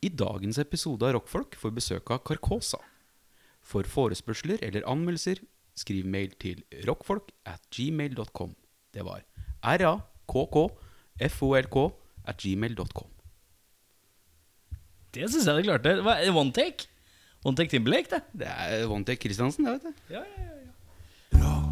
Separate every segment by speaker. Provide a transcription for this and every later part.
Speaker 1: I dagens episode av Rockfolk får besøk av Carcosa. For forespørsler eller anmeldelser, skriv mail til rockfolk at gmail.com. Det var r-a-k-k-f-o-l-k at gmail.com.
Speaker 2: Det syns jeg du klarte. Det var one take. One take Timberlake, det.
Speaker 1: Det er Vontek Kristiansen, det, vet du.
Speaker 2: Ja, ja, ja.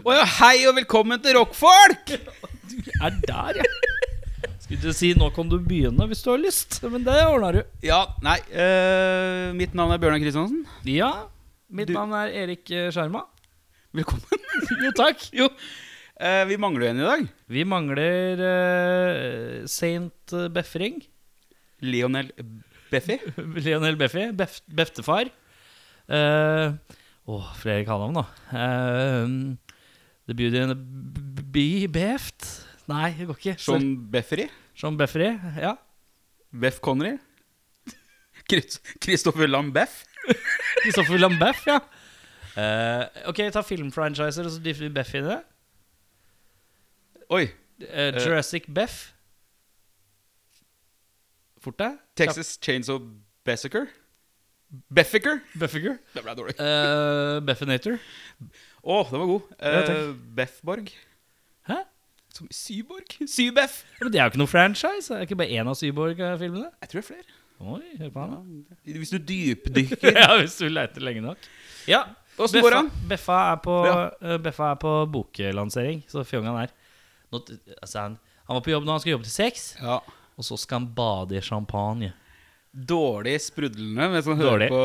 Speaker 1: Å ja, hei og velkommen til Rockfolk!
Speaker 2: Du er der, ja. Skulle til å si 'nå kan du begynne hvis du har lyst', men det ordna du.
Speaker 1: Ja, nei, eh, mitt navn er Bjørnar Kristiansen.
Speaker 2: Ja. Mitt
Speaker 1: Du-
Speaker 2: navn er Erik eh, Skjerma.
Speaker 1: Velkommen.
Speaker 2: Jo, takk.
Speaker 1: Jo, eh, vi mangler jo en i dag.
Speaker 2: Vi mangler uh, Saint Befring.
Speaker 1: Lionel Beffi.
Speaker 2: Lionel Beffi. Bef Beftefar. Eh, Å, flere kallenavn, da. Eh, the Beauty and the B- B- Beft? Nei, det går ikke.
Speaker 1: Sean Beffery.
Speaker 2: Sean Beffery. Ja.
Speaker 1: Beff Connery. Chris- Christopher Lambeff.
Speaker 2: Kristoffer Lambeff, ja. Eh, ok, ta filmfranchiser, og så dytter vi Beff i det.
Speaker 1: Oi.
Speaker 2: Eh, Jurassic Beff. Fort deg.
Speaker 1: Texas Chainsaw Bessiker. Beffiker.
Speaker 2: Beffiger.
Speaker 1: Det ble dårlig. Å,
Speaker 2: Uh, Beffinator.
Speaker 1: den var god.
Speaker 2: Ja, takk.
Speaker 1: Eh, Beffborg.
Speaker 2: Hæ?
Speaker 1: Som i Syborg? Sybeff.
Speaker 2: Ja, Men det er jo ikke noe franchise. Det er ikke bare én av Syborg-filmene.
Speaker 1: Jeg tror det er flere.
Speaker 2: Oi, hør på han, da.
Speaker 1: Hvis du dypdykker
Speaker 2: ja, hvis du leter lenge nok. Ja,
Speaker 1: Åssen går det an?
Speaker 2: Beffa er på,
Speaker 1: Ja.
Speaker 2: eh, Beffa er på boklansering, så fjongan er Nå t- altså, han, han var på jobb når han skal jobbe til seks,
Speaker 1: Ja.
Speaker 2: og så skal han bade i champagne.
Speaker 1: Dårlig sprudlende mens man hører
Speaker 2: Dårlig.
Speaker 1: på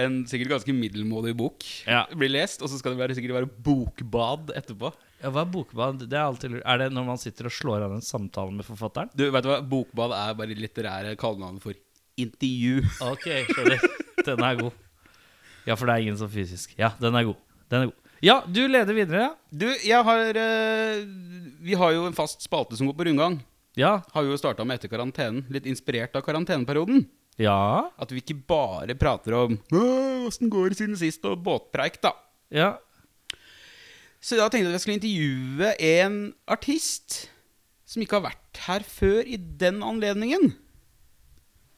Speaker 1: en sikkert ganske middelmådig bok.
Speaker 2: Ja.
Speaker 1: Det Blir lest, og så skal det være, sikkert være bokbad etterpå.
Speaker 2: Ja, Hva er bokbad? Det er, alltid, lurt. er det når man sitter og slår an en samtale med forfatteren?
Speaker 1: Du, vet du hva? Bokbad er bare litterære kallenavn for intervju.
Speaker 2: Ok, skjønner. Den er god. Ja, for det er ingen som fysisk. Ja, den er god. Den er god. Ja, du leder videre, ja.
Speaker 1: Du, jeg har eh, Vi har jo en fast spalte som går på rundgang.
Speaker 2: Ja.
Speaker 1: Har vi jo starta med etter karantenen. Litt inspirert av karanteneperioden.
Speaker 2: Ja.
Speaker 1: At vi ikke bare prater om «Åh, åssen går det siden sist, og båtpreik, da.
Speaker 2: ja.
Speaker 1: Så da tenkte jeg at jeg skulle intervjue en artist som ikke har vært her før i den anledningen.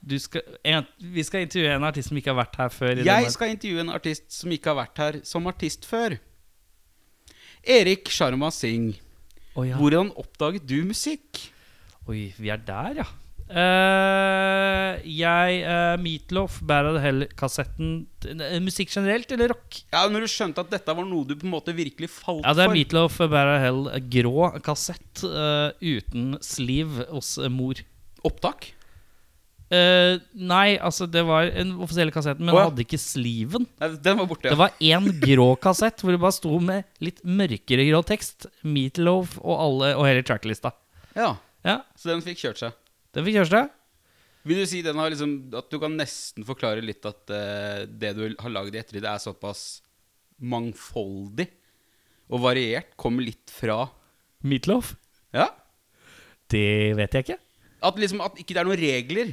Speaker 2: Du skal, en, vi skal intervjue en artist som ikke har vært her før. i denne-
Speaker 1: Jeg skal intervjue en artist som ikke har vært her som artist før. Erik Sharma Singh,
Speaker 2: Å, ja.
Speaker 1: hvordan oppdaget du musikk?
Speaker 2: Oi, vi er der, ja. Eh, jeg uh, Meatloaf, Bad of Hell-kassetten eh, Musikk generelt, eller rock?
Speaker 1: Ja, Når du skjønte at dette var noe du på en måte virkelig falt
Speaker 2: Ja, det er
Speaker 1: for.
Speaker 2: Meatloaf, Bad of Hell, eh, grå kassett eh, uten sliv hos eh, mor.
Speaker 1: Opptak?
Speaker 2: Eh, nei, altså, det var den offisielle kassetten,
Speaker 1: Å,
Speaker 2: men
Speaker 1: ja.
Speaker 2: den hadde ikke sliven.
Speaker 1: Nei, den var borte.
Speaker 2: Det var én grå kassett hvor det bare sto med litt mørkere grå tekst. Meatloaf og, alle, og hele tracklista.
Speaker 1: Ja,
Speaker 2: Ja,
Speaker 1: Så den fikk kjørt seg.
Speaker 2: den fikk kjøreste.
Speaker 1: Vil du si den har liksom, at du kan nesten forklare litt at eh, det du har lagd i ettertid, er såpass mangfoldig og variert? Kommer litt fra
Speaker 2: Meatloaf?
Speaker 1: Ja?
Speaker 2: Det vet jeg ikke.
Speaker 1: At liksom at ikke det er noen regler?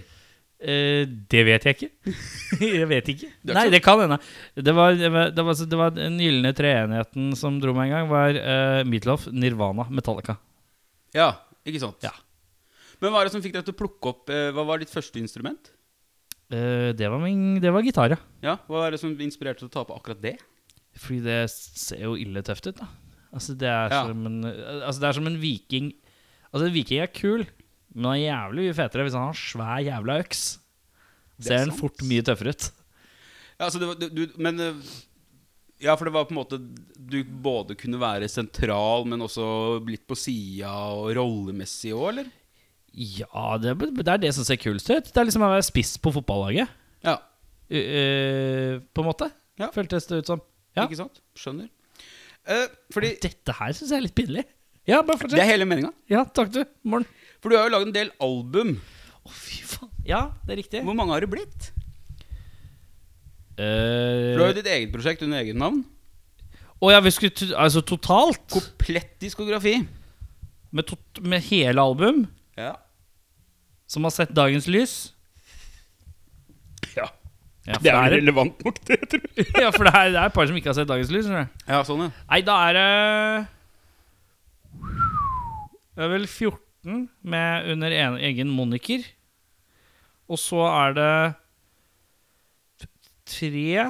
Speaker 2: Eh, det vet jeg ikke. jeg vet ikke.
Speaker 1: Det er ikke
Speaker 2: Nei,
Speaker 1: så-
Speaker 2: det kan hende. Det var, det var, det var, det var den gylne treenigheten som dro meg en gang, var uh, Meatloaf, Nirvana, Metallica.
Speaker 1: Ja, ikke sant?
Speaker 2: Ja.
Speaker 1: Men hva er det som fikk deg til å plukke opp eh, Hva var ditt første instrument?
Speaker 2: Eh, det var, min- det var gitar, ja.
Speaker 1: Ja, Hva er det som inspirerte deg til å ta på akkurat det?
Speaker 2: Fordi det ser jo ille tøft ut, da. Altså, det er,
Speaker 1: Ja.
Speaker 2: som, en, altså, det er som en viking Altså, en viking er kul, men han er jævlig mye fetere hvis han har en svær jævla øks.
Speaker 1: Det er
Speaker 2: Ser han
Speaker 1: sant.
Speaker 2: fort mye tøffere ut.
Speaker 1: Ja, altså det var, du, du, men eh, Ja, for det var på en måte Du både kunne være sentral, men også litt på sida og rollemessig òg, eller?
Speaker 2: Ja, det, det er det som ser kulest ut. Det er liksom å være spiss på fotballaget.
Speaker 1: Ja.
Speaker 2: Eh, på en måte.
Speaker 1: Ja.
Speaker 2: Føltes det ut som. Ja.
Speaker 1: Ikke sant? Skjønner. Eh, fordi
Speaker 2: Dette her syns jeg er litt pinlig. Ja, bare
Speaker 1: Det
Speaker 2: fortsett.
Speaker 1: er hele meninga.
Speaker 2: Ja, takk, du. Morgen.
Speaker 1: For du har jo lagd en del album.
Speaker 2: Å, fy faen. Ja, det er riktig.
Speaker 1: Hvor mange har det blitt?
Speaker 2: Eh,
Speaker 1: For Du har jo ditt eget prosjekt under eget navn.
Speaker 2: Å ja, vi skulle t Altså totalt?
Speaker 1: Komplett diskografi.
Speaker 2: Med, tot med hele album
Speaker 1: Ja.
Speaker 2: som har sett dagens lys?
Speaker 1: Ja.
Speaker 2: Ja, for
Speaker 1: Det er
Speaker 2: det,
Speaker 1: vel relevant nok, det, tror jeg.
Speaker 2: er, ja, for det er, det er et par som ikke har sett dagens lys. skjønner du.
Speaker 1: Ja, sånn, ja.
Speaker 2: Nei, da er det Det er vel 14 med under en, egen moniker. Og så er det tre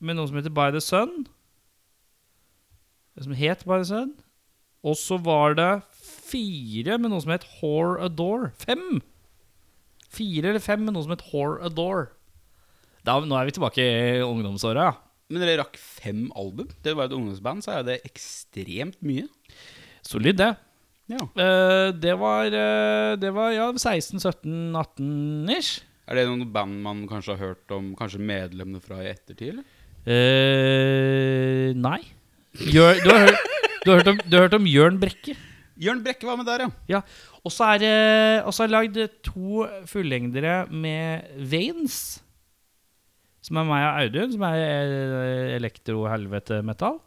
Speaker 2: med noen som heter By the Sun. Som het By the Sun. Og så var det fire med noe som het Whore Adore. Fem! Fire eller fem med noe som het Whore Adore. Da, nå er vi tilbake i ungdomsåra, ja.
Speaker 1: Men dere rakk fem album. Det var et ungdomsband, så er jo det ekstremt mye.
Speaker 2: Solid, det.
Speaker 1: Ja.
Speaker 2: Eh, det var, eh, det var ja, 16, 17, 18 ish.
Speaker 1: Er det noen band man kanskje har hørt om Kanskje medlemmene fra i ettertid? Eller?
Speaker 2: Eh, nei. Jør, du, har hørt, du, har hørt om, du har hørt om Jørn Brekke.
Speaker 1: Jørn Brekke var med der, ja.
Speaker 2: Ja. Og så er det og så er det lagd to fullengdere med Veins. Som er meg og Audun, som er eh, elektrohelvete-metall.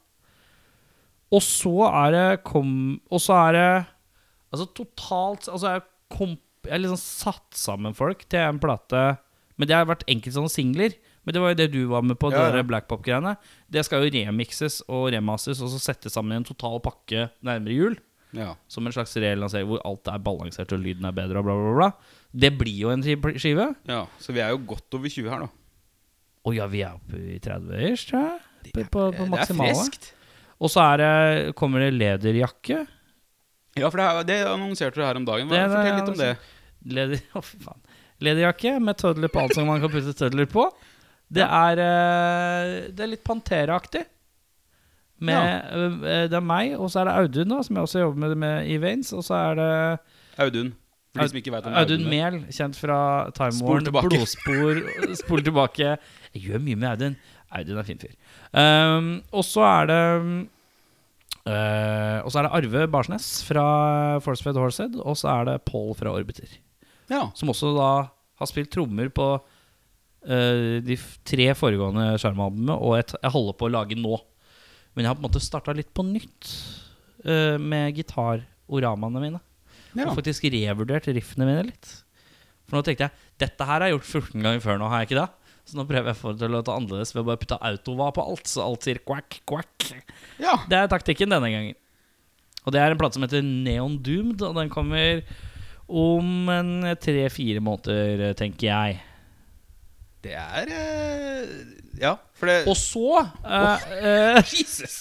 Speaker 2: Og så er det kom... Og så er det Altså totalt Altså jeg, kom, jeg har liksom satt sammen folk til en plate Men det har vært enkelte sånne singler. Men det var jo det du var med på,
Speaker 1: Ja, ja.
Speaker 2: det der blackpop-greiene. Det skal jo remixes og remasters og så settes sammen i en total pakke nærmere jul.
Speaker 1: ja.
Speaker 2: Som en slags relansering hvor alt er balansert og lyden er bedre. Og bla, bla, bla. Det blir jo en tri- skive.
Speaker 1: Ja, Så vi er jo godt over 20 her, da.
Speaker 2: Å ja, vi er oppe i 30-ish, tror jeg.
Speaker 1: Det
Speaker 2: På, på, på
Speaker 1: det er
Speaker 2: maksimale.
Speaker 1: friskt.
Speaker 2: Og så er det, kommer det lederjakke.
Speaker 1: Ja, for det, er- det annonserte du her om dagen. Hva,
Speaker 2: Det- det-
Speaker 1: fortell litt om det.
Speaker 2: Leder, å, fy faen. Lederjakke med tødler på alt som man kan putte tødler på. Det er, eh, det er litt Pantera-aktig. Med, eh, Det er meg, og så er det Audun, da, som jeg også jobber med, med i Veins. Og så er det
Speaker 1: Audun. For de som ikke vet om
Speaker 2: Audun Mehl, kjent fra Time
Speaker 1: Spol
Speaker 2: Warn,
Speaker 1: tilbake.
Speaker 2: Blodspor, Spol tilbake. Jeg gjør mye med Audun. Audun er fin fyr. Um, og så er det um, eh, Og så er det Arve Barsnes fra Forcefed Horsehead, og så er det Pål fra Orbiter.
Speaker 1: Ja.
Speaker 2: Som også da har spilt trommer på eh, de f- tre foregående sjarmalbumene, og et jeg holder på å lage nå. Men jeg har på en måte starta litt på nytt eh, med gitaroramene mine
Speaker 1: ja.
Speaker 2: og faktisk revurdert riffene mine litt. For nå tenkte jeg dette her har jeg gjort 14 ganger før nå, har jeg ikke det? Så nå prøver jeg å få det til å låte annerledes ved å bare putte autova på alt, så alt sier quack, quack.
Speaker 1: ja.
Speaker 2: Det er taktikken denne gangen. Og det er en plate som heter Neon Doomed, og den kommer om en tre-fire måneder, tenker jeg.
Speaker 1: Det er eh, Ja, for det
Speaker 2: Og så eh, eh,
Speaker 1: Jesus!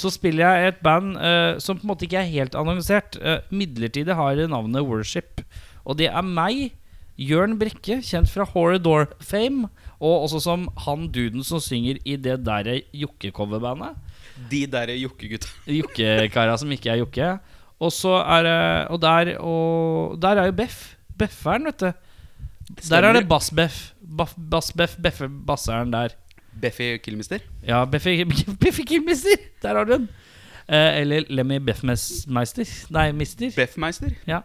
Speaker 2: så spiller jeg i et band eh, som på en måte ikke er helt annonsert. Eh, midlertidig har det navnet Worship. Og det er meg, Jørn Brekke, kjent fra Horridor Fame, og også som han duden som synger i det derre jokkecoverbandet.
Speaker 1: De derre jokkegutta.
Speaker 2: Jokkekara som ikke er jokke. Og så er det Og der, og der er jo Beff. Befferen, vet du. Der er det Bass-Beff. Baff- Bass-Beff, Beffe-basseren der.
Speaker 1: Beffy Killmister.
Speaker 2: Ja, Beffi Beffi Killmister! Der har du den. Eh, eller Lemmy Beffmeister. Nei, Mister.
Speaker 1: Beffmeister.
Speaker 2: Ja.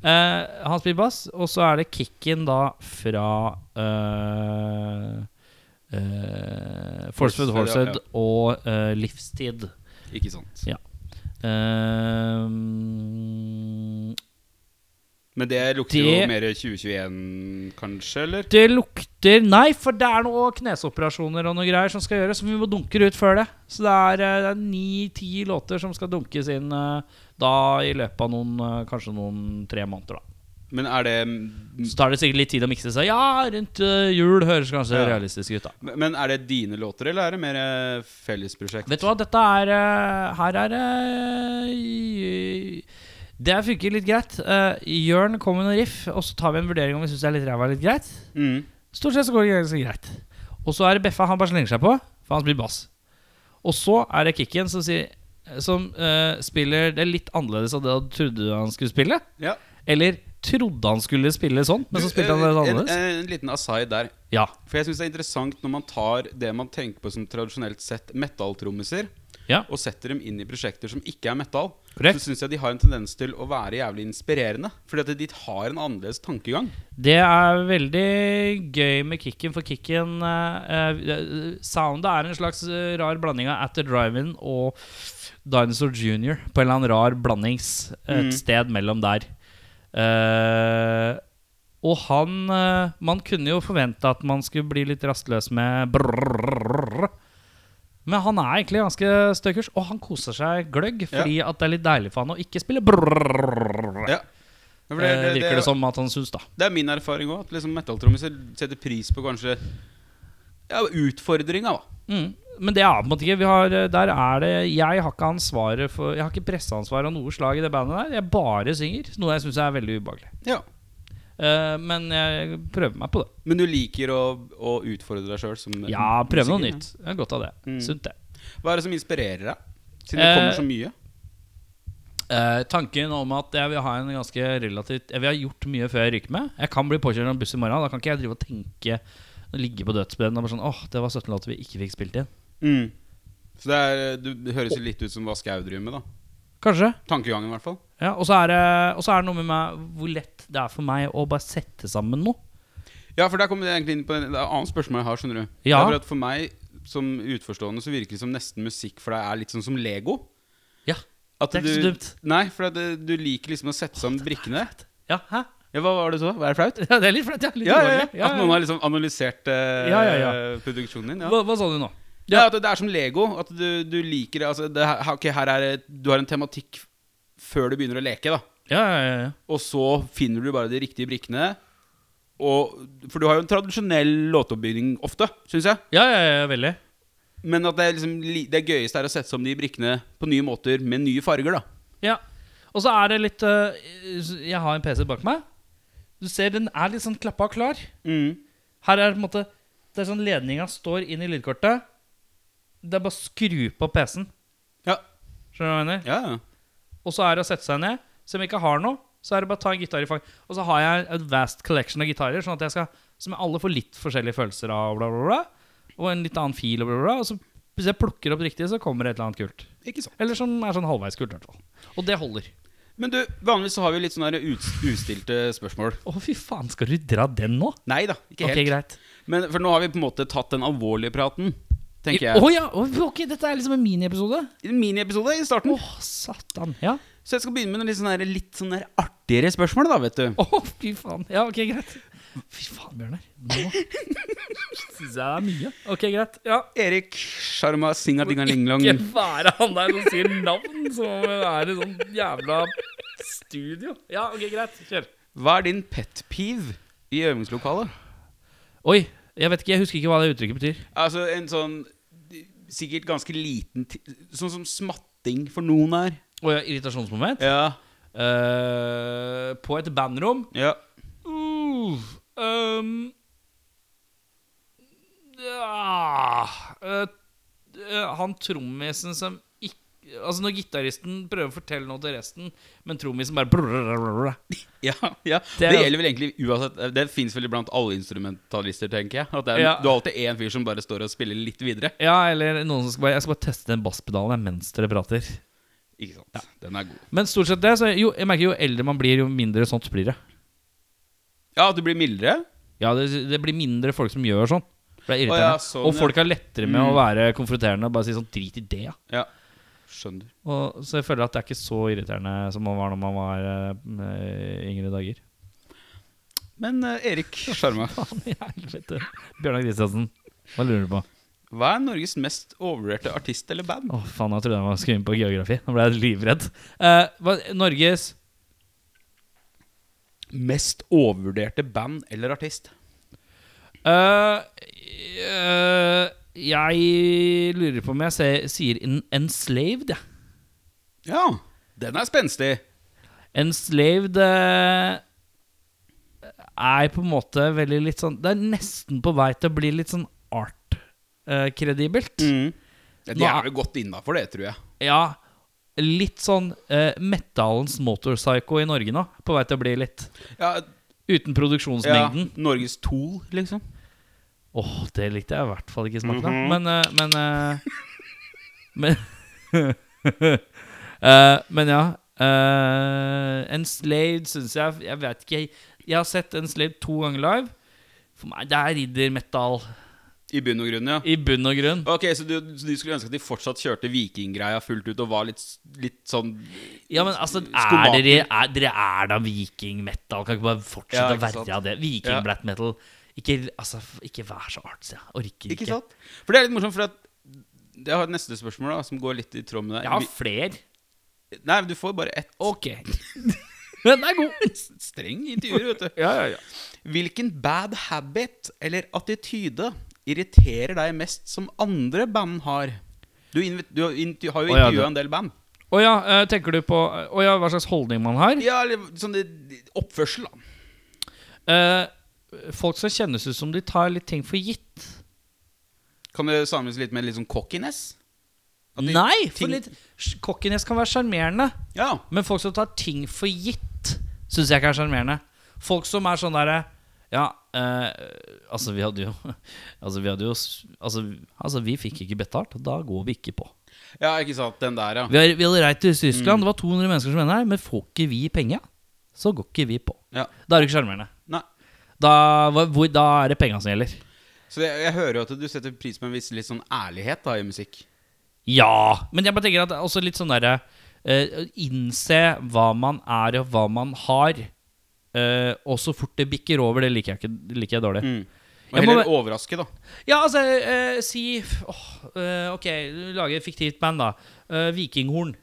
Speaker 2: Eh, han spiller bass, og så er det kicken da fra uh, uh, Forsford
Speaker 1: Forsford, ja,
Speaker 2: Horsed og eh, Livstid.
Speaker 1: Ikke sant.
Speaker 2: Eh,
Speaker 1: Men det lukter
Speaker 2: Det-
Speaker 1: jo mer 2021, kanskje, eller?
Speaker 2: det lukter Nei, for det er noen knesoperasjoner og noe greier som skal gjøres, som vi må dunke ut før det. Så det er, eh, det er ni-ti låter som skal dunkes inn eh, da i løpet av noen, eh, kanskje noen tre måneder, da.
Speaker 1: Men er det
Speaker 2: Så tar det sikkert litt tid å mikse seg. Ja, rundt eh, jul høres kanskje
Speaker 1: Ja.
Speaker 2: realistisk ut, da.
Speaker 1: Men er det dine låter, eller er det mer eh, fellesprosjekt?
Speaker 2: Vet du hva, dette er eh, Her er eh, i- Det her funker litt greit. Eh, Jørn kommer med noen riff, og så tar vi en vurdering om vi syns det er litt ræva eller litt greit.
Speaker 1: Mm.
Speaker 2: Stort sett så går det ganske greit. Og så er det Beffa han bare slenger seg på, for han spiller bass. Og så er det Kikken som, sier, som eh, spiller det litt annerledes av det han trodde han skulle spille.
Speaker 1: Ja.
Speaker 2: Eller trodde han skulle spille sånn, men så spilte han det litt
Speaker 1: eh, en,
Speaker 2: annerledes.
Speaker 1: en, en liten aside der.
Speaker 2: Ja.
Speaker 1: For jeg syns det er interessant når man tar det man tenker på som tradisjonelt sett metalltrommiser,
Speaker 2: Ja.
Speaker 1: og setter dem inn i prosjekter som ikke er metal,
Speaker 2: Korrekt.
Speaker 1: så syns jeg de har en tendens til å være jævlig inspirerende. Fordi at de har en annerledes tankegang.
Speaker 2: Det er veldig gøy med kicken, for kicken eh, eh, Soundet er en slags eh, rar blanding av At The Drive-In og Dinosaur Junior. På en eller annen rar blandings et
Speaker 1: Mm.
Speaker 2: sted mellom der. Eh, og han eh, Man kunne jo forvente at man skulle bli litt rastløs med brrrr. Men han er egentlig ganske støkers, og han koser seg gløgg fordi at det er litt deilig for han å ikke spille brrrr.
Speaker 1: Ja. Ja, for
Speaker 2: Eh, virker det som at han syns, da.
Speaker 1: Det er min erfaring òg, at liksom metalltrommiser setter pris på kanskje ja, utfordringa, da.
Speaker 2: Mm. Men det er på en måte ikke vi har, eh, Der er det Jeg har ikke ansvaret for Jeg har ikke presseansvar av noe slag i det bandet der. Jeg bare synger, noe jeg syns er veldig ubehagelig.
Speaker 1: Ja.
Speaker 2: Eh, men jeg prøver meg på det.
Speaker 1: Men du liker å, å utfordre deg sjøl som
Speaker 2: Ja, prøve noe
Speaker 1: musiker, ja.
Speaker 2: nytt. Jeg har godt av det.
Speaker 1: Mm.
Speaker 2: Sunt, det.
Speaker 1: Hva er det som inspirerer deg? Siden det
Speaker 2: Eh,
Speaker 1: kommer så mye.
Speaker 2: Eh, tanken om at jeg vil ha en ganske relativt Jeg vil ha gjort mye før jeg ryker med. Jeg kan bli påkjørt av en buss i morgen. Da kan ikke jeg drive og tenke og ligge på dødsbredet og bare sånn Åh, det var 17 låter vi ikke fikk spilt inn.
Speaker 1: Mm. Så det, er, du, det høres jo litt ut som hva Skau driver med, da.
Speaker 2: Kanskje.
Speaker 1: Tankegangen, i hvert fall.
Speaker 2: Ja, og så er det og så er det noe med meg hvor lett det er for meg å bare sette sammen noe.
Speaker 1: Ja, for der kommer det egentlig inn på en, det er et annet spørsmål jeg har, skjønner du. Det
Speaker 2: Ja.
Speaker 1: er bare at for meg som utforstående så virker det som nesten musikk, for det er litt sånn som Lego.
Speaker 2: Ja,
Speaker 1: At
Speaker 2: Det er ikke
Speaker 1: du-
Speaker 2: så dumt.
Speaker 1: Nei, for at det, du liker liksom å sette sammen brikkene.
Speaker 2: Ja, hæ?
Speaker 1: Ja, hva var det så? Hva er det flaut?
Speaker 2: Ja, det er litt flaut, ja. Litt
Speaker 1: Ja, ja, ja.
Speaker 2: ubehagelig. ja.
Speaker 1: At noen har liksom analysert eh,
Speaker 2: Ja, ja, ja.
Speaker 1: produksjonen din. Ja.
Speaker 2: hva, hva sa du nå?
Speaker 1: Ja, at det, det er som Lego. At du, du liker det, altså, det her- Ok, her er det- Du har en tematikk før du begynner å leke, da.
Speaker 2: Ja, ja, ja, ja.
Speaker 1: Og så finner du bare de riktige brikkene. Og, for du har jo en tradisjonell låteoppbygging ofte, syns jeg.
Speaker 2: Ja, ja, ja, ja, veldig.
Speaker 1: Men at det, er liksom, li- det gøyeste er å sette sammen de brikkene på nye måter med nye farger, da.
Speaker 2: Ja. Og så er det litt øh, Jeg har en PC bak meg. Du ser den er litt sånn klappa og klar. Mm. Her er det på en måte Det er sånn ledninga står inn i lydkortet. Det er bare å skru på PC-en.
Speaker 1: Ja.
Speaker 2: Skjønner du hva jeg mener?
Speaker 1: ja. ja.
Speaker 2: Og så er det å sette seg ned. Som jeg ikke har noe, så er det bare å ta en gitar i fang. Og så har jeg et vast collection av gitarer, sånn at jeg skal, som jeg alle får litt forskjellige følelser av, bla, bla, bla. Og en litt annen fil, og bla, bla, bla. Og så hvis jeg plukker opp riktig, så kommer det et eller annet kult.
Speaker 1: Ikke sant.
Speaker 2: Eller som er sånn halvveis kult, i hvert fall. Og det holder.
Speaker 1: Men du, vanligvis så har vi litt sånne her ut, ustilte spørsmål.
Speaker 2: Å, fy faen, skal du dra den nå?
Speaker 1: Nei da, ikke helt.
Speaker 2: Ok, greit.
Speaker 1: Men For nå har vi på en måte tatt den alvorlige praten,
Speaker 2: Å
Speaker 1: tenker jeg.
Speaker 2: ja, å, ok, dette er liksom en miniepisode.
Speaker 1: En miniepisode i
Speaker 2: Å,
Speaker 1: starten.
Speaker 2: satan. Ja.
Speaker 1: Så jeg skal begynne med noen litt sånne, her- litt sånne her artigere spørsmål, da, vet du.
Speaker 2: Å, fy faen. Ja, ok, greit. Fy faen, Bjørnar. Nå syns jeg det er mye. Ok, greit. Ja.
Speaker 1: Erik Sharma Singa Dingalinglong.
Speaker 2: Ikke være han der som sier navn, som om det er i sånn jævla studio. Ja, ok, greit. Kjør.
Speaker 1: Hva er din pet peeve i øvingslokalet?
Speaker 2: Oi, jeg vet ikke, jeg husker ikke hva det uttrykket betyr.
Speaker 1: Altså en sånn Sikkert ganske liten ti- Sånn som smatting for noen er.
Speaker 2: Å ja, irritasjonsmoment.
Speaker 1: Ja.
Speaker 2: Eh, på et bandrom
Speaker 1: ja.
Speaker 2: uh, um, ja, eh, eh, Han trommisen som ikke Altså når gitaristen prøver å fortelle noe til resten, men trommisen bare
Speaker 1: Ja, ja. Det,
Speaker 2: Det er-
Speaker 1: gjelder vel egentlig uansett Det fins vel blant alle instrumentalister, tenker jeg. At det er,
Speaker 2: Ja.
Speaker 1: Du har alltid én fyr som bare står og spiller litt videre.
Speaker 2: Ja, eller noen som skal bare Jeg skal bare teste den basspedalen jeg, mens dere prater.
Speaker 1: Ikke sant. Den er god.
Speaker 2: Men stort sett det, så jo, jeg merker jo eldre man blir, jo mindre sånt blir det.
Speaker 1: Ja, at du blir mildere.
Speaker 2: Ja, det, det blir mindre folk som gjør sånn. Det er
Speaker 1: Å
Speaker 2: irriterende.
Speaker 1: ja, sånn,
Speaker 2: og folk har lettere med
Speaker 1: Mm.
Speaker 2: å være konfronterende og bare si sånn drit i det. Ja.
Speaker 1: Ja. Skjønner.
Speaker 2: Og, så jeg føler at det er ikke så irriterende som man var når man var eh, yngre dager.
Speaker 1: Men eh, Erik Sjarma,
Speaker 2: Faen i helvete. Bjørnar Kristiansen, hva lurer du på?
Speaker 1: hva er Norges mest overvurderte artist eller band?
Speaker 2: Å, faen, jeg trodde jeg skulle inn på geografi. Nå ble jeg livredd. Eh, hva, Norges
Speaker 1: Mest overvurderte band eller artist?
Speaker 2: Eh, eh, Jeg lurer på om jeg se- sier en- enslaved, jeg.
Speaker 1: Ja, den er spenstig.
Speaker 2: Enslaved eh, er på en måte veldig litt sånn Det er nesten på vei til å bli litt sånn art-kredibelt.
Speaker 1: Mm. De
Speaker 2: Mm. Nå
Speaker 1: er
Speaker 2: er-
Speaker 1: vel godt innafor det, tror jeg.
Speaker 2: Ja, litt sånn uh, metallens motorpsycho i Norge nå. På vei til å bli litt.
Speaker 1: Ja,
Speaker 2: Uten
Speaker 1: ja,
Speaker 2: produksjonsmengden.
Speaker 1: Norges Tool, liksom. Mhm.
Speaker 2: Åh, det likte jeg i hvert fall ikke smaken av. Men, eh, men, eh, men Eh, men ja eh, Enslaved syns jeg Jeg vet ikke Jeg, jeg har sett Enslaved to ganger live. For meg, det er ridder metal
Speaker 1: I bunn og grunn, ja.
Speaker 2: i bunn og grunn.
Speaker 1: Ok, så du, så du skulle ønske at de fortsatt kjørte vikinggreia fullt ut og var litt, litt sånn
Speaker 2: Ja, men altså, er
Speaker 1: Skomaker.
Speaker 2: dere, er, dere er da viking-metal? Kan ikke bare fortsette
Speaker 1: Ja,
Speaker 2: å
Speaker 1: ikke sant.
Speaker 2: være av det?
Speaker 1: Ja.
Speaker 2: Viking-black metal. Ikke, altså, f- ikke vær så artsy. Jeg orker ikke.
Speaker 1: Ikke sant? For det er litt morsomt, for at jeg har et neste spørsmål da, som går litt i tråd med det.
Speaker 2: Jeg har flere.
Speaker 1: Vi- Nei, men du får bare ett
Speaker 2: Ok. Den er god.
Speaker 1: streng intervjuer, vet du.
Speaker 2: Ja, ja, ja.
Speaker 1: Hvilken bad habit eller attityde irriterer deg mest som andre band har? Du, invi- du har intervju- har jo
Speaker 2: Å, ja,
Speaker 1: intervjua
Speaker 2: det-
Speaker 1: en del band.
Speaker 2: Å ja, eh, tenker du på Å ja, hva slags holdning man har?
Speaker 1: Ja, eller sånn det- oppførsel, da.
Speaker 2: Eh, folk skal kjennes ut som de tar litt ting for gitt.
Speaker 1: Kan det sammenlignes litt med litt sånn cockiness? At de-
Speaker 2: Nei!
Speaker 1: ting-
Speaker 2: For litt Kokkenes kan være sjarmerende.
Speaker 1: Ja.
Speaker 2: Men folk som tar ting for gitt, syns jeg ikke er sjarmerende. Folk som er sånn derre Ja, eh, altså, vi hadde jo Altså, vi hadde jo s- Altså, altså vi fikk ikke betalt, da går vi ikke på.
Speaker 1: ja, ikke sant. Den der, ja.
Speaker 2: Vi har- vi hadde reist til
Speaker 1: Mm.
Speaker 2: Tyskland, det var 200 mennesker som var her, men får ikke vi penga, så går ikke vi på.
Speaker 1: ja.
Speaker 2: Da er det ikke sjarmerende.
Speaker 1: Nei.
Speaker 2: Da, hva- hvor- da er det penga som gjelder.
Speaker 1: Så jeg, jeg hører jo at du setter pris på en viss litt sånn ærlighet da i musikk.
Speaker 2: Ja! Men jeg bare tenker at det er også litt sånn derre eh, å Innse hva man er, og hva man har. eh, og så fort det bikker over, det liker jeg, ikke, det liker jeg dårlig.
Speaker 1: Og
Speaker 2: Jeg må
Speaker 1: heller
Speaker 2: bare-
Speaker 1: overraske, da.
Speaker 2: Ja, altså, eh, si åh, eh, Ok, du lager et fiktivt band, da. Eh, Vikinghorn.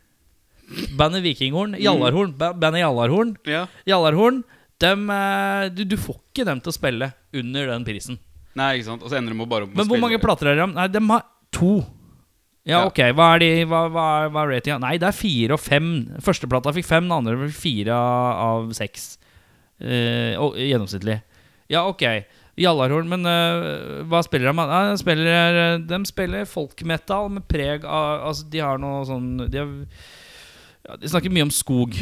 Speaker 2: Bandet Vikinghorn. Jallarhorn. Ba bandet Jallarhorn.
Speaker 1: Ja.
Speaker 2: Jallarhorn dem, eh, du, du får ikke dem til å spille under den prisen.
Speaker 1: Nei, ikke sant. Og så ender de med bare å
Speaker 2: Men hvor
Speaker 1: spille-
Speaker 2: mange plater er det? Nei, dem har to. Ja,
Speaker 1: Ja.
Speaker 2: ok. Hva er, de, hva, hva, er- hva er ratinga? Nei, det er fire og fem. Førsteplata fikk fem, den andre fikk fire av seks. Eh, og, gjennomsnittlig. Ja, ok. Jallarhorn, men eh, hva spiller de? Nei, de spiller, de spiller folkmetal med preg av Altså, de har noe sånn De, har, ja, de snakker mye om skog.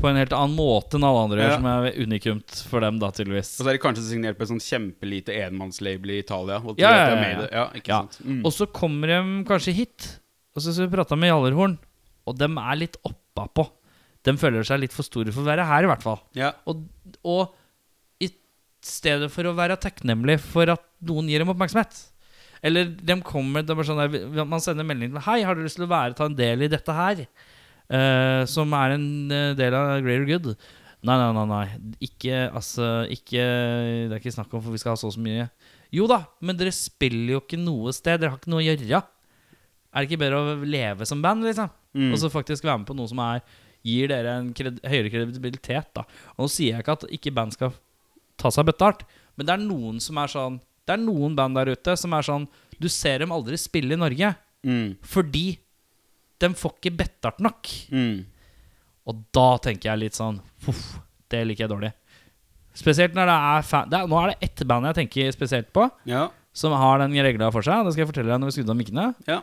Speaker 2: På en helt annen måte enn alle andre,
Speaker 1: Ja.
Speaker 2: som er unikumt for dem, da, tydeligvis.
Speaker 1: Og så er de kanskje signert på et sånn kjempelite enmannslabel i Italia. Og tror
Speaker 2: Ja, ja,
Speaker 1: at de
Speaker 2: ja,
Speaker 1: er med i
Speaker 2: ja.
Speaker 1: det. ja, ikke
Speaker 2: Ja.
Speaker 1: sant mm.
Speaker 2: Og så kommer de kanskje hit, og så skal vi prate med Jallarhorn. Og dem er litt oppapå. De føler seg litt for store for å være her, i hvert fall.
Speaker 1: ja.
Speaker 2: Og, og i stedet for å være takknemlig for at noen gir dem oppmerksomhet Eller de kommer de er sånn der, Man sender melding til Hei, har du lyst til å være, ta en del i dette her? Eh, som er en eh, del av greater good. Nei, nei, nei. nei Ikke, altså, ikke Det er ikke snakk om, for vi skal ha så og så mye. Jo da, men dere spiller jo ikke noe sted. Dere har ikke noe å gjøre. Er det ikke bedre å leve som band, liksom?
Speaker 1: Mm.
Speaker 2: Og så faktisk være med på noe som er gir dere en kred høyere kredibilitet. da Og Nå sier jeg ikke at ikke band skal ta seg betalt, men det er noen som er sånn Det er noen band der ute som er sånn Du ser dem aldri spille i Norge
Speaker 1: Mm.
Speaker 2: fordi de får ikke betalt nok.
Speaker 1: Mm.
Speaker 2: Og da tenker jeg litt sånn Uff, det liker jeg dårlig. Spesielt når det er fan... Det er, nå er det ett band jeg tenker spesielt på,
Speaker 1: ja.
Speaker 2: som har den regla for seg. Det skal jeg fortelle deg når vi skrur av mikkene.
Speaker 1: Ja.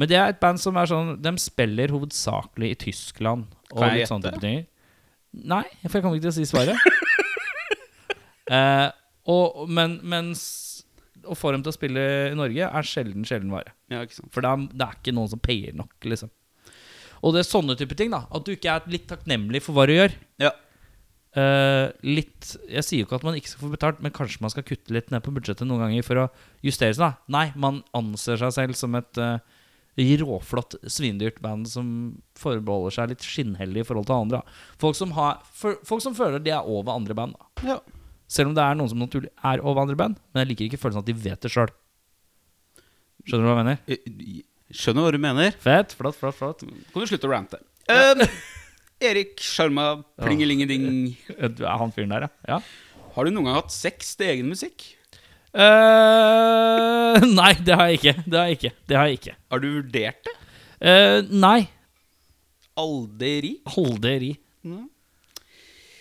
Speaker 2: Men det er et band som er sånn De spiller hovedsakelig i Tyskland. Og
Speaker 1: Kan jeg
Speaker 2: litt sånne
Speaker 1: gjette?
Speaker 2: type ting. Nei, for jeg kommer ikke til å si svaret. eh, og, men mens å få dem til å spille i Norge er sjelden, sjelden vare.
Speaker 1: ja, ikke sant.
Speaker 2: For det er, det er ikke noen som payer nok, liksom. Og det er sånne type ting, da. At du ikke er litt takknemlig for hva du gjør.
Speaker 1: Ja.
Speaker 2: Eh, litt Jeg sier jo ikke at man ikke skal få betalt, men kanskje man skal kutte litt ned på budsjettet noen ganger for å justere seg. da Nei, man anser seg selv som et eh, råflott, svindyrt band som forbeholder seg litt skinnhellig i forhold til andre. Da. Folk som, har, for, folk som føler de er over andre band. Da.
Speaker 1: Ja.
Speaker 2: Selv om det er noen som naturlig er over andre band, men jeg liker ikke følelsen av at de vet det sjøl. Skjønner du hva jeg mener?
Speaker 1: Eh, eh, Skjønner hva du mener.
Speaker 2: Fett, flott, flott, flott.
Speaker 1: Kan du slutte å rante? Eh, Erik Sjarma Plingelingeding.
Speaker 2: Du er han fyren der, ja. ja.
Speaker 1: Har du noen gang hatt sex til egen musikk?
Speaker 2: Eh, nei, det har jeg ikke. Det har jeg ikke. Det har jeg ikke.
Speaker 1: Har du vurdert det?
Speaker 2: Eh, nei.
Speaker 1: Aldri?
Speaker 2: Holderi.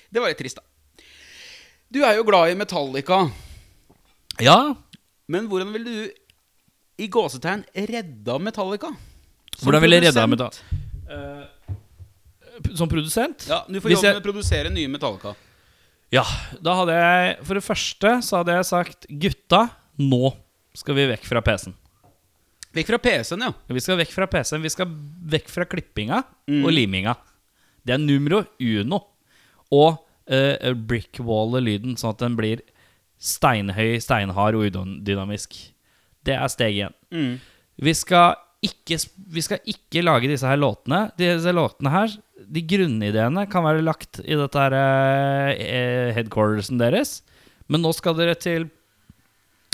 Speaker 1: Det var litt trist, da. Du er jo glad i Metallica,
Speaker 2: Ja.
Speaker 1: men hvordan ville du i gåsetegn redda Metallica? Som
Speaker 2: Hvordan ville jeg redda
Speaker 1: produsent?
Speaker 2: meg da? Eh, som produsent?
Speaker 1: Ja, Du får
Speaker 2: Hvis
Speaker 1: jobbe
Speaker 2: jeg-
Speaker 1: med å produsere nye Metallica.
Speaker 2: Ja, da hadde jeg For det første så hadde jeg sagt Gutta, nå skal vi vekk fra PC-en.
Speaker 1: Vekk fra PC-en, ja.
Speaker 2: Vi skal vekk fra PC-en. Vi skal vekk fra klippinga
Speaker 1: Mm.
Speaker 2: og liminga. Det er numero uno. Og uh, brickwaller lyden, sånn at den blir steinhøy, steinhard og udynamisk. Det er steg én.
Speaker 1: Mm.
Speaker 2: Vi skal ikke, vi skal ikke lage disse her låtene. Disse låtene her, de grunnideene kan være lagt i dette her eh, headquartersen deres. Men nå skal dere til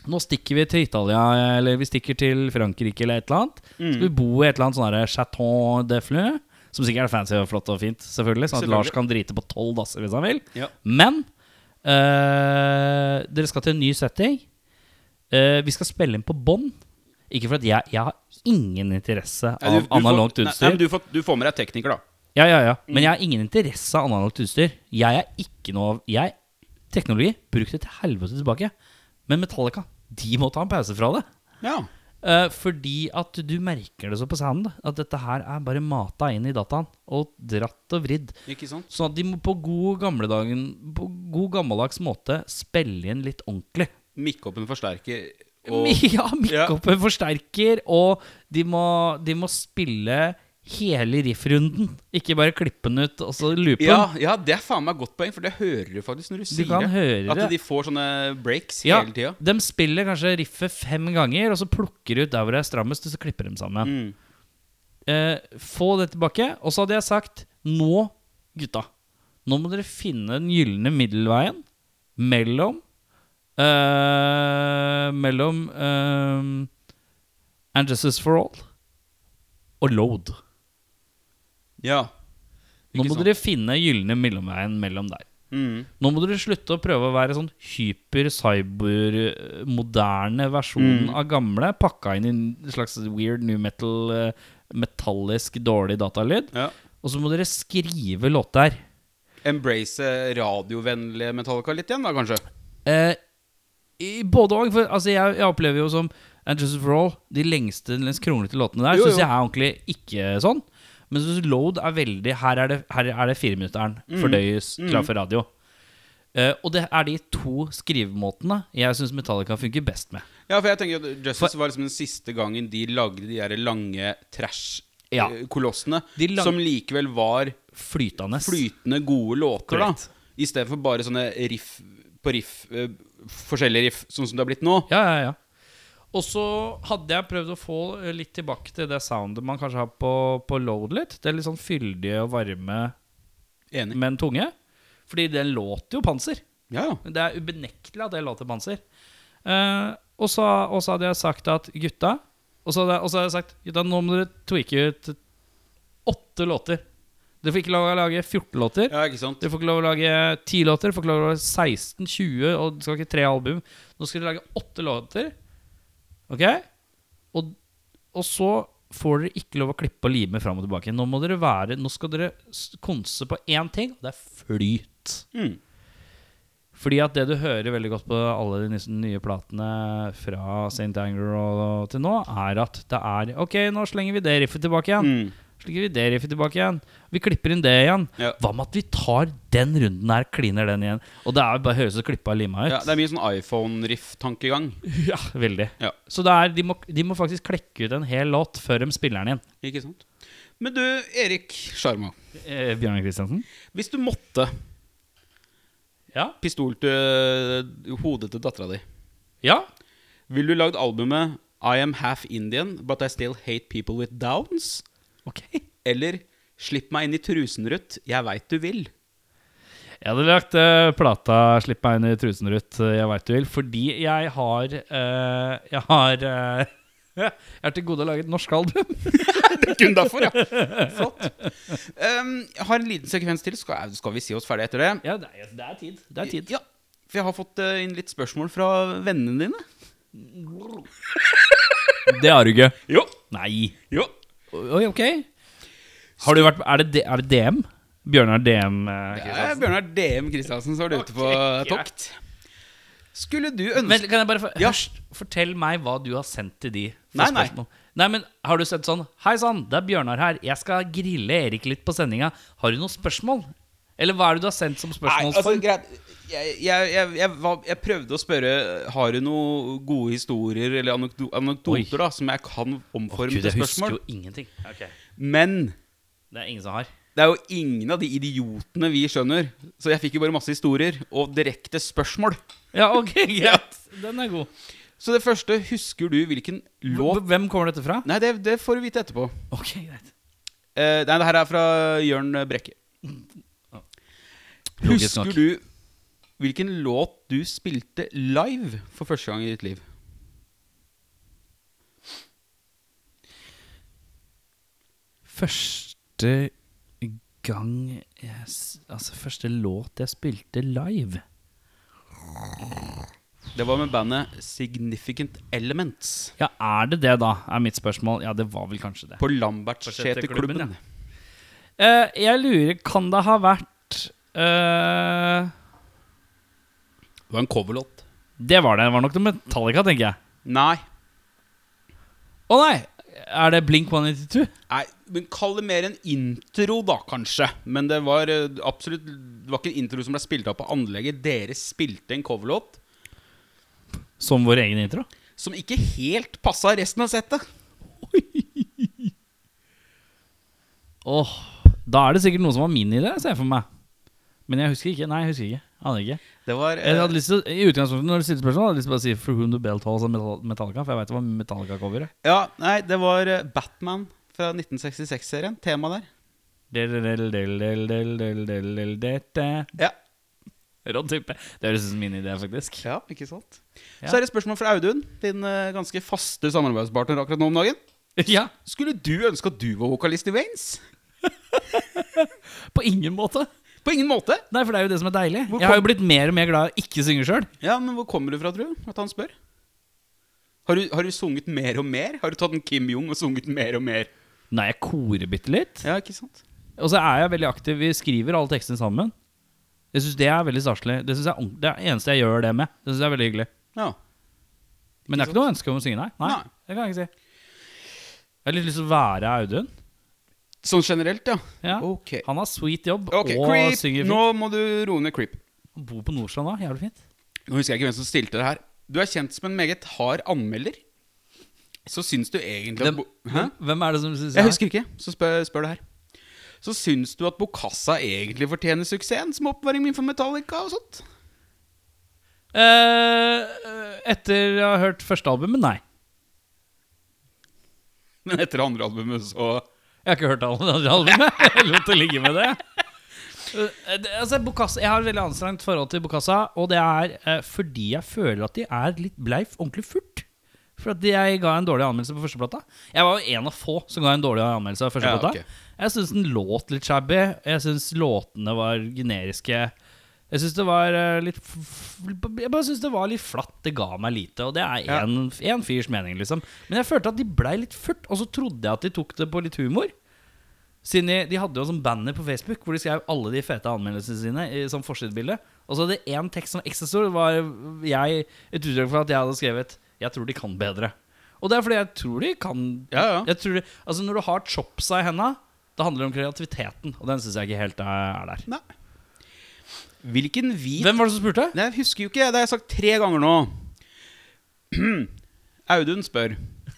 Speaker 2: Nå stikker vi til Italia, eller vi stikker til Frankrike eller et eller annet.
Speaker 1: Mm.
Speaker 2: Så skal vi bo i et eller annet sånn her Chateau de Fleu, som sikkert er fancy og flott og fint, selvfølgelig. Sånn at
Speaker 1: Selvfølgelig.
Speaker 2: Lars kan drite på tolv dasser hvis han vil.
Speaker 1: Ja.
Speaker 2: Men eh, dere skal til en ny setting. Eh, vi skal spille inn på bånd. Ikke for at jeg, jeg har ingen interesse av
Speaker 1: Nei, du- du får-
Speaker 2: analogt
Speaker 1: nei,
Speaker 2: utstyr.
Speaker 1: Nei, men du, Mm. får, du får med deg tekniker, da.
Speaker 2: Ja, ja, ja. Men jeg har ingen interesse av analogt utstyr. Jeg er ikke noe jeg, Teknologi brukte til helvete tilbake. Men Metallica, de må ta en pause fra det.
Speaker 1: Ja.
Speaker 2: Eh, fordi at du merker det så på sound. At dette her er bare mata inn i dataen. Og dratt og vridd.
Speaker 1: Ikke sant?
Speaker 2: Sånn at de må på god gamledagen På god gammeldags måte spille inn litt ordentlig.
Speaker 1: Mikkoppen forsterker og
Speaker 2: ja, mikkoppen forsterker, og de må, de må spille hele riffrunden. Ikke bare klippe den ut og så loope
Speaker 1: ja,
Speaker 2: den.
Speaker 1: ja, det er faen meg godt poeng, for det hører du faktisk når du sier
Speaker 2: kan høre
Speaker 1: At
Speaker 2: det.
Speaker 1: de får sånne breaks
Speaker 2: Ja,
Speaker 1: hele tida.
Speaker 2: de spiller kanskje riffet fem ganger, og så plukker de ut der hvor det er strammest, og så klipper de sammen.
Speaker 1: Mm.
Speaker 2: Eh, få det tilbake. Og så hadde jeg sagt Nå, gutta. Nå må dere finne den gylne middelveien mellom eh, Mellom eh, And Justice for All og Load.
Speaker 1: Ja.
Speaker 2: Nå
Speaker 1: Ikke
Speaker 2: må
Speaker 1: sant?
Speaker 2: dere finne gylne mellomveien mellom der.
Speaker 1: Mm.
Speaker 2: Nå må dere slutte å prøve å være sånn hyper-cyber-moderne
Speaker 1: Mm.
Speaker 2: versjonen av gamle, pakka inn i en slags weird new metal, eh, metallisk dårlig datalyd.
Speaker 1: Ja.
Speaker 2: Og så må dere skrive låter.
Speaker 1: Embrace radiovennlige Metallica litt igjen, da, kanskje?
Speaker 2: Eh, i både og. For altså, jeg, jeg opplever jo som And Justice for All, de lengste, mest kronglete låtene der,
Speaker 1: Jo,
Speaker 2: syns
Speaker 1: jo.
Speaker 2: jeg er ordentlig ikke sånn. Men jeg synes Load er veldig Her er det, her er det fireminutteren.
Speaker 1: Mm.
Speaker 2: Fordøyes, klar for radio. Eh, og det er de to skrivemåtene jeg syns Metallica funker best med.
Speaker 1: Ja, for jeg tenker at Justice var liksom den siste gangen de lagde de der lange
Speaker 2: Ja.
Speaker 1: trash-kolossene.
Speaker 2: De lang-
Speaker 1: Som likevel var
Speaker 2: Flytende.
Speaker 1: flytende, gode låter,
Speaker 2: Korrekt.
Speaker 1: da. Istedenfor bare sånne riff på riff, eh, forskjellige riff, sånn som det har blitt nå.
Speaker 2: Ja, ja, ja. Og så hadde jeg prøvd å få eh, litt tilbake til det soundet man kanskje har på, på Load litt. Det er litt sånn fyldige og varme
Speaker 1: Enig.
Speaker 2: med en tunge. Fordi den låter jo panser.
Speaker 1: Ja, ja.
Speaker 2: Det er ubenektelig at det låter panser. Eh, og, så, og så hadde jeg sagt at gutta Og så hadde, jeg- og så hadde jeg sagt gutta, nå må dere tweake ut åtte låter. Dere får ikke lov å lage 14 låter.
Speaker 1: ja, ikke sant?
Speaker 2: Dere får ikke lov å lage 10 låter. Dere får ikke lov å lage 16, 20 og dere skal ikke tre album. Nå skal dere lage åtte låter. Ok? Og, og så får dere ikke lov å klippe og lime fram og tilbake. Nå, må dere være, nå skal dere s- konse på én ting, og det er flyt.
Speaker 1: Mm.
Speaker 2: Fordi at det du hører veldig godt på alle de nye- nye platene fra St. Anger og, og til nå, er at det er Ok, nå slenger vi det riffet tilbake igjen.
Speaker 1: Mm.
Speaker 2: Slenger vi det riffet tilbake igjen. Vi klipper inn det igjen.
Speaker 1: Ja.
Speaker 2: Hva med at vi tar den runden her, kliner den igjen? Og det er jo bare høres ut klippa og lima ut.
Speaker 1: Ja, det er mye sånn iPhone-riff-tankegang.
Speaker 2: Ja, veldig.
Speaker 1: Ja.
Speaker 2: Så det er, de, må, de må faktisk klekke ut en hel låt før de spiller den igjen.
Speaker 1: Ikke sant? Men du, Erik Sjarma.
Speaker 2: Eh, Bjørnar Kristiansen?
Speaker 1: Hvis du måtte
Speaker 2: Ja.
Speaker 1: pistol til eh, hodet til dattera di,
Speaker 2: Ja.
Speaker 1: ville du lagd albumet I Am Half Indian But I Still Hate People With Downs?
Speaker 2: Ok.
Speaker 1: Eller Slipp meg inn i trusen, Ruth, jeg veit du vil?
Speaker 2: Jeg hadde lagt eh, plata 'Slipp meg inn i trusen, Ruth', eh, jeg veit du vil, fordi jeg har eh, Jeg har eh, Jeg har til gode å lage et norsk album.
Speaker 1: Det er kun derfor, ja. Flott. Um, jeg har en liten sekvens til. Skal, skal vi si oss ferdig etter det?
Speaker 2: Ja, det er, det er tid. Det er tid.
Speaker 1: Ja, for jeg har fått eh, inn litt spørsmål fra vennene dine.
Speaker 2: Det har du ikke.
Speaker 1: Jo,
Speaker 2: Nei.
Speaker 1: jo.
Speaker 2: Oi, ok. Har du vært, er, det, er det DM? Bjørnar DM?
Speaker 1: Det er
Speaker 2: eh, Kristiansen?
Speaker 1: Bjørnar DM Kristiansen som var ute på
Speaker 2: Ok, greit.
Speaker 1: tokt. Skulle du ønske
Speaker 2: Men kan jeg bare få-
Speaker 1: Ja.
Speaker 2: Hysj, Fortell meg hva du har sendt til de. for
Speaker 1: Nei, nei.
Speaker 2: spørsmål. nei, men Har du sett sånn Hei sann, det er Bjørnar her. Jeg skal grille Erik litt på sendinga. Har du noen spørsmål? Eller hva er det du har sendt som
Speaker 1: Nei, altså,
Speaker 2: spørsmålsform?
Speaker 1: greit. Jeg, jeg, jeg, jeg, var, jeg prøvde å spørre Har du noen gode historier eller anekdo- anekdoter da som jeg kan omforme
Speaker 2: Gud,
Speaker 1: til
Speaker 2: jeg husker
Speaker 1: spørsmål?
Speaker 2: jo ingenting.
Speaker 1: Men
Speaker 2: Det er ingen som har.
Speaker 1: det er jo ingen av de idiotene vi skjønner. Så jeg fikk jo bare masse historier og direkte spørsmål.
Speaker 2: Ja, ok, greit. Den er god.
Speaker 1: Så det første, husker du hvilken låt
Speaker 2: Hvem kommer dette fra?
Speaker 1: Nei, det, det får du vite etterpå.
Speaker 2: Ok, greit.
Speaker 1: Eh, nei, det her er fra Jørn Brekke.
Speaker 2: Logisk
Speaker 1: Husker
Speaker 2: nok.
Speaker 1: du hvilken låt du spilte live for første gang i ditt liv?
Speaker 2: Første gang jeg, s- Altså, første låt jeg spilte live.
Speaker 1: Det var med bandet Significant Elements.
Speaker 2: Ja, er det det, da? Er mitt spørsmål. Ja, det var vel kanskje det.
Speaker 1: På
Speaker 2: Seterklubben,
Speaker 1: Lambertseterklubben.
Speaker 2: Eh, jeg lurer, kan det ha vært eh,
Speaker 1: Det var en coverlåt.
Speaker 2: Det var det. Det var nok noe Metallica, tenker jeg.
Speaker 1: Nei.
Speaker 2: Å nei! Er det Blink 182?
Speaker 1: nei. Men kall det mer en intro, da, kanskje. Men det var eh, absolutt Det var ikke en intro som ble spilt av på anlegget. Dere spilte en coverlåt
Speaker 2: Som vår egen intro?
Speaker 1: som ikke helt passa resten av settet.
Speaker 2: Åh, Da er det sikkert noe som var min idé, ser jeg for meg. Men jeg husker ikke. Nei, jeg husker ikke. Aner ikke.
Speaker 1: Det var eh,
Speaker 2: Jeg hadde lyst til, å- I utgangspunktet når du stilte spørsmål, hadde jeg lyst til å bare si For Whom the Bell Tolls av altså Metal- Metallica, for jeg vet det var Metallica-coveret.
Speaker 1: Ja, nei, det var eh, Batman fra 1966-serien. Tema der.
Speaker 2: Rå
Speaker 1: Ja.
Speaker 2: type. Det høres ut som min idé, faktisk.
Speaker 1: ikke sant?
Speaker 2: Ja.
Speaker 1: Så er det et spørsmål fra Audun, din eh, ganske faste samarbeidspartner akkurat nå om dagen.
Speaker 2: Ja,
Speaker 1: Skulle du ønske at du var vokalist i Vanes?
Speaker 2: På ingen måte.
Speaker 1: På ingen måte.
Speaker 2: Nei, for det er jo det som er deilig.
Speaker 1: Hvor
Speaker 2: Jeg har jo
Speaker 1: kom-
Speaker 2: blitt mer og mer glad i å ikke synge sjøl.
Speaker 1: Ja, men hvor kommer du fra, tror du? At han spør. Har du, har du sunget mer og mer? Har du tatt en Kim Jong og sunget mer og mer?
Speaker 2: Nei, jeg korer bitte litt.
Speaker 1: Ja, ikke sant?
Speaker 2: Og så er jeg veldig aktiv. Vi skriver alle tekstene sammen. Jeg synes Det er veldig staselig. Det, synes jeg, er ordent- det er det eneste jeg gjør det med. Det synes jeg er veldig hyggelig
Speaker 1: Ja.
Speaker 2: Men det er ikke noe ønske om å synge, nei. nei.
Speaker 1: Nei.
Speaker 2: Det kan jeg ikke si. Jeg har litt lyst til å være Audun.
Speaker 1: Sånn generelt, ja.
Speaker 2: Ja.
Speaker 1: Ok.
Speaker 2: Han har sweet jobb
Speaker 1: Ok,
Speaker 2: og
Speaker 1: Creep.
Speaker 2: synger fint.
Speaker 1: Nå må du roe ned Creep.
Speaker 2: Han bor på Nordstrand da, jævlig fint.
Speaker 1: Nå husker jeg ikke hvem som stilte det her. Du er kjent som en meget hard anmelder. Så syns du egentlig at
Speaker 2: Hvem,
Speaker 1: bo Hæ?
Speaker 2: hvem er det som syns
Speaker 1: Jeg husker ikke, så spør, spør du her. Så syns du at Bokassa egentlig fortjener suksessen som oppvaring min for Metallica og sånt?
Speaker 2: Eh, etter å ha hørt første albumet, nei.
Speaker 1: Men etter det andre albumet, så
Speaker 2: Jeg har ikke hørt alle de andre albumene. Jeg lot det ligge med det. Eh, det- Altså, Bokassa, jeg har et veldig anstrengt forhold til Bokassa, og det er eh, fordi jeg føler at de er litt bleif, ordentlig furt. For at jeg ga en dårlig anmeldelse på førsteplata. Jeg var jo en av få som ga en dårlig anmeldelse av
Speaker 1: Ja,
Speaker 2: førsteplata.
Speaker 1: ok.
Speaker 2: Jeg syns den låt litt shabby. Jeg syns låtene var generiske. Jeg syns det var eh, litt f f- Jeg bare syns det var litt flatt. Det ga meg lite. Og det
Speaker 1: Ja.
Speaker 2: er én fyrs mening, liksom. Men jeg følte at de blei litt furt, og så trodde jeg at de tok det på litt humor. Siden de, de hadde jo sånn banner på Facebook hvor de skrev alle de fete anmeldelsene sine. I, som forsidebilde Og så hadde de én tekst som var ekstra stor. Det var jeg, et uttrykk for at jeg hadde skrevet 'Jeg tror de kan bedre'. Og det er fordi jeg tror de kan
Speaker 1: Ja, ja.
Speaker 2: jeg tror det, altså Når du har chopsa i henda, da handler det om kreativiteten. Og den syns jeg ikke helt er er der.
Speaker 1: Nei. Hvilken hvit
Speaker 2: Hvem var det som spurte?
Speaker 1: Nei, jeg husker jo ikke. Det har jeg sagt tre ganger nå. Audun spør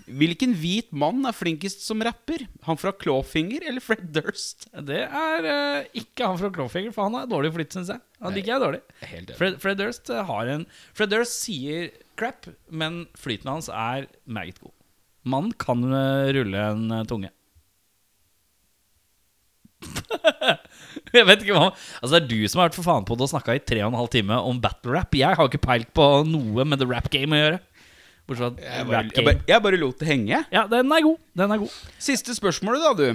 Speaker 1: Hvilken hvit mann er flinkest som rapper? Han fra Clawfinger eller Fred Durst?
Speaker 2: Det er eh, ikke han fra Clawfinger, for han er dårlig flytt, syns jeg. Han liker jeg dårlig.
Speaker 1: Helt enig.
Speaker 2: Fred, Fred Durst eh, har en Fred Durst sier crap, men flyten hans er meget god. Mannen kan eh, rulle en eh, tunge. jeg vet ikke hva Altså Det er du som har vært for faen på det og snakka i tre og en halv time om battle rap. Jeg har ikke peilt på noe med the rap game å gjøre. Bortsett fra
Speaker 1: Jeg
Speaker 2: at
Speaker 1: bare,
Speaker 2: rap
Speaker 1: jeg,
Speaker 2: game
Speaker 1: bare, jeg bare lot det henge.
Speaker 2: Ja, den er god. Den er god.
Speaker 1: Siste spørsmålet, da, du.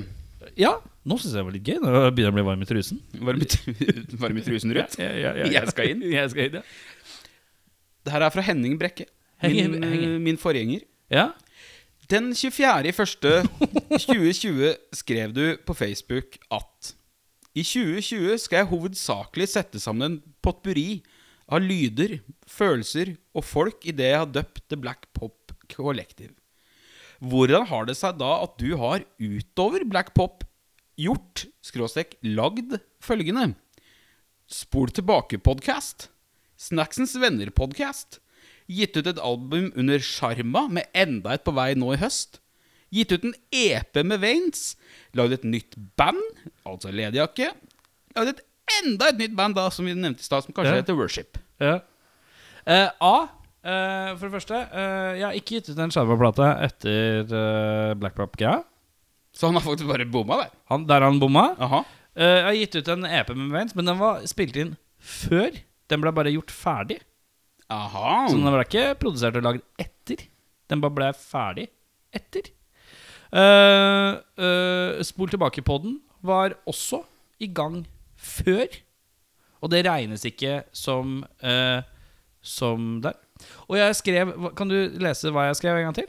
Speaker 2: Ja, nå syns jeg det var litt gøy. Nå begynner jeg å bli varm i trusen.
Speaker 1: Varm i tru- varm i trusen rundt.
Speaker 2: Ja, ja, ja, ja.
Speaker 1: Jeg skal inn.
Speaker 2: Jeg skal inn, ja.
Speaker 1: Det her er fra Henning Brekke. Min,
Speaker 2: Henning- Henning.
Speaker 1: eh, min forgjenger.
Speaker 2: ja.
Speaker 1: Den 24.1.2020 skrev du på Facebook at I 2020 skal jeg hovedsakelig sette sammen en potpurri av lyder, følelser og folk i det jeg har døpt The Black Pop Collective. Hvordan har det seg da at du har utover Black Pop gjort, skråstrek, lagd følgende? Spol tilbake-podkast. Snacksens venner-podkast. Gitt ut et album under Sjarma, med enda et på vei nå i høst. Gitt ut en EP med Veins. Lagd et nytt band, altså Ledejakke. Lagd et enda et nytt band, da, som vi nevnte i stad, som kanskje
Speaker 2: Ja.
Speaker 1: heter Worship.
Speaker 2: Ja. Eh, A. eh, for det første, eh, jeg har ikke gitt ut en skjermaplate etter uh, Black Pop-greia.
Speaker 1: Så han har faktisk bare bomma der.
Speaker 2: Han- Der han bomma.
Speaker 1: Aha.
Speaker 2: Eh, jeg har gitt ut en EP med Veins, men den var spilt inn før. Den ble bare gjort ferdig.
Speaker 1: Aha.
Speaker 2: Så den ble ikke produsert og lagd etter. Den bare ble ferdig etter. Eh, eh, Spol tilbake på den var også i gang før. Og det regnes ikke som eh, som der. Og jeg skrev hva- Kan du lese hva jeg skrev en gang til?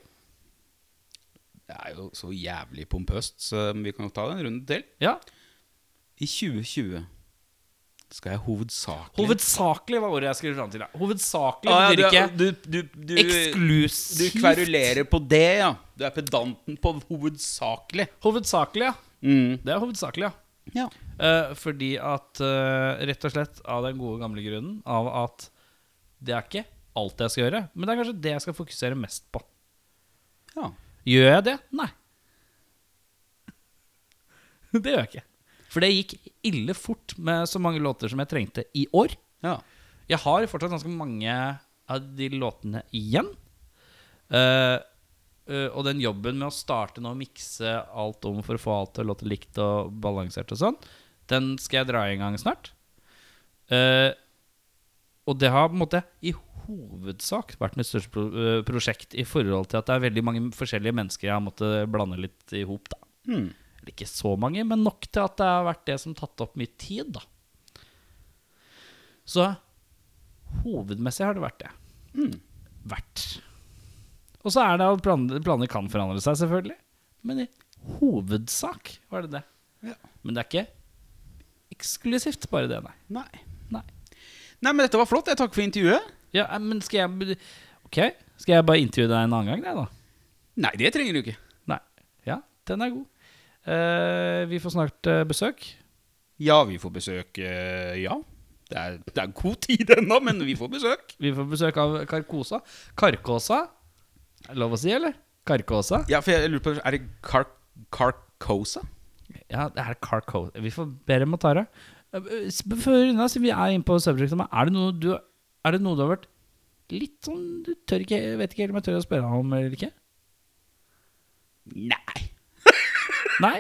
Speaker 1: Det er jo så jævlig pompøst, så vi kan jo ta det en runde til.
Speaker 2: Ja.
Speaker 1: I 2020 skal jeg hovedsakelig
Speaker 2: Hovedsakelig var ordet jeg skulle fram til. Ja. Hovedsakelig
Speaker 1: Ah,
Speaker 2: betyr
Speaker 1: ja,
Speaker 2: ikke
Speaker 1: du, du, du, du, du
Speaker 2: eksklusivt.
Speaker 1: kverulerer på det, ja. Du er pedanten på hovedsakelig.
Speaker 2: Hovedsakelig, ja.
Speaker 1: Mm.
Speaker 2: Det er hovedsakelig, ja.
Speaker 1: Ja.
Speaker 2: Eh, fordi at eh, Rett og slett av den gode gamle grunnen av at det er ikke alt jeg skal gjøre, men det er kanskje det jeg skal fokusere mest på.
Speaker 1: ja.
Speaker 2: Gjør jeg det? Nei. Det gjør jeg ikke. For det gikk ille fort med så mange låter som jeg trengte i år.
Speaker 1: ja.
Speaker 2: Jeg har fortsatt ganske mange av de låtene igjen. Eh, eh, og den jobben med å starte nå og mikse alt om for å få alt til å låte likt og balansert og sånn, den skal jeg dra i en gang snart. Eh, og det har på en måte i hovedsak vært mitt største pro eh, prosjekt i forhold til at det er veldig mange forskjellige mennesker jeg har måttet blande litt i hop, da.
Speaker 1: Hmm.
Speaker 2: Eller ikke så mange, men nok til at det har vært det som tatt opp mye tid, da. Så hovedmessig har det vært det. Vært. Og så er det at planer, planer kan forandre seg, selvfølgelig. Men i hovedsak var det det.
Speaker 1: Ja.
Speaker 2: Men det er ikke eksklusivt bare det, nei.
Speaker 1: Nei.
Speaker 2: nei.
Speaker 1: Nei, men dette var flott. Jeg takker for intervjuet.
Speaker 2: Ja, eh, men skal jeg Ok, skal jeg bare intervjue deg en annen gang, jeg, da?
Speaker 1: Nei, det trenger du ikke.
Speaker 2: Nei. Ja, den er god. Eh, vi får snart eh, besøk.
Speaker 1: Ja, vi får besøk eh, Ja. Det er, det er god tid ennå, men vi får besøk.
Speaker 2: Vi får besøk av Karkosa. Karkåsa? Er det lov å si, eller? Karkåsa?
Speaker 1: Ja, for jeg lurer på Er det Kark... Karkosa?
Speaker 2: Ja, det er Karkosa. Vi får be dem å ta det. Eh, sp- Før unna, siden vi er inne på subject-tema, er, det noe du- er det noe du har vært litt sånn Du tør ikke, jeg vet ikke helt om jeg tør å spørre deg om eller ikke?
Speaker 1: Nei.
Speaker 2: Nei?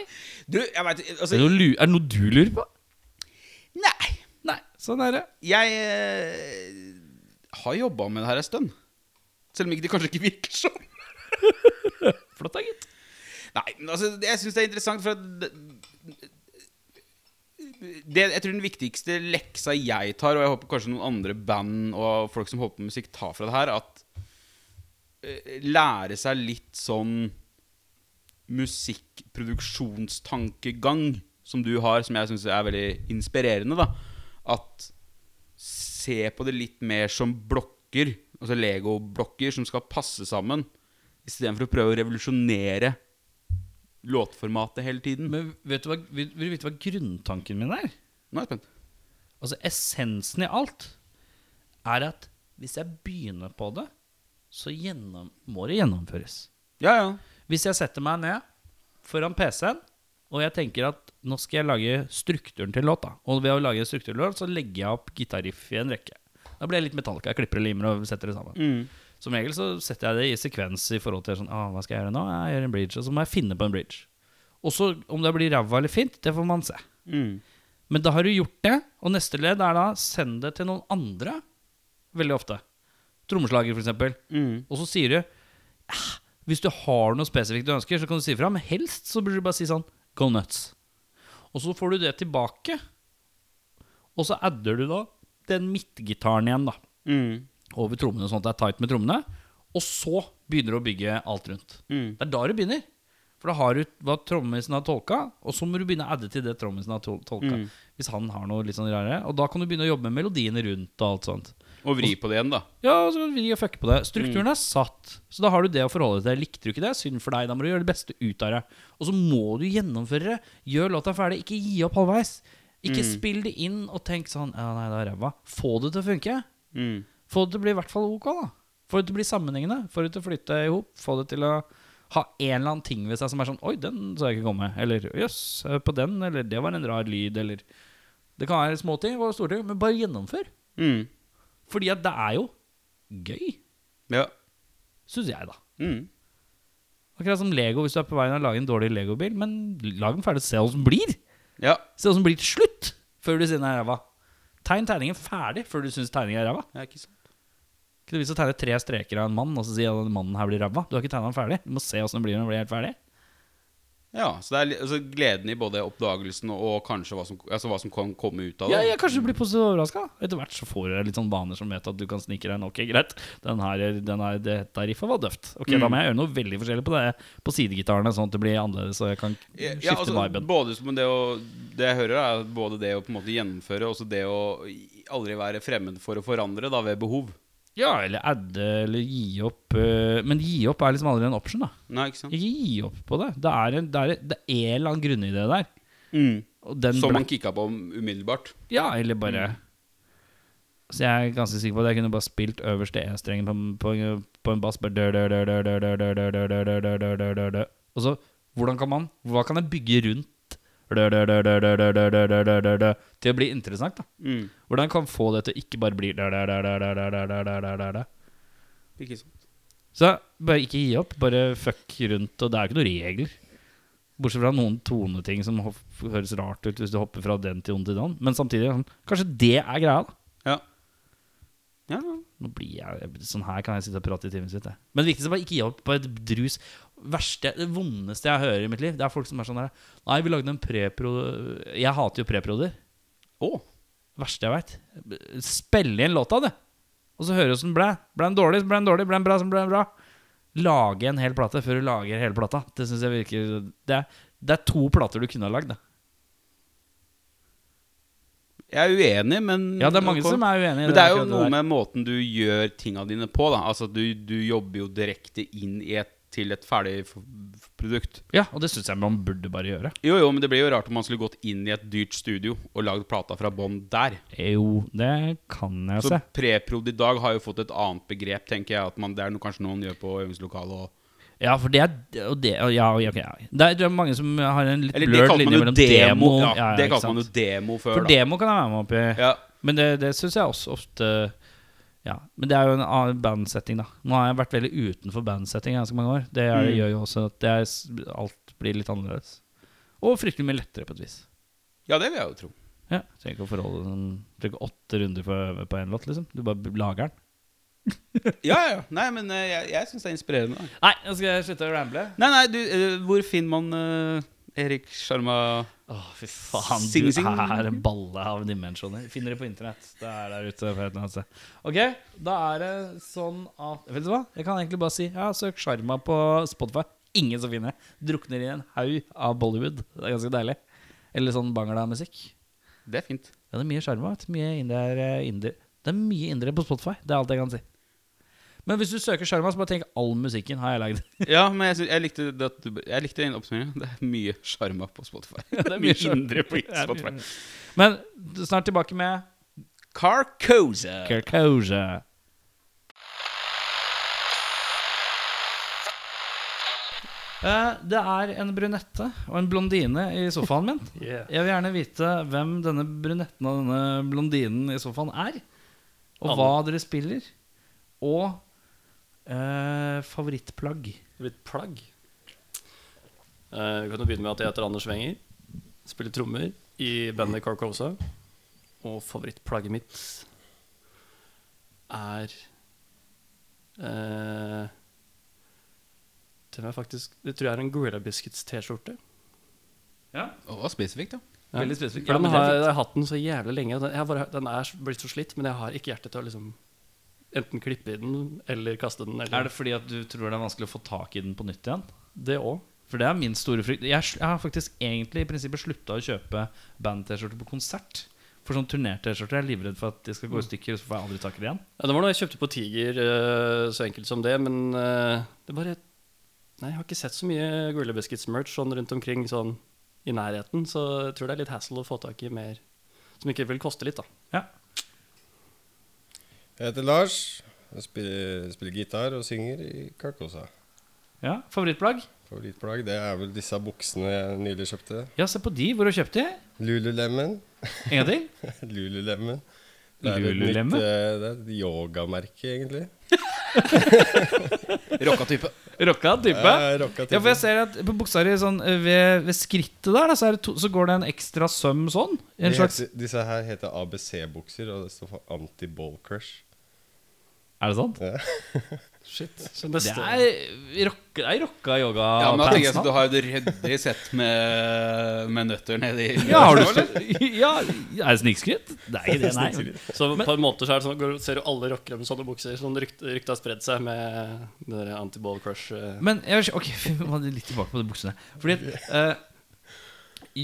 Speaker 1: Du, jeg veit
Speaker 2: Er det,
Speaker 1: Altså,
Speaker 2: noe, lu- er det noe du lurer på?
Speaker 1: nei.
Speaker 2: Nei. Sånn er det.
Speaker 1: Jeg eh, har jobba med det her en stund. Selv om ikke det kanskje ikke virker sånn.
Speaker 2: Flott, da, gitt.
Speaker 1: Nei, men altså, det- jeg syns det er interessant, for at det- det, Jeg tror den viktigste leksa jeg tar, og jeg håper kanskje noen andre band og folk som håper på musikk, tar fra det her, at eh, lære seg litt sånn musikkproduksjonstankegang som du har, som jeg syns er veldig inspirerende, da. At se på det litt mer som blokker, altså Lego-blokker som skal passe sammen, istedenfor å prøve å revolusjonere låtformatet hele tiden.
Speaker 2: Men vet du hva, vil, vil du vite hva grunntanken min er?
Speaker 1: Nå er jeg spent.
Speaker 2: Altså essensen i alt er at hvis jeg begynner på det, så gjennom, må det gjennomføres.
Speaker 1: Ja, ja.
Speaker 2: Hvis jeg setter meg ned foran PC-en, og jeg tenker at nå skal jeg lage strukturen til låta, og ved å lage strukturen til låt, så legger jeg opp gitarriff i en rekke. Da blir jeg litt Metallica. Jeg klipper og limer og setter det sammen.
Speaker 1: Mm,
Speaker 2: Som regel så setter jeg det i sekvens i forhold til sånn ah, Hva skal jeg gjøre nå? Jeg gjør en bridge, og så må jeg finne på en bridge. Og så om det blir ræva eller fint, det får man se.
Speaker 1: mm.
Speaker 2: Men da har du gjort det, og neste ledd er da send det til noen andre. Veldig ofte. Trommeslager, for eksempel.
Speaker 1: Mm,
Speaker 2: Og så sier du «Ah, Hvis du har noe spesifikt du ønsker, så kan du si ifra, men helst så burde du bare si sånn Go nuts. Og så får du det tilbake, og så adder du da den midtgitaren igjen, da.
Speaker 1: mm,
Speaker 2: Over trommene, sånn at det er tight med trommene. Og så begynner du å bygge alt rundt.
Speaker 1: mm.
Speaker 2: Det er da du begynner. For da har du hva trommisen har tolka, og så må du begynne å adde til det trommisen har tol- tolka. Hvis han har noe litt sånn rare. Og da kan du begynne å jobbe med melodiene rundt og alt sånt.
Speaker 1: Og vri på det igjen, da.
Speaker 2: Ja, og så kan vi fucke på det. Strukturen er satt, så da har du det å forholde deg til. Likte du ikke det, synd for deg. Da må du gjøre det beste ut av det. Og så må du gjennomføre det. Gjør låta ferdig, ikke gi opp halvveis. Ikke
Speaker 1: Mm.
Speaker 2: spill det inn og tenk sånn Ja, nei, det er ræva. Få det til å funke.
Speaker 1: Mm.
Speaker 2: Få det til å bli i hvert fall ok, da. Få det til å bli sammenhengende. Få det til å flytte i hop. Få det til å ha en eller annen ting ved seg som er sånn Oi, den så jeg ikke komme. Eller jøss, på den. Eller det var en rar lyd. Eller Det kan være småting og storting, men bare gjennomfør.
Speaker 1: Mm.
Speaker 2: Fordi at det er jo gøy,
Speaker 1: Ja.
Speaker 2: syns jeg, da.
Speaker 1: Mm.
Speaker 2: Akkurat som Lego, hvis du er på veien å lage en dårlig Lego-bil, men lag den ferdig, se hva som blir.
Speaker 1: ja.
Speaker 2: Se hva som blir til slutt, før du sier den er ræva. Tegn tegningen ferdig før du syns tegningen er ræva.
Speaker 1: Det er ikke sant.
Speaker 2: Ikke det vits å tegne tre streker av en mann og så si at den mannen her blir ræva. Du har ikke tegna den ferdig. Du må se åssen den blir når den blir helt ferdig.
Speaker 1: Ja, så det er li- altså, gleden i både oppdagelsen og kanskje hva som, altså, hva som kan komme ut av det.
Speaker 2: Ja, ja, Kanskje du blir positivt overraska. Etter hvert så får du deg litt sånn vaner som vet at du kan snike deg inn. Ok, greit. Den her, den her det, dette riffet var døvt. Ok,
Speaker 1: Mm.
Speaker 2: Da må jeg gjøre noe veldig forskjellig på det på sidegitarene, sånn at det blir annerledes, så jeg kan skifte
Speaker 1: ja, altså,
Speaker 2: viben.
Speaker 1: både som det, å, det jeg hører, er både det å på en måte gjennomføre og også det å aldri være fremmed for å forandre da, ved behov.
Speaker 2: Ja, eller adde, eller gi opp. øh, Men gi opp er liksom aldri en option, da.
Speaker 1: Nei, ikke sant?
Speaker 2: Ikke gi opp på det. Det er en, det er en, det er en eller annen grunnidé der.
Speaker 1: Mm.
Speaker 2: Og den
Speaker 1: Som
Speaker 2: ble-
Speaker 1: man kicka på umiddelbart.
Speaker 2: Ja, eller bare Så jeg er ganske sikker på at jeg kunne bare spilt øverste E-strengen på, på, på en bass. Bare dør, dør, dør, dør, dør, dør, dør, dør, dør, dør, dør, dør, dør, dør, dør. Og så, hvordan kan man Hva kan jeg bygge rundt dør, dør, dør, dør, dør, dør, dør, dør, dør, dør, dør, dør, til å bli interessant? da
Speaker 1: Mm.
Speaker 2: Hvordan kan få det til å ikke bare bli dør, dør, dør, dør, dør, dør, dør, dør, dør, dør, dør.
Speaker 1: Ikke sant?
Speaker 2: Så bare ikke gi opp. Bare fuck rundt, og det er jo ikke noen regler. Bortsett fra noen toneting som hof- høres rart ut hvis du hopper fra den til den til den. Men samtidig, sånn, kanskje det er greia, da.
Speaker 1: Ja. Ja, ja.
Speaker 2: Nå blir jeg, sånn her kan jeg sitte og prate i timevis. vet jeg. Men det viktigste er bare ikke gi opp på et drus. Verste, det vondeste jeg hører i mitt liv, det er folk som er sånn her Nei, vi lagde en prepro... Jeg hater jo preproder.
Speaker 1: Å!
Speaker 2: Verste jeg veit. Spille inn låta, du. Og så høre åssen den ble. Ble den dårlig, så ble den dårlig. Ble den bra, så ble den bra. Lage en hel plate før du lager hele plata. Det synes jeg virker Det er, det er to plater du kunne ha lagd. da.
Speaker 1: Jeg er uenig, men
Speaker 2: Ja, det er mange
Speaker 1: Ok.
Speaker 2: som er uenig i
Speaker 1: Men det er jo
Speaker 2: akkurat
Speaker 1: noe
Speaker 2: der.
Speaker 1: med måten du gjør tinga dine på, da. Altså, du, du jobber jo direkte inn i et, til et ferdig f- f- produkt.
Speaker 2: Ja, og det syns jeg man burde bare gjøre.
Speaker 1: Jo, jo, men det blir jo rart om man skulle gått inn i et dyrt studio og lagd plata fra bånn der.
Speaker 2: Jo, det kan jeg
Speaker 1: Så
Speaker 2: se.
Speaker 1: preprod i dag har jo fått et annet begrep, tenker jeg. At man, det er noe, kanskje noe man gjør på øvingslokalet og
Speaker 2: Ja, for det er og det, og ja, ok, ja. Det er, det er mange som har en litt
Speaker 1: Eller det
Speaker 2: blurred
Speaker 1: kalte
Speaker 2: linje
Speaker 1: man jo
Speaker 2: mellom
Speaker 1: demo.
Speaker 2: demo
Speaker 1: Ja, det
Speaker 2: ikke
Speaker 1: kalte man jo
Speaker 2: sant?
Speaker 1: demo før,
Speaker 2: For demo kan jeg være med opp i.
Speaker 1: da. Ja.
Speaker 2: Men det, det syns jeg også ofte Ja, Men det er jo en annen bandsetting, da. Nå har jeg vært veldig utenfor bandsetting i ganske mange år. Det er,
Speaker 1: Mm.
Speaker 2: gjør jo også at det er, s- alt blir litt annerledes. Og fryktelig mye lettere, på et vis.
Speaker 1: ja, det vil jeg jo tro.
Speaker 2: Ja, Trenger ikke å forholde sånn, trenger ikke åtte runder for å øve på én låt, liksom. Du bare b- lager den.
Speaker 1: Ja, ja. Nei, men eh, jeg, jeg syns det er inspirerende. da.
Speaker 2: Nei, nå skal jeg slutte å ramble.
Speaker 1: Nei, nei, du, eh, hvor finner man eh, Erik Sjarma
Speaker 2: Å, fy faen,
Speaker 1: Sing, sing.
Speaker 2: du er en balle av dimensjoner. Finner det på internett. Det er der ute. på et eller annet sted. Ok, da er det sånn at Vet du hva? Jeg kan egentlig bare si ja, søk Sjarma på Spotify. Ingen som finner det. Drukner i en haug av Bollywood. Det er ganske deilig. Eller sånn bangla-musikk.
Speaker 1: Det er fint.
Speaker 2: Ja, det er mye sjarma. vet du. Mye indier, eh, indier. Det er mye indere på Spotify. Det er alt jeg kan si. Men hvis du søker sjarma, så bare tenk all musikken har jeg lagd.
Speaker 1: Ja, men jeg, sy- jeg likte det at du, Jeg likte den oppsummeringen. Det er mye sjarma på Spotify. Det er mye
Speaker 2: sjarma.
Speaker 1: indre på
Speaker 2: Det er mye
Speaker 1: Spotify.
Speaker 2: Men snart tilbake med
Speaker 1: Carcosa.
Speaker 2: Kirkosia. Eh, Det er en brunette og en blondine i sofaen min. Jeg vil gjerne vite hvem denne brunetten og denne blondinen i sofaen er. Og hva dere spiller. Og eh, favorittplagg.
Speaker 3: Det blir et plagg. Eh, Vi kan jo begynne med at jeg heter Anders Wenger. Spiller trommer i bandet Carcosa. Og favorittplagget mitt er eh, Det er faktisk Det tror jeg er en Gorilla Biscuits-T-skjorte.
Speaker 1: Å, det var spesifikt, ja.
Speaker 2: Veldig spesifikt.
Speaker 3: For
Speaker 2: Ja,
Speaker 3: den
Speaker 2: men det er
Speaker 3: har jeg har hatt den så jævlig lenge. og Den, jeg har bare, den er blitt så slitt, men jeg har ikke hjerte til å liksom enten klippe i den eller kaste den. Eller.
Speaker 2: Er det fordi at du tror det er vanskelig å få tak i den på nytt igjen?
Speaker 3: det òg?
Speaker 2: For det er min store frykt. Jeg, sl- jeg har faktisk egentlig i prinsippet slutta å kjøpe band-T-skjorter på konsert. For sånn turnert-T-skjorter er jeg livredd for at de skal gå i stykker, og så får jeg aldri tak i det igjen.
Speaker 3: Ja, det var noe jeg kjøpte på Tiger, eh, så enkelt som det, men eh, det bare Nei, jeg har ikke sett så mye Gorilla Biscuits-merch sånn rundt omkring sånn i nærheten, så jeg tror det er litt hassle å få tak i mer Som ikke vil koste litt, da.
Speaker 4: Jeg heter Lars. Jeg spiller, spiller gitar og synger i Carcosa.
Speaker 2: Ja, Favorittplagg?
Speaker 4: Favorittplagg det er vel disse buksene jeg nylig kjøpte.
Speaker 2: Ja, se på de. Hvor har du kjøpt de?
Speaker 4: Lululemon.
Speaker 2: En gang til?
Speaker 4: Lululemon. Det er et
Speaker 2: Lululemon?
Speaker 4: nytt eh, det er et yogamerke, egentlig.
Speaker 1: Rocka type.
Speaker 2: Rocka type?
Speaker 4: Jeg rocka til
Speaker 2: Ja, for jeg ser at på buksa di sånn, eh, ved, ved skrittet der, da, så, er det to, så går det en ekstra søm sånn.
Speaker 4: De
Speaker 2: En slags
Speaker 4: heter, disse her heter ABC-bukser, og det står for anti-ball crush.
Speaker 2: Er det sant?
Speaker 3: Shit. Så
Speaker 2: Det
Speaker 3: neste
Speaker 2: er rocka, det er rocka yoga.
Speaker 1: Ja, men da tenker jeg
Speaker 2: pants,
Speaker 1: at Du har jo et ryddig sett med, med nøtter nedi
Speaker 2: Ja, har du Ja, er det snikskritt? Det er ikke det, nei.
Speaker 3: Så på en måte så er det sånn, går- ser du alle rockere med sånne bukser. Sånn rykt, ryktet har spredd seg med det der anti-ball crush. eh.
Speaker 2: Men jeg, ok, vi må litt tilbake på de buksene. Fordi at eh,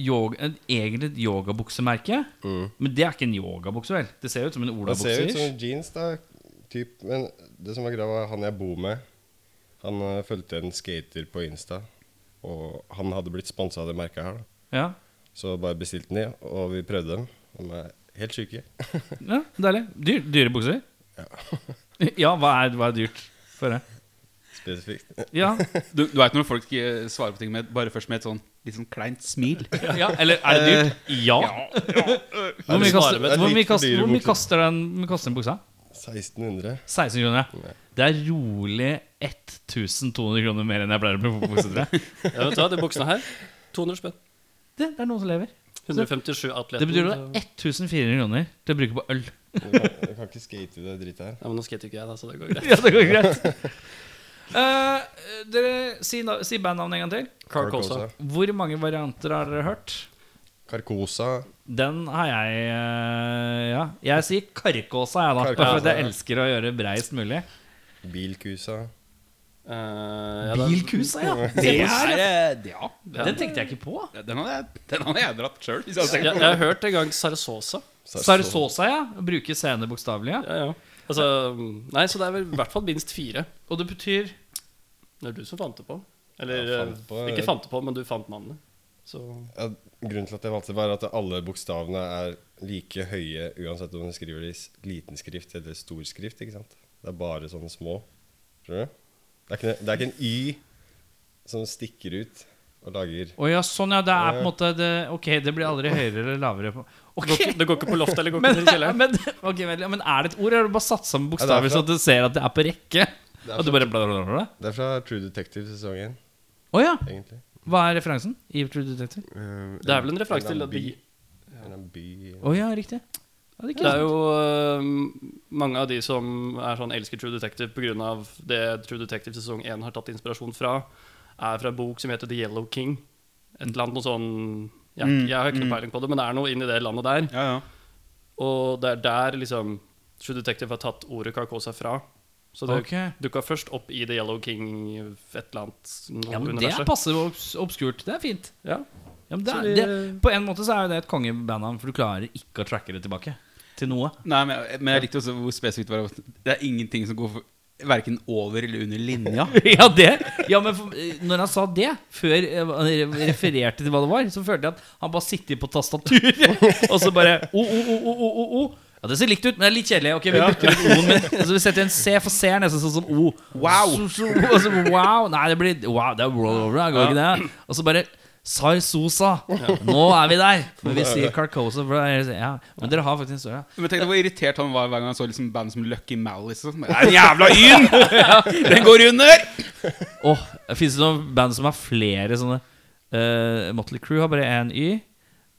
Speaker 2: yoga, en- Egentlig et yogabuksemerke, men det er ikke en yogabukse, vel? Det ser ut som en
Speaker 4: Mm. Det ser ut
Speaker 2: olabukse.
Speaker 4: som jeans, da. Typ, men det som var greia, var han jeg bor med. Han eh, fulgte en skater på Insta, og han hadde blitt sponsa av det merket her. da
Speaker 2: Ja.
Speaker 4: Så bare bestilte han de, og vi prøvde dem. De er helt syke.
Speaker 2: ja, deilig. Dyr, dyre bukser? Ja, hva er, hva er dyrt? For det?
Speaker 4: Spesifikt.
Speaker 2: Ja,
Speaker 1: Du, du vet når folk eh, svarer på ting med, bare først med et sånn litt sånn kleint smil.
Speaker 2: ja, eller er det dyrt? Ja. Hvor mye
Speaker 4: Eh, Det er
Speaker 2: kaster,
Speaker 4: litt
Speaker 2: hvor mye
Speaker 4: for
Speaker 2: kaster,
Speaker 4: dyre
Speaker 2: hvor mye
Speaker 4: bukser.
Speaker 2: kaster den, hvor mye koster den buksa?
Speaker 4: 1600.
Speaker 2: 16 kroner. ja. Det er rolig 1200 kroner mer enn jeg pleier å bruke på bukser. tror jeg.
Speaker 3: Ja, vet du hva, de buksene her 200 spenn.
Speaker 2: Det, det er noen som lever.
Speaker 3: 157 atleten.
Speaker 2: Det betyr at det er 1400 kroner til å bruke på øl.
Speaker 4: Jeg kan, jeg kan ikke skate i det drittet her.
Speaker 3: Ja, men nå skater ikke jeg, da, så det går greit.
Speaker 2: Ja, det går greit. Eh, dere, si, na- si bandnavnet en gang til.
Speaker 3: Carcosa.
Speaker 2: Hvor mange varianter har dere hørt?
Speaker 4: Carcosa.
Speaker 2: Den har jeg eh, Ja, jeg sier Karkåsa, jeg, da.
Speaker 4: Karkåsa,
Speaker 2: Bare fordi jeg
Speaker 4: ja.
Speaker 2: elsker å gjøre breist mulig.
Speaker 4: Bilkusa.
Speaker 3: Eh, ja, det er-
Speaker 2: Bilkusa, ja!
Speaker 1: Det
Speaker 2: Det er,
Speaker 1: er eh, Ja.
Speaker 2: den tenkte jeg ikke på.
Speaker 1: Den hadde jeg, den hadde jeg dratt sjøl. Hvis jeg hadde
Speaker 3: Jeg,
Speaker 1: tenkt på
Speaker 3: jeg har hørt en gang Sarsosa.
Speaker 2: Sarsosa, ja. Bruke scene bokstavelig, ja.
Speaker 3: Ja, ja. Altså, nei, så det er vel i hvert fall minst fire.
Speaker 2: Og det betyr
Speaker 3: Det er du som fant det på. Eller
Speaker 4: Ja, fant
Speaker 3: eh,
Speaker 4: på, ja.
Speaker 3: ikke fant det på, men du fant navnet. Så
Speaker 4: Ja, grunnen til at jeg valgte det, var at alle bokstavene er like høye uansett om du skriver det i s- liten skrift eller stor skrift. ikke sant? Det er bare sånne små. Skjønner du? Det er ikke, det er ikke en Y som stikker ut og lager
Speaker 2: Å ja, sånn, ja. Det er på en måte det, Ok, det blir aldri høyere eller lavere. På.
Speaker 3: det går,
Speaker 2: Ok,
Speaker 3: ikke- det går ikke på loftet eller går ikke
Speaker 2: men,
Speaker 3: ned i kjelleren.
Speaker 2: men, ok, men, men er det et ord? Eller har du bare satt sammen
Speaker 4: Ja,
Speaker 2: bokstaver
Speaker 4: det er
Speaker 2: så at du ser at det er på rekke?
Speaker 4: er
Speaker 2: Og du bare bla, bla, bla, bla?
Speaker 4: Det er fra True Detective sesong 1,
Speaker 2: Å ja.
Speaker 4: egentlig.
Speaker 2: Hva er referansen? I True Detective?
Speaker 3: Det er vel en referanse til at vi
Speaker 4: En annen by
Speaker 2: Å ja, riktig. Ja, det er
Speaker 3: Det er
Speaker 2: kult.
Speaker 3: jo øhm, mange av de som er sånn elsker True Detective pga. det True Detective sesong 1 har tatt inspirasjon fra, er fra en bok som heter The Yellow King. Et eller annet noe sånn jeg,
Speaker 1: Mm,
Speaker 3: jeg har ikke
Speaker 1: mm.
Speaker 3: noe peiling på det, men det er noe inn i det landet der.
Speaker 1: Ja, ja.
Speaker 3: Og det er der liksom True Detective har tatt ordet Carcosa fra. Så det
Speaker 2: Ok.
Speaker 3: dukka først opp i The Yellow King et eller annet noe
Speaker 2: Ja, men det
Speaker 3: universet.
Speaker 2: passer obs obskurt. Det er fint.
Speaker 3: Ja.
Speaker 2: Ja, men det
Speaker 3: Så
Speaker 2: er,
Speaker 3: vi-
Speaker 2: det, på en måte så er jo det et kongebandnavn, for du klarer ikke å tracke det tilbake til noe.
Speaker 1: Nei, men jeg, men jeg likte også hvor spesifikt det var. Det er ingenting som går for verken over eller under linja.
Speaker 2: Ja, det Ja, men for, eh, når han sa det, før eh, han re- refererte til hva det var, så følte jeg at han bare sitter på tastaturet, og så bare o, o, o, o, o, o, o. Ja, det ser likt ut, men det er litt kjedelig. Ok, vi bytter ut O-en med Så vi setter en C, for C er nesten sånn som O.
Speaker 1: Wow.
Speaker 2: Så, så, og så, wow. Nei, det blir Wow, det er roll over, det går ikke det? Og så bare Sarsosa. Nå er vi der. Men vi sier Carcosa. For det er, ja. Men dere har faktisk en større.
Speaker 1: Men tenk deg hvor irritert han var hver gang han så liksom band som Lucky Malice. og sånn. Det er en jævla yn! Den går under!
Speaker 2: Åh, Fins det noen band som har flere sånne? Eh, Motley Crew har bare én Y.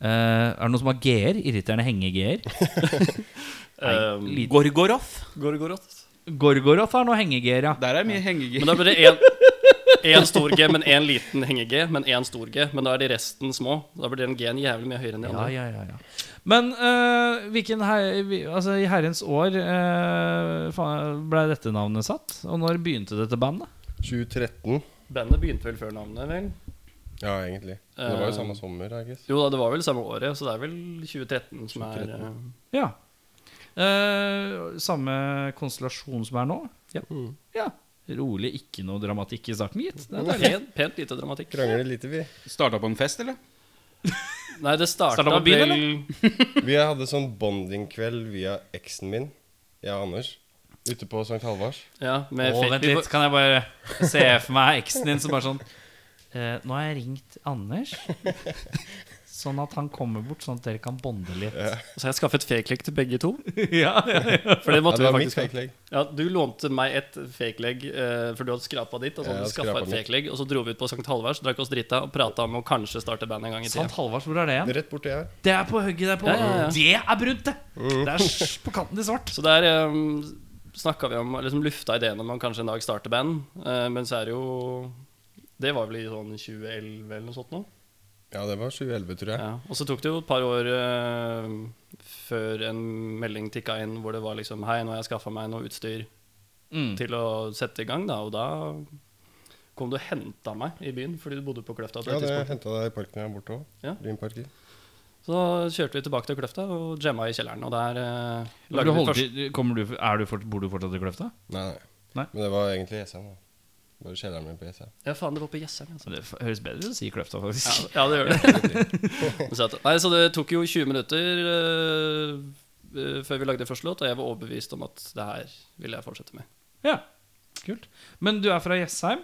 Speaker 2: Eh, er det noen som har G-er? Irriterende henge-G-er.
Speaker 3: Ehm,
Speaker 2: liten.
Speaker 1: Gorgoroth.
Speaker 3: Gorgoroth.
Speaker 2: Gorgoroth har noe henge-G-er, ja.
Speaker 1: Der er mye hengegir.
Speaker 3: Men da blir det én en stor G, men én liten henge-G, men én stor G. Men da er de resten små. Da blir den G-en jævlig mye høyere enn de
Speaker 2: Ja,
Speaker 3: andre.
Speaker 2: ja, ja, ja. Men eh, hvilken her, vi- altså, i herrens år eh, faen, ble dette navnet satt? Og når begynte dette bandet?
Speaker 4: 2013.
Speaker 3: Bandet begynte vel før navnet, vel?
Speaker 4: Ja, egentlig. Men Det var jo samme
Speaker 3: Eh,
Speaker 4: sommer, I guess.
Speaker 3: Jo da, det var vel samme året, så det er vel 2013 som er eh,
Speaker 2: Ja. Eh, samme konstellasjon som er nå?
Speaker 3: Ja.
Speaker 2: ja. Rolig, ikke noe dramatikk i starten, gitt. Det er
Speaker 3: pent, pent lite dramatikk.
Speaker 4: Krangler lite, vi.
Speaker 1: Starta på en fest, eller?
Speaker 3: Nei, det starta
Speaker 2: Startet på byen,
Speaker 3: vel
Speaker 4: Vi hadde sånn bonding-kveld via eksen min, jeg og Anders, ute på St. Halvards.
Speaker 3: Ja, med
Speaker 2: Å,
Speaker 3: fe-
Speaker 2: vent
Speaker 3: vi
Speaker 2: litt,
Speaker 3: får-
Speaker 2: kan jeg bare se for meg eksen din som bare sånn eh, Nå har jeg ringt Anders, sånn at han kommer bort, sånn at dere kan bonde litt.
Speaker 3: Så har jeg skaffet fake-legg til begge to.
Speaker 2: Ja, ja, ja.
Speaker 3: For det
Speaker 4: Ja,
Speaker 3: måtte
Speaker 4: det var
Speaker 3: vi
Speaker 4: mitt
Speaker 3: faktisk ha.
Speaker 4: fake-legg.
Speaker 3: Ja, du lånte meg et fake-legg, eh, for du hadde skrapa ditt. Og så
Speaker 4: Ja,
Speaker 3: hadde du skaffa
Speaker 4: skrapa
Speaker 3: et
Speaker 4: mitt.
Speaker 3: fake-legg, og så dro vi ut på St. Halvards, drakk oss drita og prata om å kanskje starte band en gang i tida.
Speaker 2: Sant Halvars, Sånn, hvor er det igjen?
Speaker 4: Rett borti her.
Speaker 2: Det er på hugget der på.
Speaker 3: Ja, ja, ja.
Speaker 2: Det er brunt, det! Det er sj- på kanten til svart.
Speaker 3: Så der um, snakka vi om liksom lufta ideen om man kanskje en dag starter band. eh, men så er det jo Det var vel i sånn 2011 eller noe sånt nå.
Speaker 4: Ja, det var 2011, tror jeg.
Speaker 3: Ja. Og så tok det jo et par år eh, før en melding tikka inn hvor det var liksom Hei, nå har jeg skaffa meg noe utstyr
Speaker 2: Mm.
Speaker 3: til å sette i gang, da. Og da kom du og henta meg i byen fordi du bodde på Kløfta. på
Speaker 4: Ja,
Speaker 3: et
Speaker 4: det
Speaker 3: tidspunkt.
Speaker 4: henta deg i parken her borte òg.
Speaker 3: Ja.
Speaker 4: Brynparken.
Speaker 3: Så da kjørte vi tilbake til Kløfta og jamma i kjelleren. Og der eh,
Speaker 2: Vil du
Speaker 3: lagde vi
Speaker 2: holde
Speaker 3: først
Speaker 2: til- kommer du, er du fort, bor du fortsatt i Kløfta?
Speaker 4: Nei, nei.
Speaker 2: Nei.
Speaker 4: Men det var egentlig E Jessheim. da. Bare kjelleren min på E Jessheim.
Speaker 3: Ja, faen, det var på Jessheim. Altså.
Speaker 2: Det f- høres bedre ut å si Kløfta,
Speaker 3: Ja,
Speaker 2: faktisk.
Speaker 3: ja, det gjør det. så, at, nei, så det tok jo 20 minutter eh, eh, før vi lagde første låt, og jeg var overbevist om at det her ville jeg fortsette med.
Speaker 2: Ja. Kult. Men du er fra Jessheim?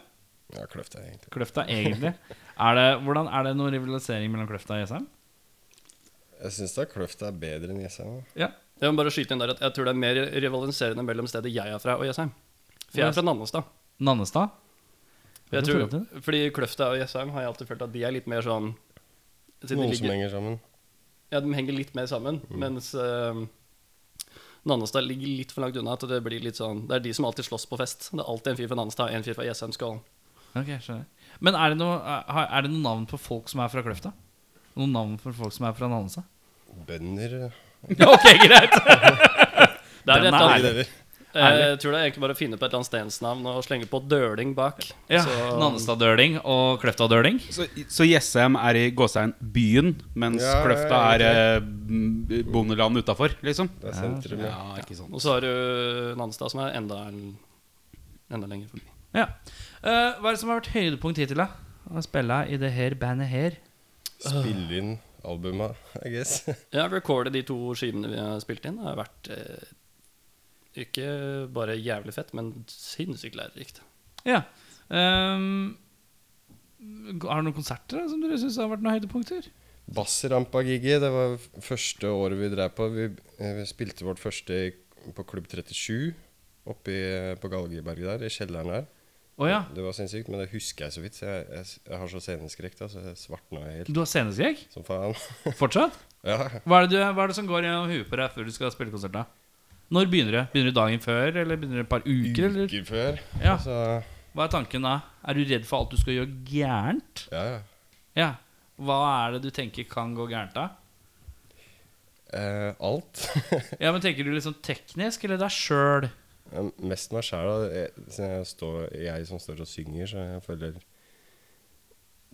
Speaker 4: Ja, Kløfta, egentlig.
Speaker 2: Kløfta, egentlig. Er det, hvordan, er det noen rivalisering mellom Kløfta og Jessheim?
Speaker 4: Jeg syns da Kløfta er bedre enn E Jessheim. da.
Speaker 2: Ja.
Speaker 3: Jeg må bare skyte inn der at jeg tror det er mer rivaliserende mellom stedet jeg er fra, og Jessheim. For jeg er fra Nannestad.
Speaker 2: Nannestad?
Speaker 3: Jeg
Speaker 2: Hvorfor
Speaker 3: tror,
Speaker 2: tror du
Speaker 3: fordi Kløfta og Jessheim har jeg alltid følt at de er litt mer sånn siden de
Speaker 4: Noen
Speaker 3: ligger-
Speaker 4: som henger Mm. sammen.
Speaker 3: Ja, de henger litt mer sammen, mens eh, Nannestad ligger litt for langt unna. At det blir litt sånn Det er de som alltid slåss på fest. Det er alltid en fyr fra Nannestad, en fyr fra Jessheim Skål.
Speaker 2: Ok, skjønner Men er det, noe, eh, har- er det noen navn på folk som er fra Kløfta? Noen navn for folk som er fra Nannestad?
Speaker 4: Bønder eh,
Speaker 2: Ja, ok, greit!
Speaker 3: Det er
Speaker 2: Den
Speaker 3: et eller
Speaker 2: er
Speaker 3: annet-
Speaker 4: Begge deler.
Speaker 3: Eh, Jeg tror det er egentlig bare å finne på et eller annet stedsnavn og slenge på døling bak.
Speaker 2: Ja,
Speaker 3: Så-
Speaker 2: Nannestad-døling og Kløfta-døling.
Speaker 1: Så, så Jessheim er i gåsetegn byen, mens
Speaker 4: Ja,
Speaker 1: Kløfta
Speaker 4: ja,
Speaker 1: er
Speaker 4: ja,
Speaker 1: eh, b- bondeland utafor, liksom?
Speaker 4: Det er sentrum. Ja.
Speaker 1: Ja, ikke sånn.
Speaker 3: Og så har du Nanstad, som er enda, enda lenger forbi.
Speaker 2: Ja. Eh, hva er det som har vært høydepunkt hittil, da? Å spille i det her bandet her.
Speaker 4: Spille inn albuma, I guess.
Speaker 3: Jeg har recordet de to skivene vi har spilt inn. Det har vært eh, ikke bare jævlig fett, men sinnssykt lærerikt.
Speaker 2: Ja. Ehm, har du noen konserter da, som dere syns har vært noen høydepunkter?
Speaker 4: Bassrampa-gigget, det var f- første året vi drev på. Vi, eh, vi spilte vårt første i- på Klubb 37 oppe i, eh, på Galgeberget der, i kjelleren der.
Speaker 2: Å ja.
Speaker 4: Det var sinnssykt, men det husker jeg så vidt. Så jeg, jeg, s- jeg har så sceneskrekk, da, så jeg svartna helt
Speaker 2: Du har sceneskrekk?
Speaker 4: som faen.
Speaker 2: Fortsatt?
Speaker 4: ja,
Speaker 2: Hva er, det du, hva er det som går gjennom huet på deg før du skal spille konsert? da? Når begynner det? Begynner det dagen før, eller begynner det et par uker? Eller?
Speaker 4: uker før.
Speaker 2: Ja.
Speaker 4: Så,
Speaker 2: Hva er tanken da? Er du redd for alt du skal gjøre gærent?
Speaker 4: ja, ja.
Speaker 2: Ja. Hva er det du tenker kan gå gærent da?
Speaker 4: Eh, alt.
Speaker 2: Ja, men Tenker du liksom teknisk eller deg sjøl?
Speaker 4: Ja, Mest meg sjæl, siden jeg, står, jeg som står og synger, så jeg føler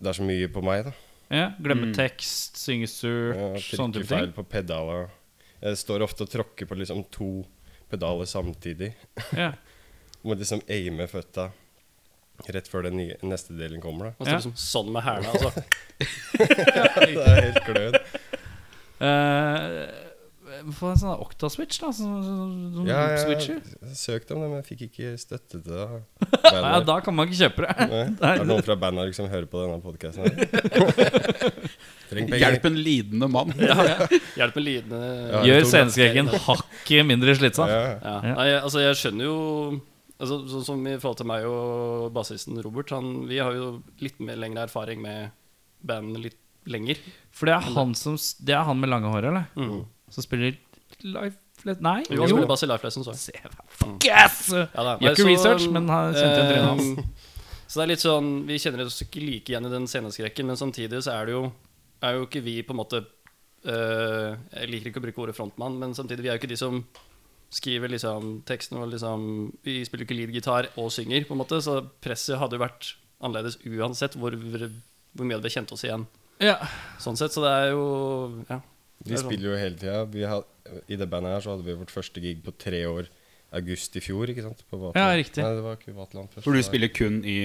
Speaker 4: Det er så mye på meg, da.
Speaker 2: Ja, glemme
Speaker 1: Mm.
Speaker 2: tekst, synge surt,
Speaker 4: Ja,
Speaker 2: sånne
Speaker 4: Eh, Trykker
Speaker 2: type ting?
Speaker 4: feil på pedaler. Jeg står ofte og tråkker på liksom to pedaler samtidig.
Speaker 2: Ja.
Speaker 4: Må liksom aime føtta rett før den nye, neste delen kommer. da
Speaker 3: Man
Speaker 2: Ja.
Speaker 3: står liksom sånn med hælene. Altså.
Speaker 4: Det er helt kløn.
Speaker 2: Eh, Få en sånn octa-switch, da. Sånn, sånn, sånn
Speaker 4: Ja, jeg,
Speaker 2: switcher.
Speaker 4: jeg søkte om det, men jeg fikk ikke støtte til det.
Speaker 2: Ja,
Speaker 4: Bandet.
Speaker 2: da kan man ikke kjøpe det.
Speaker 4: Nei. Er det noen fra bandet som hører på denne podkasten? Trenger penger.
Speaker 1: Hjelp en lidende mann.
Speaker 3: Hjelp med lidende
Speaker 4: Ja,
Speaker 2: Gjør
Speaker 4: jeg tok
Speaker 2: sceneskrekken hakket mindre slitsom.
Speaker 4: Ja,
Speaker 3: Ja.
Speaker 2: Ja.
Speaker 3: Nei, jeg, altså, jeg skjønner jo altså, Sånn som i forhold til meg og bassisten Robert, han, vi har jo litt mer lengre erfaring med band litt lenger.
Speaker 2: For det er han, som, s- det er han med lange hår, eller? Som spiller live Flat- Nei,
Speaker 3: Jo, han spiller bass i Life Lesson, så.
Speaker 2: Se, fuck yes!
Speaker 3: Ja, da.
Speaker 2: Gjør ikke
Speaker 3: Nei,
Speaker 2: research, men han kjente igjen trynet hans.
Speaker 3: ehm, Så det er litt sånn Vi kjenner oss ikke like igjen i den sceneskrekken, men samtidig så er det jo Er jo ikke vi på en måte eh, Jeg liker ikke å bruke ordet frontmann, men samtidig vi er jo ikke de som skriver liksom teksten og liksom Vi spiller jo ikke lead-gitar og synger, på en måte, så presset hadde jo vært annerledes uansett hvor, hvor mye vi hadde kjent oss igjen.
Speaker 2: Ja.
Speaker 3: Sånn sett, så det er jo Ja.
Speaker 4: De spiller jo hele tida. I det bandet her så hadde vi vårt første gig på tre år. August i fjor, ikke sant? På Vatland.
Speaker 2: Ja, riktig.
Speaker 4: Nei, det var ikke Vatland først.
Speaker 1: For du
Speaker 4: det var-
Speaker 1: spiller kun i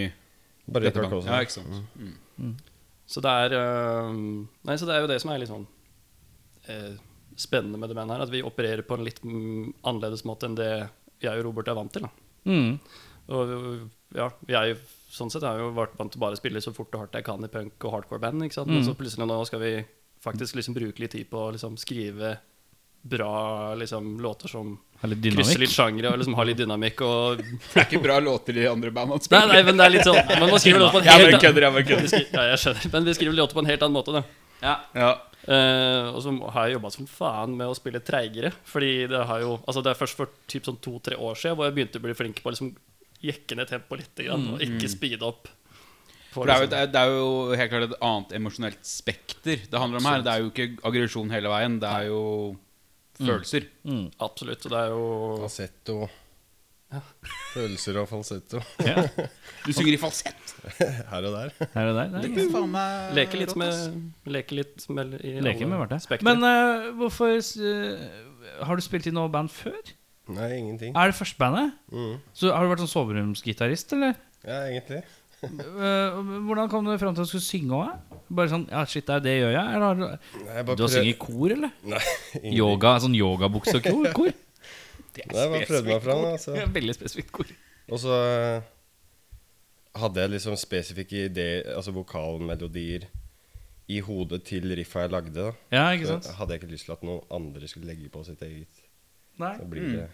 Speaker 4: Bare i
Speaker 1: dette bandet.
Speaker 4: Clark Olsen.
Speaker 1: Ja, ikke sant. Mm.
Speaker 3: Så det er eh, Nei, så det er jo det som er litt sånn eh, spennende med det bandet her. At vi opererer på en litt mm, annerledes måte enn det jeg og Robert er vant til. Da.
Speaker 2: Mm.
Speaker 3: Og ja, jeg sånn sett har jo vært vant til bare å spille så fort og hardt jeg kan i punk og hardcore band. Ikke sant? Men så plutselig nå skal vi faktisk liksom bruke litt tid på å liksom skrive bra liksom, låter som
Speaker 2: Har litt
Speaker 3: krysser litt
Speaker 2: dynamikk.
Speaker 3: sjangere og liksom har litt dynamikk og
Speaker 1: Det er ikke bra låter de andre bandene
Speaker 3: Nei,
Speaker 1: spiller.
Speaker 3: nei, men det er litt sånn Men man skriver låter på
Speaker 1: Jeg
Speaker 3: en
Speaker 1: bare
Speaker 3: helt annen
Speaker 1: kødder, jeg bare kødder.
Speaker 3: Vi skri- Ja, jeg skjønner. Men vi skriver låter på en helt annen måte, da.
Speaker 1: Ja.
Speaker 3: Eh, og så har jeg jobba som faen med å spille treigere. Fordi det har jo Altså det er først for typ sånn to-tre år siden hvor jeg begynte å bli flink på å liksom jekke ned tempoet litt. Grann, og ikke speede opp.
Speaker 1: For
Speaker 3: For
Speaker 1: det er, jo,
Speaker 3: liksom-
Speaker 1: det, er, det er jo helt klart et annet emosjonelt spekter det handler om her. Det er jo ikke aggresjon hele veien, det er jo følelser.
Speaker 3: Absolutt. Og det er jo
Speaker 4: Falsetto. Følelser og falsetto.
Speaker 2: Ja.
Speaker 1: Du synger i falsett.
Speaker 4: Her og der.
Speaker 2: Her og der. der.
Speaker 1: Det er faen meg
Speaker 3: Leke litt
Speaker 1: rått, ass.
Speaker 3: med Leke litt med i
Speaker 2: Leker med
Speaker 3: alle
Speaker 2: Marte.
Speaker 3: spektre.
Speaker 2: Men eh, hvorfor eh, Har du spilt i noe band før?
Speaker 4: Nei, ingenting.
Speaker 2: Er det første bandet?
Speaker 4: Mm.
Speaker 2: Så Har du vært sånn soveromsgitarist, eller?
Speaker 4: Ja, egentlig.
Speaker 2: Eh, hvordan kom du fram til at du skulle synge òg? Bare sånn Ja, shit, det er det jeg gjør jeg. Eller har du,
Speaker 4: Nei, jeg bare
Speaker 2: du har
Speaker 4: prøv-
Speaker 2: sunget i kor, eller?
Speaker 4: Nei, ingenting.
Speaker 2: Yoga, sånn yogabukse og kor? kor.
Speaker 4: Nei, jeg bare prøvde meg fram. Altså.
Speaker 2: Veldig spesifikt kor.
Speaker 4: Og så eh, hadde jeg liksom spesifikke ideer, altså vokalmelodier, i hodet til riffa jeg lagde. da
Speaker 2: Ja, ikke sant?
Speaker 4: Så hadde jeg ikke lyst til at noen andre skulle legge på sitt eget.
Speaker 2: Nei.
Speaker 4: Så blir det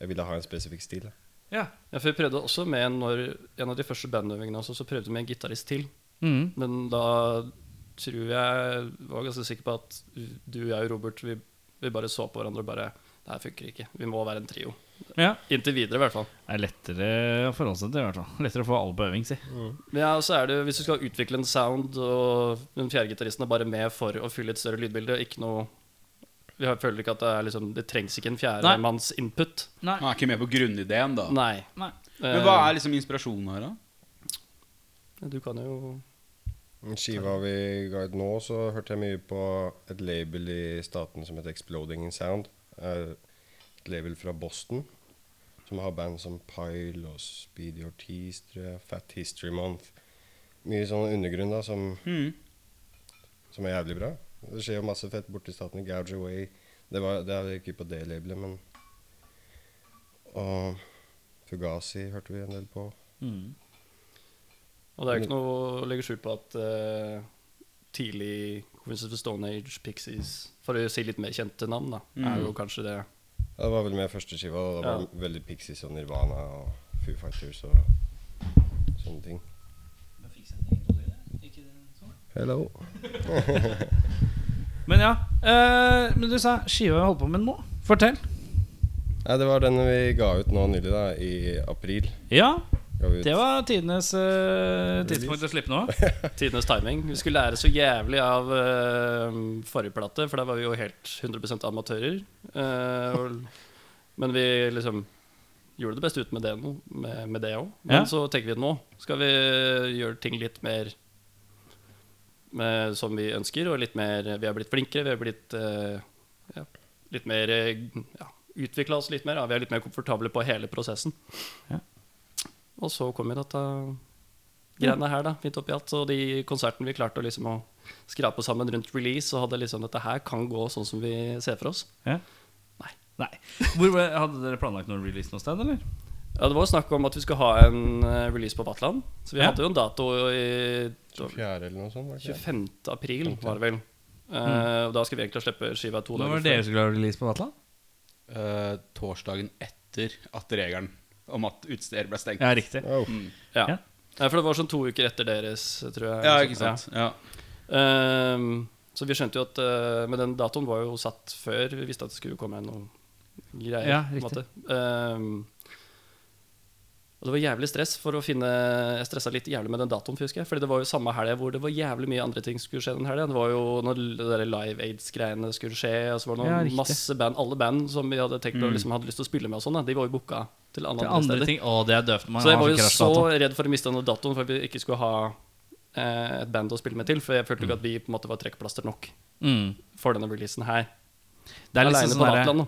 Speaker 4: Jeg ville ha en spesifikk stil. Da.
Speaker 2: Ja.
Speaker 3: Ja, for vi prøvde også med en- når, en av de første bandøvingene også, så prøvde vi med en gitarist til.
Speaker 2: Mm.
Speaker 3: Men da tror jeg var ganske sikker på at du, jeg og Robert, vi, vi bare så på hverandre og bare Det her funker ikke. Vi må være en trio.
Speaker 2: ja.
Speaker 3: Inntil videre, i hvert fall.
Speaker 2: Det er lettere å forholde seg til, i hvert fall. Lettere å få alle på øving, si.
Speaker 3: Men ja, og så er det, Hvis du skal utvikle en sound, og den fjerde gitaristen er bare med for å fylle et større lydbilde og ikke noe Vi har- føler ikke at det er liksom Det trengs ikke en
Speaker 2: Nei.
Speaker 3: fjerdemanns input.
Speaker 1: Han er ikke med på grunnideen, da.
Speaker 3: Nei.
Speaker 2: Nei.
Speaker 1: Men hva er liksom inspirasjonen her, da?
Speaker 3: Eh, Du kan jo
Speaker 4: Den Skiva vi ga ut nå, så hørte jeg mye på et label i staten som heter Exploding in Sound. Er Et label fra Boston som har band som Pile og Speedy Ortiz, tror jeg. Fat History Month. Mye sånn undergrunn da, som,
Speaker 1: Mm.
Speaker 4: som er jævlig bra. Det skjer jo masse fett borti staten i Gouge Away. Det, var, det er ikke på det labelet, men Og Fugazi hørte vi en del på.
Speaker 3: Og det er jo ikke noe å legge skjul på at eh, tidlig Queens of the Stone Age, Pixies For å si litt mer kjente navn, da, er jo kanskje det
Speaker 4: Ja, Det var vel med første skiva. og Det var
Speaker 3: Ja.
Speaker 4: veldig Pixies og Nirvana og Foo Fighters og sånne ting. Hello.
Speaker 2: Men ja. eh, men du sa skiva jeg holder på med nå. Fortell.
Speaker 4: Nei, det var den vi ga ut nå nylig, da. I april.
Speaker 2: Ja,
Speaker 4: Ga vi ut.
Speaker 2: det var tidenes eh, tidspunkt å slippe nå.
Speaker 3: tidenes timing. Vi skulle lære så jævlig av eh, forrige plate, for der var vi jo helt 100 amatører. Eh, og- men vi liksom gjorde det beste ut med det nå, med, med det òg. Men
Speaker 2: Ja.
Speaker 3: så tenker vi at nå skal vi gjøre ting litt mer med, som vi ønsker, og litt mer Vi har blitt flinkere, vi har blitt eh, ja, litt mer eh, ja, utvikla oss litt mer. Ja, vi er litt mer komfortable på hele prosessen.
Speaker 2: Ja.
Speaker 3: Og så kom jo dette greiene her, da, midt oppi alt. Og de konsertene vi klarte å liksom å skrape sammen rundt release, og hadde liksom dette her kan gå sånn som vi ser for oss.
Speaker 2: Ja.
Speaker 3: Nei.
Speaker 2: Nei. Hvor, hadde dere planlagt noen release noe sted, eller?
Speaker 3: Ja, Det var jo snakk om at vi skulle ha en eh, release på Vatland, så vi
Speaker 2: Ja.
Speaker 3: hadde jo en dato i det var
Speaker 4: Fjerde eller noe sånt. var det ikke det?
Speaker 3: 25. april, var det vel. Eh, og da skulle vi egentlig slippe skiva to
Speaker 2: Nå
Speaker 3: dager
Speaker 2: var det dere som skulle ha release på Vatland?
Speaker 1: Eh, torsdagen etter at regelen om at utesteder ble stengt.
Speaker 2: Ja, riktig.
Speaker 4: Wow.
Speaker 3: Ja.
Speaker 2: Ja.
Speaker 3: Nei, for det var sånn to uker etter deres, tror jeg. sånn.
Speaker 1: Ja, ikke sant? Ja.
Speaker 3: Ja. Ehm, så vi skjønte jo at eh, Men den datoen var jo satt før vi visste at det skulle komme noen greier.
Speaker 2: Ja,
Speaker 3: på en
Speaker 2: riktig.
Speaker 3: måte. Ehm, og det var jævlig stress for å finne Jeg stressa litt jævlig med den datoen, husker jeg. Fordi det var jo samme helga hvor det var jævlig mye andre ting som skulle skje den helga. Det var jo når det der Live Aids-greiene skulle skje, og så var det
Speaker 2: Ja,
Speaker 3: noen
Speaker 2: riktig.
Speaker 3: masse band Alle band som vi hadde tenkt å,
Speaker 1: Mm.
Speaker 3: liksom, hadde lyst til å spille med og sånn, da, de var jo booka til alle
Speaker 2: Til
Speaker 3: andre
Speaker 2: andre
Speaker 3: steder.
Speaker 2: ting. Å, det er døvt. Man
Speaker 3: Så jeg
Speaker 2: har
Speaker 3: var jo
Speaker 2: krasj
Speaker 3: så
Speaker 2: data.
Speaker 3: redd for å miste denne datoen for at vi ikke skulle ha eh, et band å spille med til. For jeg følte ikke at vi på en måte var trekkplaster nok
Speaker 2: Mm.
Speaker 3: for denne releasen her.
Speaker 2: Det er
Speaker 3: Alene
Speaker 2: liksom
Speaker 3: på
Speaker 2: sånn derre-
Speaker 3: Vatland, da.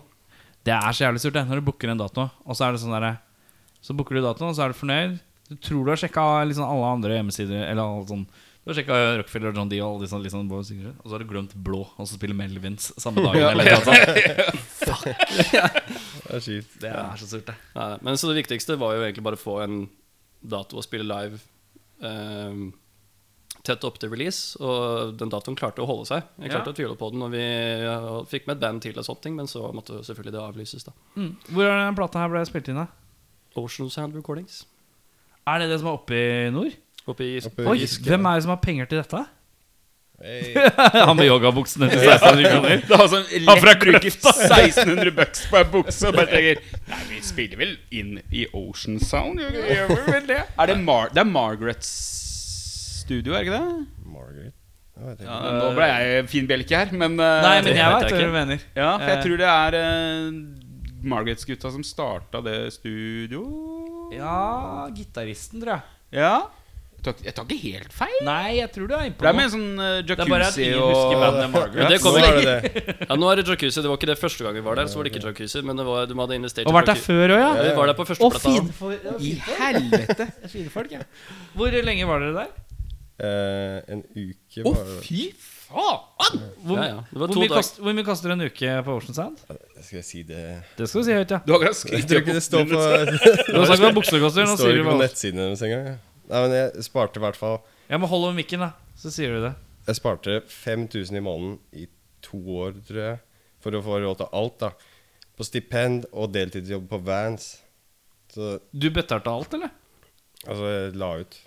Speaker 2: Det er så jævlig surt det, når du booker en dato, og så er det sånn derre Så booker du datoen, og så er du fornøyd. Du tror du har sjekka liksom alle andre hjemmesider, eller alle sånn
Speaker 5: Du har sjekka Rockefeller og John Dee og alle de sånne, litt sånne boys, ikke? Og så har du glemt blå, og så spiller Melvins samme dag.
Speaker 1: Ja.
Speaker 5: eller noe sånt.
Speaker 4: Det er kjipt.
Speaker 5: Det er så surt, det.
Speaker 3: Nei, men så det viktigste var jo egentlig bare å få en dato å spille live ehm, tett opp til release, og den datoen klarte å holde seg. Jeg
Speaker 2: Ja.
Speaker 3: klarte å tvile på den, og vi ja, fikk med et band til, og sånne ting, men så måtte jo selvfølgelig det avlyses. da
Speaker 2: Mm. Hvor er den plata her ble spilt inn, da?
Speaker 3: Ocean Sound Recordings.
Speaker 2: Er det det som er oppe i nord?
Speaker 3: Oppe i
Speaker 4: Oppe i-
Speaker 2: Oi,
Speaker 4: Giske.
Speaker 2: Hvem er det som har penger til dette?
Speaker 4: Hey.
Speaker 5: Han med yogabuksene til 16 kroner.
Speaker 1: Det er altså
Speaker 5: Han fra
Speaker 1: lett bruker
Speaker 5: Kløfta.
Speaker 1: 1600 bucks på ei bukse og bare tenker Nei, vi spiller vel inn i Ocean Sound? gjør vi- Gjør vi vel det? Er det, Mar det er Margarets studio, er det ikke det?
Speaker 4: Margaret Jeg vet ikke.
Speaker 1: Ja, nå ble jeg fin bjelke her, men eh,
Speaker 2: Nei, men jeg
Speaker 3: det vet
Speaker 2: vet
Speaker 3: jeg
Speaker 2: hva
Speaker 3: ikke.
Speaker 2: du mener.
Speaker 1: Ja, for jeg
Speaker 2: Eh.
Speaker 1: tror det er eh, Margarets-gutta som starta det studio
Speaker 2: Ja, gitaristen, tror jeg.
Speaker 1: Ja? Jeg tar, jeg tar ikke helt feil?
Speaker 2: Nei, jeg tror du er innpå
Speaker 1: Det er med
Speaker 2: noe.
Speaker 1: en sånn eh,
Speaker 2: er bare at
Speaker 1: jacuzzi
Speaker 2: ingen husker
Speaker 1: og
Speaker 2: bandet Margaret.
Speaker 1: Ja,
Speaker 3: det
Speaker 4: Nå
Speaker 3: kommer
Speaker 4: er det det.
Speaker 3: Ja, nå er det jacuzzi. Det var ikke det første gang vi var der, så var det ikke jacuzzi, men det var, de hadde investert
Speaker 2: Og vært der
Speaker 3: jacuzzi.
Speaker 2: før òg, ja?
Speaker 3: Vi var der på
Speaker 2: Å,
Speaker 3: førsteplata.
Speaker 2: fine for- ja,
Speaker 1: I
Speaker 2: fine folk.
Speaker 1: helvete!
Speaker 2: Fine folk, ja. Hvor lenge var dere der?
Speaker 4: Eh, en uke
Speaker 1: Å,
Speaker 4: bare
Speaker 1: fy faen!
Speaker 2: Hvor,
Speaker 3: Ja, ja. Det var
Speaker 2: hvor,
Speaker 3: to
Speaker 2: mye
Speaker 3: dager.
Speaker 2: kost, hvor mye koster en uke på Ocean Sound?
Speaker 4: Skal jeg si det
Speaker 2: Det skal du si høyt, ja.
Speaker 1: Du har akkurat
Speaker 4: Jeg
Speaker 1: skrytt
Speaker 4: tror ikke det står på
Speaker 2: Du har sagt hva buksa koster.
Speaker 4: Det
Speaker 2: Nå
Speaker 4: står
Speaker 2: sier du
Speaker 4: ikke på
Speaker 2: hva
Speaker 4: nettsiden deres engang. jeg. Nei, men jeg sparte i hvert fall
Speaker 2: Jeg må holde over mikken, da. Så sier du det.
Speaker 4: Jeg sparte 5000 i måneden i to år, tror jeg, for å få råd til alt, da. På stipend og deltidsjobb på Vans. Så
Speaker 2: Du betalte alt, eller?
Speaker 4: altså, jeg la ut.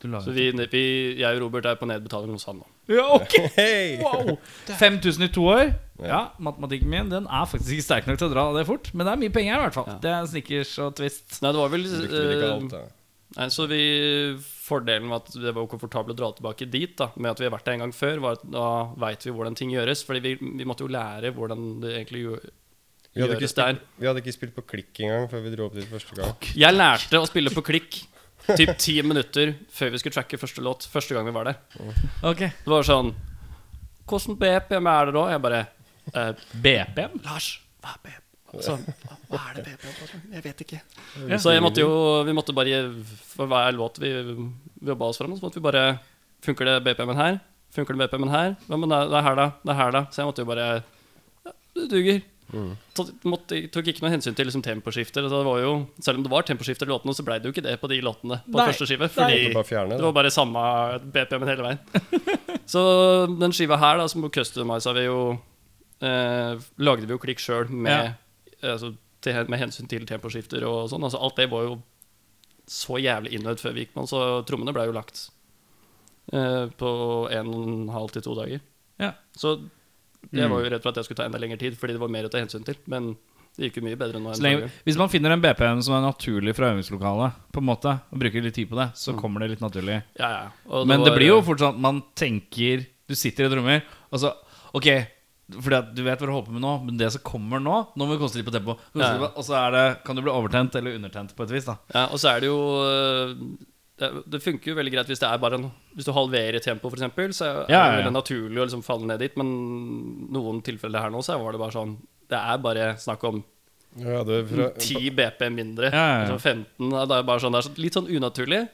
Speaker 2: Du la
Speaker 3: Så vi, vi, jeg og Robert er på nedbetaling hos han nå.
Speaker 2: Ja, ok
Speaker 4: Hei!
Speaker 2: wow. 5000 i to år. Ja, matematikken min Den er faktisk ikke sterk nok til å dra det fort. Men det er mye penger her, i hvert fall.
Speaker 3: Ja.
Speaker 2: Det er snickers og twist.
Speaker 3: Nei, det var vel
Speaker 4: Så brukte vi ikke
Speaker 3: eh,
Speaker 4: alt, da.
Speaker 3: Nei, så vi, Fordelen med at det var komfortabelt å dra tilbake dit, da, med at vi har vært der en gang før, var at da veit vi hvordan ting gjøres. Fordi vi, vi måtte jo lære hvordan det egentlig gjø-
Speaker 4: Vi hadde, ikke
Speaker 3: gjøres der.
Speaker 4: spilt, vi hadde ikke spilt på klikk engang før vi dro opp dit første gang.
Speaker 3: Jeg lærte å spille på klikk typ ti minutter før vi skulle tracke første låt. Første gang vi var der.
Speaker 2: Ok
Speaker 3: Det var sånn Hvordan BPM er det da? Jeg bare eh, BPM? Lars, hva er BPM? Altså, hva- hva er det BPM? for noe? Jeg vet ikke. Så jeg måtte jo Vi måtte bare For hver låt vi vi jobba oss fram, så måtte vi bare Funker det BPM-en her? Funker det BPM-en her? Hva med det, det er her, da? Det er her, da? Så jeg måtte jo bare ja, Det duger. Så måtte, tok ikke noe hensyn til liksom, temposkifter. Så det var jo, selv om det var temposkifter i låtene, så blei det jo ikke det på de låtene på
Speaker 2: Nei.
Speaker 3: første
Speaker 2: Nei.
Speaker 3: skive. Fordi
Speaker 4: Måtte bare fjerne
Speaker 3: det
Speaker 4: det.
Speaker 3: var bare samme BPM-en hele veien. Så den skiva her, da, som customisa vi jo eh, Lagde vi jo klikk sjøl med, altså, til, med hensyn til temposkifter og sånn. Altså, alt det var jo så jævlig innøvd før vi gikk med den, så trommene ble jo lagt eh, på en og en halv til to dager.
Speaker 2: Ja.
Speaker 3: Så
Speaker 2: Mm.
Speaker 3: jeg var jo redd for at det skulle ta enda lengre tid, fordi det var mer å ta hensyn til. Men det gikk jo mye bedre nå. enn
Speaker 2: så lenge,
Speaker 3: forrige gang.
Speaker 2: hvis man finner en BPM som er naturlig fra øvingslokalet, På en måte og bruker litt tid på det, så kommer det litt naturlig.
Speaker 3: Ja, ja. Mm. Og
Speaker 2: Men det
Speaker 3: var- eh,
Speaker 2: blir jo fort sånn at man tenker Du sitter i trommer, og så Ok, fordi at du vet hva du holder på med nå, men det som kommer nå Nå må vi konsentrere på tempo. konsentrere
Speaker 3: Ja.
Speaker 2: på- Og så er det, kan du bli overtent eller undertent på et vis. da
Speaker 3: Ja, og så er det jo øh, det, det funker jo veldig greit hvis det er bare en, Hvis du halverer tempoet, f.eks., så er
Speaker 2: Ja, ja, ja.
Speaker 3: det veldig naturlig å liksom falle ned dit. Men noen tilfeller her nå, så var det bare sånn Det er bare snakk om
Speaker 4: Vi hadde fra,
Speaker 3: 10 BP mindre.
Speaker 2: Ja, ja, ja.
Speaker 3: Liksom 15. ja, Det er bare sånn, det er så- litt sånn unaturlig.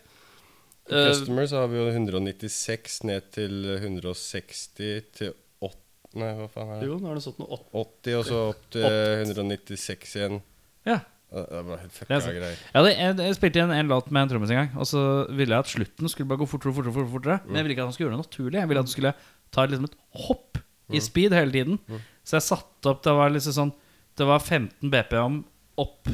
Speaker 4: på
Speaker 3: Eh,
Speaker 4: Customer så har vi jo 196 ned til 160 til 8 Nei, hva faen er det?
Speaker 3: jo, nå er det sånn noe åtte.
Speaker 4: 80, og så opp til 196 igjen.
Speaker 2: Ja
Speaker 4: Det er bare helt
Speaker 2: Det
Speaker 4: fucka
Speaker 2: er sant.
Speaker 4: greier.
Speaker 2: jeg, hadde, jeg, jeg spilte inn en låt med en trommis en gang, og så ville jeg at slutten skulle bare gå fortere og fortere. fortere, fortere. Men jeg ville ikke at han skulle gjøre det naturlig. Jeg ville at han skulle ta liksom et hopp
Speaker 4: Mm.
Speaker 2: i speed hele tiden. Så jeg satte opp Det var liksom sånn Det var 15 BPM opp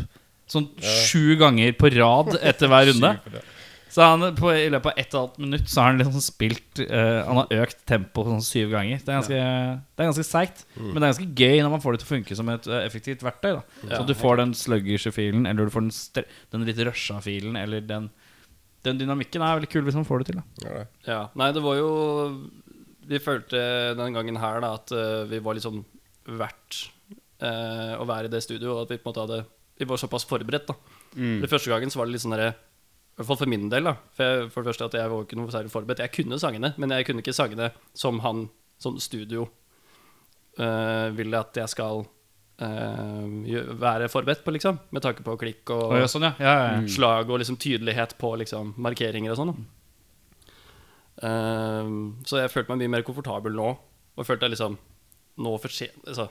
Speaker 2: sånn sju ganger på rad etter hver runde. Så han, på, i løpet av ett og et halvt minutt så har han liksom spilt eh, Han har økt tempoet sånn syv ganger. Det er ganske, det er ganske seigt, men det er ganske gøy når man får det til å funke som et eh, effektivt verktøy. Da. Så
Speaker 3: Mm. Ja.
Speaker 2: at du får den sluggishe filen, eller du får den, stre- den litt rusha filen, eller den Den dynamikken er veldig kul hvis man får det til. Da.
Speaker 4: Ja, det.
Speaker 3: Ja, nei, det var jo Vi følte den gangen her da at eh, vi var liksom verdt eh, å være i det studioet, og at vi på en måte hadde Vi var såpass forberedt, da. Den første gangen så var det litt sånn derre i hvert fall for min del, da. For, jeg, for det første at jeg var ikke noe særlig forberedt. Jeg kunne sangene, men jeg kunne ikke sangene som han, som studio, eh, ville at jeg skal eh, gjø- være forberedt på, liksom. Med tanke på klikk og
Speaker 2: Å, ja, sånn, ja. Ja, ja, ja.
Speaker 3: slag og liksom tydelighet på liksom markeringer og sånn. da. Ehm, så jeg følte meg mye mer komfortabel nå. Og følte jeg liksom Nå fortjener, altså,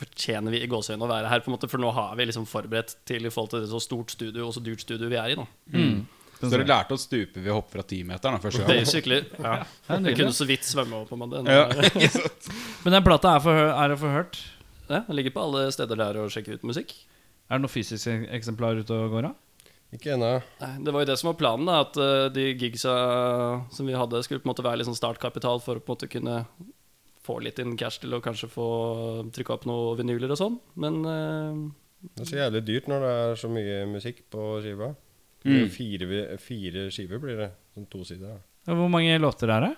Speaker 3: fortjener vi i gåseøynene å være her, på en måte, for nå har vi liksom forberedt til i forhold til det så stort studio og så dyrt studio vi er i nå.
Speaker 1: Mm.
Speaker 2: Mm.
Speaker 1: Så dere lærte å stupe ved å hoppe fra timeteren da, første gang?
Speaker 3: Basically. Ja.
Speaker 2: Det er
Speaker 3: Jeg
Speaker 2: nydelig.
Speaker 3: kunne så vidt svømme opp om det.
Speaker 1: Ja.
Speaker 2: Men den plata er, for, er å få hørt.
Speaker 3: Ja, jeg ligger på alle steder der og sjekker ut musikk.
Speaker 2: Er det noe fysisk eksemplar ute og går av?
Speaker 4: Ikke ennå.
Speaker 3: Nei, Det var jo det som var planen, da, at eh, de gigsa som vi hadde, skulle på en måte være litt sånn startkapital for å på en måte kunne få litt inn cash til å kanskje få trykka opp noen vinyler og sånn. Men eh,
Speaker 4: Det er så jævlig dyrt når det er så mye musikk på skiva. Det blir Fire, vi- fire skiver blir det. Sånn tosider. da.
Speaker 2: Ja, Hvor mange låter er det?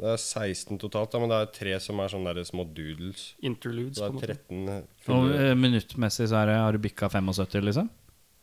Speaker 4: Det er 16 totalt, da, men det er tre som er sånne der små doodles.
Speaker 3: interludes,
Speaker 4: Så
Speaker 3: på en
Speaker 4: det er
Speaker 3: måte.
Speaker 2: Og,
Speaker 4: 13 fulle
Speaker 2: eh, minuttmessig så er det, har du bikka 75, liksom?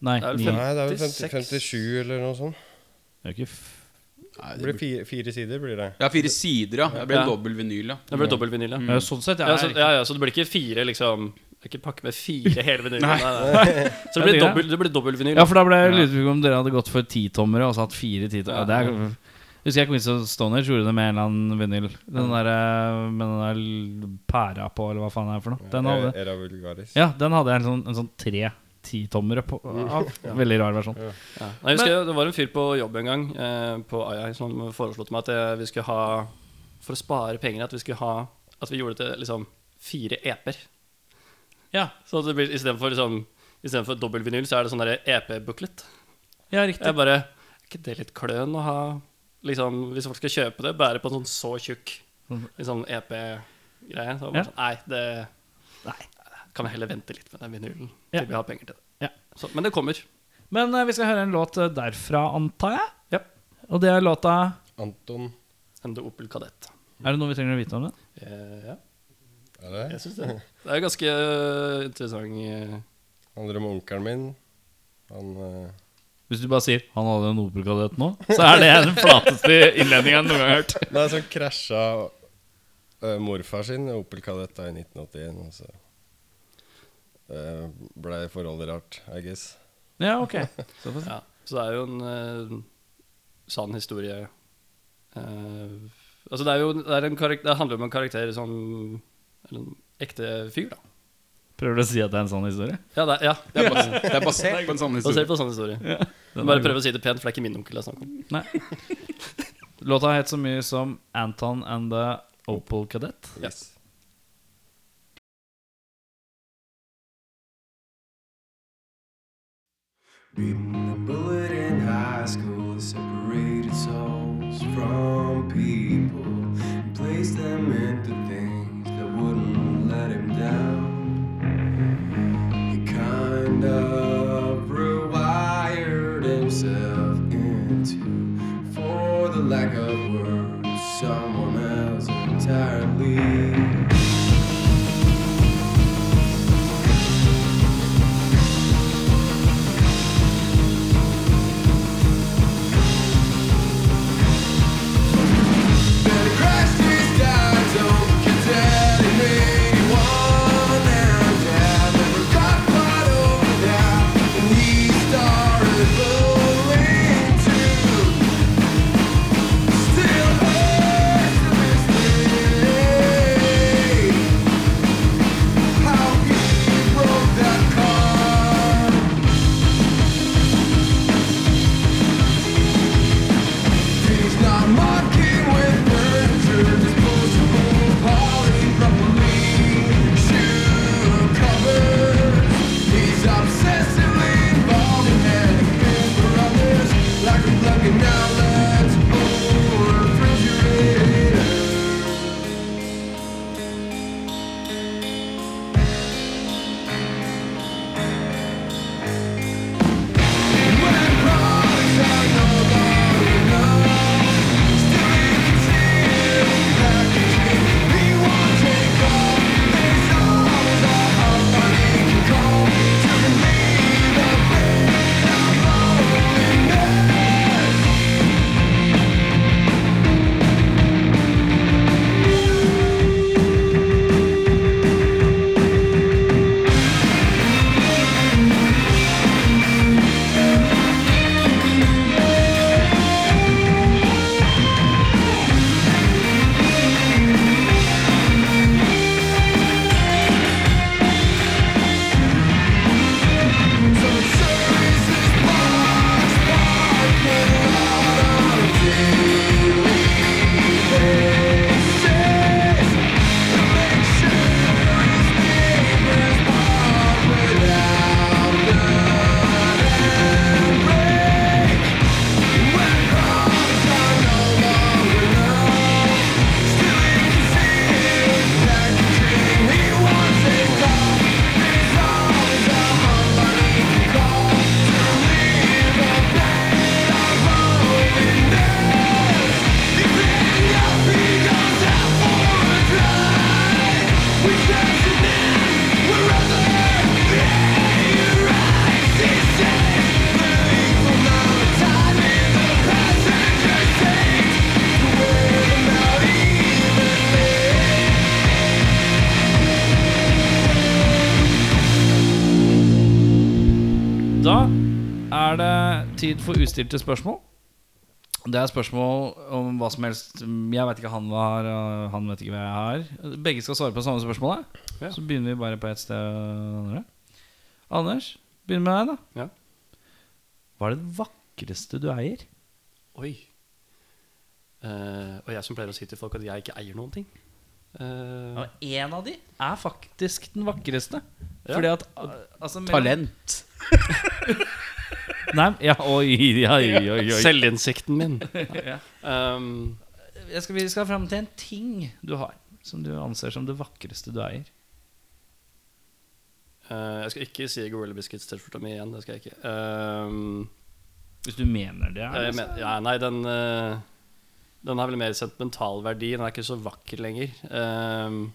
Speaker 2: Nei.
Speaker 3: Det er vel
Speaker 2: ni.
Speaker 3: fem-
Speaker 4: Nei, det er vel 50,
Speaker 3: 56.
Speaker 4: 57 eller noe sånt.
Speaker 2: Det er ikke f-
Speaker 4: Det blir fire, fire sider. blir det
Speaker 1: Ja, fire sider, ja. Det ble
Speaker 3: Ja.
Speaker 1: en dobbel vinyl, ja.
Speaker 3: Det ble dobbel vinyl, ja.
Speaker 2: Ja, Sånn sett, ja.
Speaker 3: Ja, så, ja, ja, så det blir ikke fire, liksom Det er ikke pakke med fire hele vinyler. nei, nei.
Speaker 2: Ja,
Speaker 3: Så det
Speaker 2: det
Speaker 3: blir
Speaker 2: er-
Speaker 3: dobbel, det blir dobbel vinyl.
Speaker 2: Ja, for da ble jeg lurt på om dere hadde gått for titommere og så hatt fire titommere.
Speaker 3: Ja.
Speaker 2: Det er, husker jeg Queens of Stoner gjorde det med en eller annen vinyl. Den der, eh, med den der l- pæra på, eller hva faen det er for noe. Den hadde,
Speaker 4: Era vulgaris.
Speaker 2: ja, den hadde jeg en sånn, en sånn tre titommere på. Av. Veldig rar versjon.
Speaker 3: Ja. Nei, Jeg husker Det var en fyr på jobb en gang eh, På AI som foreslo til meg at jeg, vi skulle ha For å spare penger At vi skulle ha At vi gjorde det til liksom fire eper
Speaker 2: Ja.
Speaker 3: Så at det blir i stedet for liksom i stedet for dobbeltvinyl så er det sånn der EP-booklet
Speaker 2: Ja, riktig.
Speaker 3: Jeg bare, er ikke det litt kløn å ha Liksom, hvis folk skal kjøpe det Bære på en sånn så tjukk Liksom EP-greie Så var det
Speaker 2: Mm. Ja.
Speaker 3: sånn, Nei, det Kan vi heller vente litt med den vinylen
Speaker 2: Ja.
Speaker 3: Til vi har penger til det
Speaker 2: Ja.
Speaker 3: så, Men det kommer
Speaker 2: Men eh, vi skal høre en låt eh, derfra, antar jeg.
Speaker 3: Ja.
Speaker 2: Og det er låta
Speaker 4: Anton
Speaker 3: Enda Opel Kadett
Speaker 2: Er det noe vi trenger å vite om den?
Speaker 3: eh, Ja
Speaker 4: er det?
Speaker 3: Jeg synes det. Det er ganske øh, interessant øh,
Speaker 4: Handler om onkelen min. Han eh,
Speaker 2: Hvis du bare sier 'han hadde en operakadett nå', så er det den flateste innledninga jeg noen gang har hørt.
Speaker 4: Nei, så krasja eh, morfar sin Opel Kadett da i 1981, og så eh, ble forholdet rart, I guess.
Speaker 2: Ja, ok
Speaker 3: ja. Så det er jo en øh, sann historie. Eh, altså det er jo det, er en karak- det handler om en karakter som Eller en ekte fyr, da.
Speaker 2: Prøver du å si at det er en sånn historie?
Speaker 3: Ja, det er, ja.
Speaker 1: Det er basert, det er basert på en sann
Speaker 3: Basert
Speaker 1: historie.
Speaker 3: på en sann historie.
Speaker 2: Den er
Speaker 3: Bare
Speaker 2: god.
Speaker 3: prøve å si det pent, for det er ikke min onkel det er snakk om.
Speaker 2: Låta het så mye som Anton and the Opal Cadet.
Speaker 4: Yes.
Speaker 6: Beating the bullet in high school separated souls from people and placed them into things that wouldn't let him down. He kind of rewired himself into, for the lack of words, someone else entirely. Still hurts to this day
Speaker 2: tid for ustilte spørsmål. Det er spørsmål om hva som helst. Jeg vet ikke han hva jeg har, og han vet ikke hva jeg har. Begge skal svare på det samme spørsmålet.
Speaker 3: Ja.
Speaker 2: Så begynner vi bare på ett sted. og andre. Anders, begynn med deg, da.
Speaker 3: Ja.
Speaker 2: Hva er det vakreste du eier?
Speaker 3: Oi. Eh, og jeg som pleier å si til folk at jeg ikke eier noen ting. Eh,
Speaker 2: Ja, en av de er faktisk den vakreste.
Speaker 3: Ja.
Speaker 2: Fordi at altså, mellom-
Speaker 1: Talent.
Speaker 2: Nei, ja, oi, ja, oi, oi, oi.
Speaker 3: Selvinnsikten min. um,
Speaker 2: Jeg skal, vi skal fram til en ting du har, som du anser som det vakreste du eier.
Speaker 3: eh, jeg skal ikke si Gorilla Biscuits-T-skjorta mi igjen. Det skal jeg ikke. Um,
Speaker 2: Hvis du mener det.
Speaker 3: jeg
Speaker 2: altså.
Speaker 3: men, ja, nei, den eh, Den har vel mer sentimental verdi. Den er ikke så vakker lenger. Um,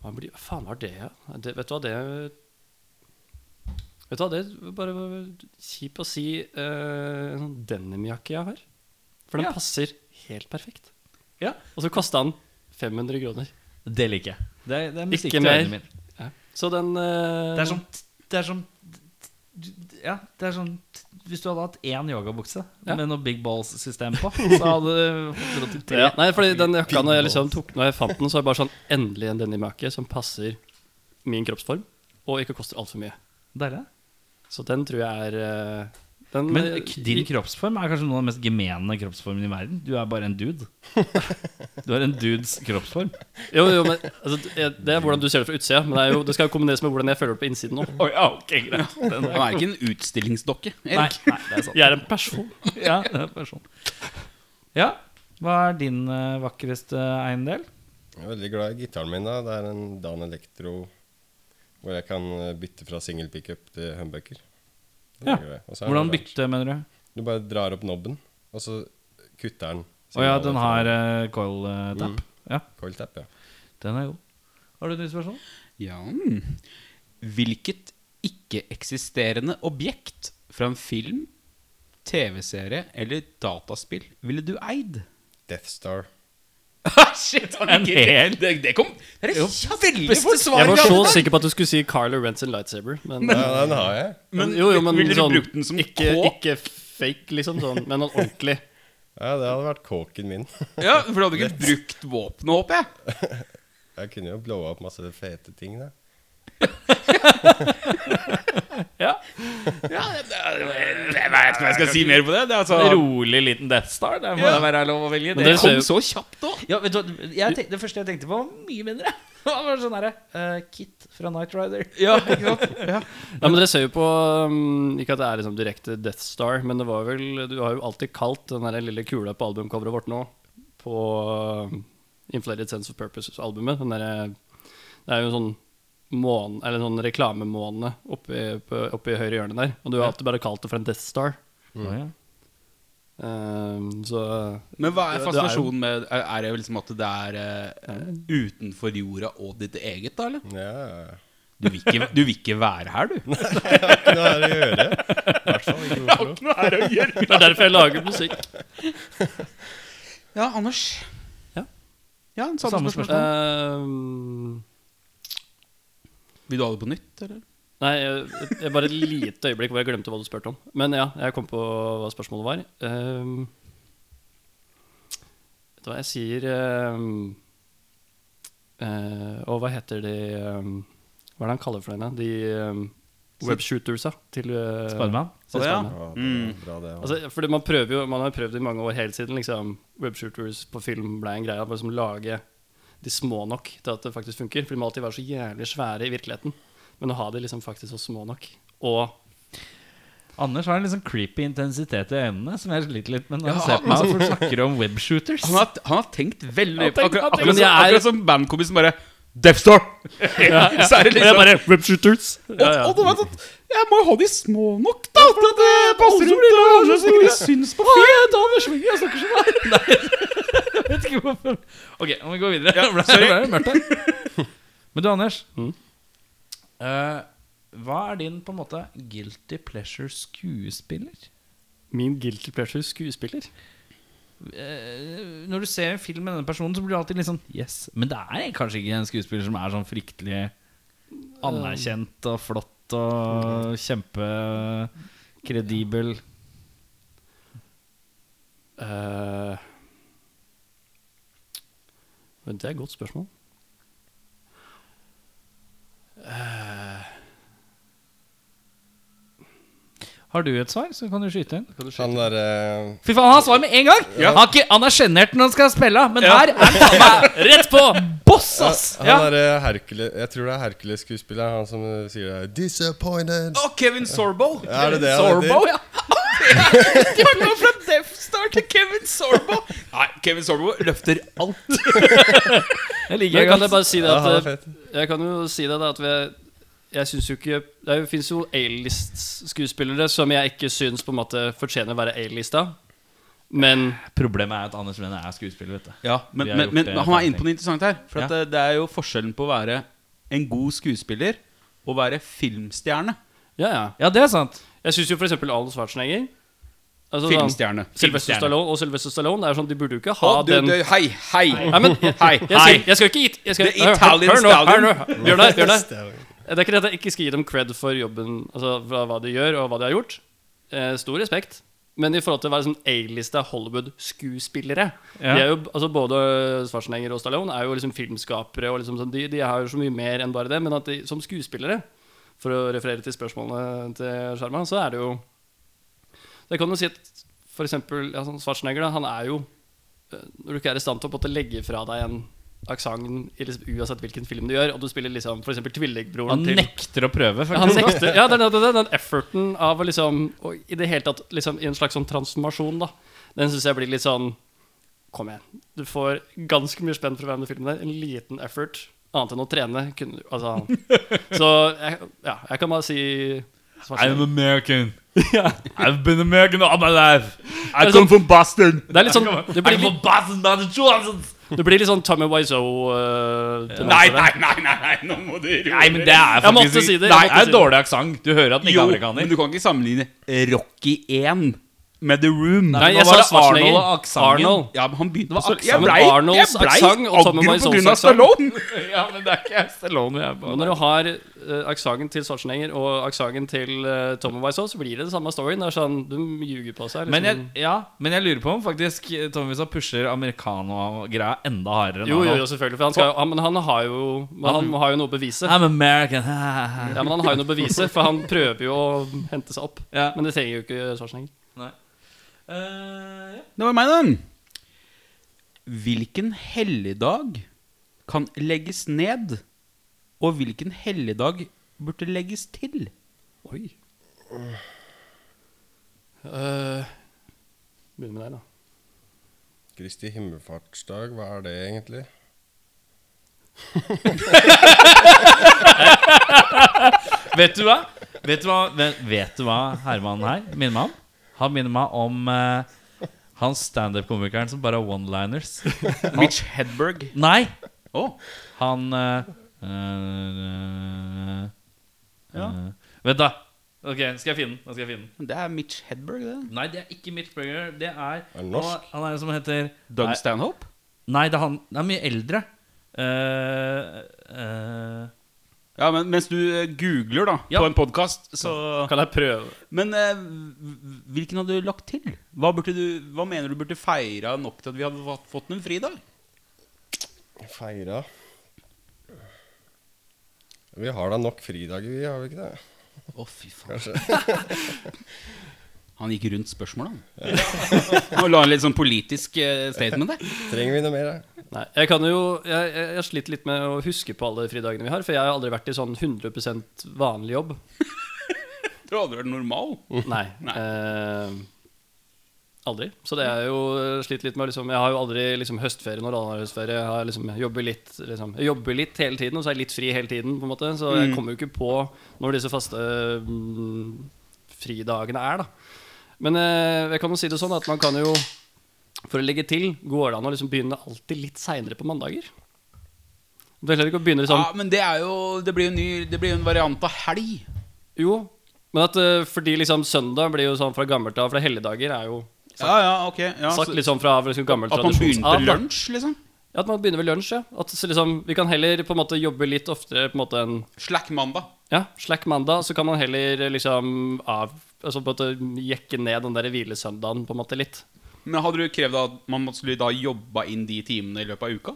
Speaker 3: hva blir, hva faen var det, ja? det? Vet du hva det Vet du hva det er bare kjipt å si eh, en sånn denimjakke jeg har. For den
Speaker 2: Ja.
Speaker 3: passer helt perfekt.
Speaker 2: Ja.
Speaker 3: Og så kosta den 500 kroner.
Speaker 2: Det liker jeg. Det er, det er musikk
Speaker 3: Ikke
Speaker 2: til
Speaker 3: mer.
Speaker 2: ørene mine.
Speaker 3: Så den eh,
Speaker 2: Det er sånn som Det er som ja, det er sånn Hvis du hadde hatt én yogabukse
Speaker 3: Ja.
Speaker 2: med noe Big Balls-system på, så hadde du fått råd til tre.
Speaker 3: Ja, nei, fordi den jakka når jeg liksom tok Når jeg fant den, så var det bare sånn endelig en denimjakke som passer min kroppsform, og ikke koster altfor mye.
Speaker 2: Deilig.
Speaker 3: Så den tror jeg er eh, den,
Speaker 2: Men
Speaker 3: eh,
Speaker 2: k- din kroppsform er kanskje noen av de mest gemene kroppsformene i verden. Du er bare en dude. Du er en dudes kroppsform.
Speaker 3: Jo, jo, men altså, det- Det er hvordan du ser det fra utsida, men det, er jo, det skal jo kombineres med hvordan jeg føler det på innsiden nå.
Speaker 2: Oi, ja, ok, greit. Den
Speaker 1: Han er ikke en utstillingsdokke.
Speaker 2: Nei,
Speaker 1: Erik.
Speaker 2: nei, det er sant.
Speaker 3: Jeg er en person.
Speaker 2: Ja, det er person. Ja, hva er din eh, vakreste eiendel?
Speaker 4: Jeg er veldig glad i gitaren min. da Det er en Dan Electro hvor jeg kan eh, bytte fra single pickup til humbucker. Det
Speaker 2: Ja.
Speaker 4: er greit. Og så er den
Speaker 2: Hvordan
Speaker 4: oransje.
Speaker 2: bytte, mener du?
Speaker 4: Du bare drar opp nobben, og så kutter den.
Speaker 2: Å ja,
Speaker 4: signalet
Speaker 2: den
Speaker 4: fra
Speaker 2: har uh, coil eh, tap. Ja,
Speaker 4: coil tap, ja.
Speaker 2: den er god. Har du et nytt spørsmål?
Speaker 1: Ja. mm. Hvilket ikke-eksisterende objekt fra en film, TV-serie eller dataspill ville du eid?
Speaker 4: Death Star.
Speaker 3: Ah,
Speaker 1: Shit,
Speaker 2: En hel.
Speaker 1: Det, det kom Det er det veldig fort svar.
Speaker 3: Jeg var
Speaker 1: Gabriel.
Speaker 3: så sikker på at du skulle si Carlo Rents and Lightsaber, men,
Speaker 4: Ja, den har jeg.
Speaker 1: Men
Speaker 3: jo, jo, men
Speaker 1: ville du
Speaker 3: sånn,
Speaker 1: brukt den som
Speaker 3: ikke,
Speaker 1: kåk?
Speaker 3: ikke fake, liksom, sånn, men noen ordentlig.
Speaker 4: Ja, Det hadde vært kåken min.
Speaker 1: Ja, for du hadde ikke brukt våpenet, håper jeg.
Speaker 4: Jeg kunne jo blowa opp masse fete ting, da.
Speaker 1: Ja, det, det, jeg vet ikke hva jeg skal si mer på det. Det, er altså,
Speaker 2: Rolig liten Death Star. Det må
Speaker 1: Ja.
Speaker 2: da være lov å velge.
Speaker 3: Men
Speaker 2: Det.
Speaker 3: det-
Speaker 1: kom så kjapt òg.
Speaker 2: Ja, vet du, hva, jeg tenk- det første jeg tenkte på, var mye mindre. Det var sånn herre eh, Kit fra Night Rider.
Speaker 1: Ja, ikke sant?
Speaker 3: Ja, men Dere ser jo på um, Ikke at det er liksom direkte Death Star, men det var vel Du har jo alltid kalt den der lille kula på albumcoveret vårt nå På um, Inflated Sense of Purpose-albumet. Den derre- Det er jo en sånn måne, Eller en sånn reklamemåne oppi, på, oppi høyre hjørne der. Og du har alltid bare kalt det for en Death Star.
Speaker 2: Å, ja.
Speaker 3: Um, så
Speaker 1: Men hva er
Speaker 3: Det- det er jo-
Speaker 1: fascinasjonen med Er er det liksom at det er eh, utenfor jorda og ditt eget, da, eller?
Speaker 4: Ja, ja, ja.
Speaker 1: Du vil ikke, du vil ikke være her, du.
Speaker 4: Ikke noe her å gjøre. I hvert fall ikke i Oslo.
Speaker 3: Det er derfor jeg lager musikk.
Speaker 1: Ja, Anders.
Speaker 3: Ja.
Speaker 1: Ja, en samme,
Speaker 2: Samme
Speaker 1: spørsmål.
Speaker 3: Um, Eh.
Speaker 1: Vil du ha det på nytt, eller?
Speaker 3: Nei, jeg, jeg bare et lite øyeblikk hvor jeg glemte hva du spurte om. Men ja, jeg kom på hva spørsmålet var. Ehm, vet du hva jeg sier ehm, eh, Og hva heter de ehm, Hva er det han kaller for henne? De um, webshootersa til uh,
Speaker 2: Spiderman.
Speaker 1: Å, ja.
Speaker 4: Ja, det er bra, det. også.
Speaker 3: Altså, fordi man prøver jo Man har prøvd i mange år helt siden liksom, webshooters på film ble en greie. Bare liksom lage de små nok til at det faktisk funker. For de må alltid være så jævlig svære i virkeligheten. Men å ha de liksom faktisk så små nok. Og
Speaker 2: Anders har en litt sånn creepy intensitet i øynene som jeg sliter litt med når
Speaker 1: Ja,
Speaker 2: han ser på meg, for du snakker om webshooters.
Speaker 1: Han har, han har tenkt veldig mye på
Speaker 3: tenkt-
Speaker 1: akkurat,
Speaker 3: han tenker-
Speaker 1: akkurat,
Speaker 3: Men jeg
Speaker 1: som-
Speaker 3: er-
Speaker 1: akkurat som bandkompisen bare Death Star! Så er det liksom
Speaker 3: bare Webshooters! Ja, ja.
Speaker 1: Og, og du vet at Jeg må jo ha de små nok, da! Til at det passer rundt og alle som ikke syns på film.
Speaker 2: Jeg tar med svinget, jeg snakker sånn her. Nei, jeg vet ikke hvorfor. Ok, nå må vi gå videre.
Speaker 1: Ja,
Speaker 2: Det ble-
Speaker 1: sorry.
Speaker 2: det ble mørkt her. Men du, Anders.
Speaker 3: Mm.
Speaker 2: eh, hva er din på en måte guilty pleasure skuespiller?
Speaker 3: Min guilty pleasure skuespiller.
Speaker 2: Eh, når du ser en film med denne personen, så blir du alltid litt sånn Yes. Men det er kanskje ikke en skuespiller som er sånn fryktelig anerkjent og flott og kjempe Kredibel.
Speaker 3: Eh, men det er et godt spørsmål.
Speaker 2: Har du et svar, så kan du skyte inn.
Speaker 3: Kan du
Speaker 4: Han
Speaker 3: skyte?
Speaker 4: der eh,
Speaker 2: Fy faen, han har svar med en gang! Han, er ikke, han er sjenert når han skal spille, men her er han faen meg rett på! Boss, ass!
Speaker 4: Han
Speaker 2: Ja.
Speaker 4: der eh, Hercules Jeg tror det er Hercules-skuespilleren, han som eh, sier det. 'Disappointed'.
Speaker 1: Å, Kevin Sorbo!
Speaker 4: Er det det han
Speaker 2: Sorbo,
Speaker 4: heter?
Speaker 2: ja.
Speaker 1: De har gått fra Death Star til Kevin Sorbo! Nei, Kevin Sorbo løfter alt.
Speaker 2: Det
Speaker 3: Men
Speaker 2: liker jeg
Speaker 3: kan jeg
Speaker 2: godt.
Speaker 3: bare si det
Speaker 4: Ja, han er
Speaker 3: at eh,
Speaker 4: fett.
Speaker 3: Jeg kan jo si det da at vi, jeg synes jo ikke Det er jo- finnes jo A-list-skuespillere som jeg ikke syns på en måte fortjener å være A-lista. Men
Speaker 5: Problemet er at Anders Venne er skuespiller, vet du.
Speaker 1: Ja, men,
Speaker 5: Vi har
Speaker 1: men,
Speaker 5: gjort
Speaker 1: men
Speaker 5: det,
Speaker 1: han er
Speaker 5: jeg
Speaker 1: inne på noe interessant her. For at
Speaker 5: Ja.
Speaker 1: eh, det er jo forskjellen på å være en god skuespiller og være filmstjerne.
Speaker 3: ja, ja.
Speaker 2: Ja, det er sant.
Speaker 3: Jeg syns jo f.eks. Arnold Schwarzenegger altså, sånn,
Speaker 1: Filmstjerne.
Speaker 3: Sylvester
Speaker 1: Filmstjerne.
Speaker 3: Stallone og Sylvester Stallone. Det er sånn, De burde jo ikke ha
Speaker 1: Å, du,
Speaker 3: den
Speaker 1: du, hei, hei!
Speaker 3: Nei, men jeg,
Speaker 1: Hei,
Speaker 3: jeg,
Speaker 1: hei!
Speaker 3: skal, jeg skal ikke gi jeg skal,
Speaker 1: The Italian
Speaker 3: hør, hør nå, hør nå,
Speaker 1: Stallion.
Speaker 3: Bjørnar, Bjørnar. Det er ikke det at jeg ikke skal gi dem cred for jobben Altså hva, hva de gjør, og hva de har gjort. Eh, stor respekt. Men i forhold til å være sånn A-lista Hollywood-skuespillere
Speaker 2: Ja.
Speaker 3: De er jo, altså Både Schwarzenegger og Stallone er jo liksom filmskapere. Og liksom sånn, de, de har jo så mye mer enn bare det. Men at de, som skuespillere, for å referere til spørsmålene til Sharma, så er det jo Det kan jo si at for eksempel ja, sånn Schwarzenegger, da, han er jo eh, Når du ikke er i stand til å på en måte legge fra deg en aksent i liksom, uansett hvilken film du gjør, og du spiller liksom for eksempel tvillingbroren
Speaker 2: Han
Speaker 3: til
Speaker 2: nekter å prøve.
Speaker 3: ja, han nekter, ja, det er det, det er den efforten av å liksom å I det hele tatt liksom, i en slags sånn transformasjon, da. Den syns jeg blir litt sånn Kom igjen. Du får ganske mye spenn for å være med i filmen der. En liten effort. Annet enn å trene. Kunne, du- altså, så jeg, ja, jeg kan bare si
Speaker 5: I'm
Speaker 3: Schwarzenegger.
Speaker 5: American. I've been American all my life. I
Speaker 3: Det er
Speaker 2: sånn-
Speaker 5: come from Boston.
Speaker 3: Det er litt sånn Det blir
Speaker 5: I'm
Speaker 3: litt,
Speaker 5: from Boston, Massachusetts.
Speaker 3: det blir litt sånn Tommy Wiseau eh, til
Speaker 1: Nei,
Speaker 3: neste
Speaker 1: nei,
Speaker 3: der.
Speaker 1: nei, nei, nei, nå må du roe
Speaker 5: Nei, men det er
Speaker 3: Jeg måtte si det, jeg
Speaker 5: Nei,
Speaker 3: måtte
Speaker 5: det
Speaker 3: si
Speaker 5: er
Speaker 3: det.
Speaker 5: dårlig aksent. Du hører at den ikke
Speaker 1: Jo,
Speaker 5: er
Speaker 1: men
Speaker 5: amerikaner.
Speaker 1: du kan ikke sammenligne Rocky 1 med The Room.
Speaker 3: Nei,
Speaker 5: Hva var
Speaker 3: jeg sa
Speaker 5: det Arnold
Speaker 3: Schwarzenegger.
Speaker 5: og aksangen?
Speaker 3: Arnold.
Speaker 1: Ja, men han begynte
Speaker 3: Det
Speaker 1: på
Speaker 3: var
Speaker 1: så- Jeg
Speaker 3: aksent.
Speaker 1: blei
Speaker 3: Arnolds aksent og Tommy
Speaker 1: aggro
Speaker 3: Wiseaus
Speaker 1: pga.
Speaker 3: aksent.
Speaker 1: Stallone!
Speaker 5: Ja, men det er ikke Stallone vi er
Speaker 3: Og
Speaker 5: på.
Speaker 3: når du har uh, aksenten til Schwarzenegger og aksenten til uh, Tommy Wiseau, så blir det den samme storyen. Det er sånn, De ljuger på seg. Liksom.
Speaker 5: Men jeg, ja, men jeg lurer på om faktisk Tommy Wiseau pusher americano-greia enda hardere. enn
Speaker 3: jo, jo,
Speaker 5: Arnold.
Speaker 3: jo, selvfølgelig. For han skal, han, men han har jo Men han har jo noe å bevise.
Speaker 5: I'm American.
Speaker 3: Ja, men han har jo noe å bevise, for han prøver jo å hente seg opp.
Speaker 5: Ja.
Speaker 3: Men det trenger jo ikke Schwarzenegger.
Speaker 5: Eh,
Speaker 1: Det var meg, da. Hvilken helligdag kan legges ned, og hvilken helligdag burde legges til?
Speaker 3: Oi.
Speaker 5: Eh.
Speaker 3: Uh, Begynner med deg, da.
Speaker 4: Kristi himmelfartsdag, hva er det egentlig?
Speaker 5: Vet du hva? Vet du hva, vet, vet du hva Herman her minner meg om? Han minner meg om eh, han standup-komikeren som bare har one-liners.
Speaker 1: Mitch Hedberg.
Speaker 5: Nei!
Speaker 1: Å,
Speaker 5: Han eh, eh, eh,
Speaker 1: Ja.
Speaker 5: eh, Vent, da. Ok, skal jeg finne den? Nå skal jeg finne den.
Speaker 1: det er Mitch Hedberg, det.
Speaker 5: Nei, det er ikke Mitch Berger. Det er
Speaker 4: Er det norsk?
Speaker 5: Han, han er en som heter
Speaker 1: Doug
Speaker 5: Nei.
Speaker 1: Stanhope.
Speaker 5: Nei, det er han Det er mye eldre. Eh, eh,
Speaker 1: Ja, men mens du eh, googler da
Speaker 5: Ja.
Speaker 1: på en podkast, så
Speaker 3: Kan jeg prøve?
Speaker 1: Men eh, hv- hvilken hadde du lagt til? Hva, burde du, hva mener du burde feira nok til at vi hadde fått- fått en fridag?
Speaker 4: Feira Vi har da nok fridager, vi, har vi ikke det?
Speaker 1: Å, fy faen. han gikk rundt spørsmålet, han. han la en litt sånn politisk eh, statement der.
Speaker 4: Trenger vi noe mer? da?
Speaker 3: Nei, jeg kan jo jeg, jeg, jeg sliter litt med å huske på alle fridagene vi har, for jeg har aldri vært i sånn 100 vanlig jobb.
Speaker 1: Du hadde vært normal.
Speaker 3: Nei. Eh, aldri. Så det er jo slitt litt med liksom, Jeg har jo aldri liksom, høstferie når alle har høstferie. Jeg har liksom, jeg jobber, litt, liksom, jeg jobber litt hele tiden, og så er jeg litt fri hele tiden. På en måte. Så jeg kommer jo ikke på når disse faste mm, fridagene er. Da. Men eh, jeg kan jo si det sånn at man kan jo for å legge til, går det an å liksom begynne alltid litt seinere på mandager? Det er heller ikke å begynne liksom
Speaker 1: Ja, men det er jo Det blir jo en ny Det blir jo en variant av helg.
Speaker 3: Jo, men at eh, fordi liksom søndag blir jo sånn fra gammelt av, for helligdager er jo
Speaker 1: Ja, ja, ok ja,
Speaker 3: Sagt
Speaker 1: så,
Speaker 3: litt sånn fra liksom, gammel
Speaker 1: At man begynner på
Speaker 3: tradisjonsarv, da.
Speaker 1: lunsj, liksom.
Speaker 3: Ja, at man begynner ved lunsj, ja. At så liksom, vi kan heller på en måte jobbe litt oftere på en måte enn
Speaker 1: Slack mandag.
Speaker 3: ja, slack mandag, så kan man heller eh, liksom av altså på en måte jekke ned den der hvilesøndagen på en måte litt.
Speaker 1: Men hadde du krevd at man skulle da jobba inn de timene i løpet av uka?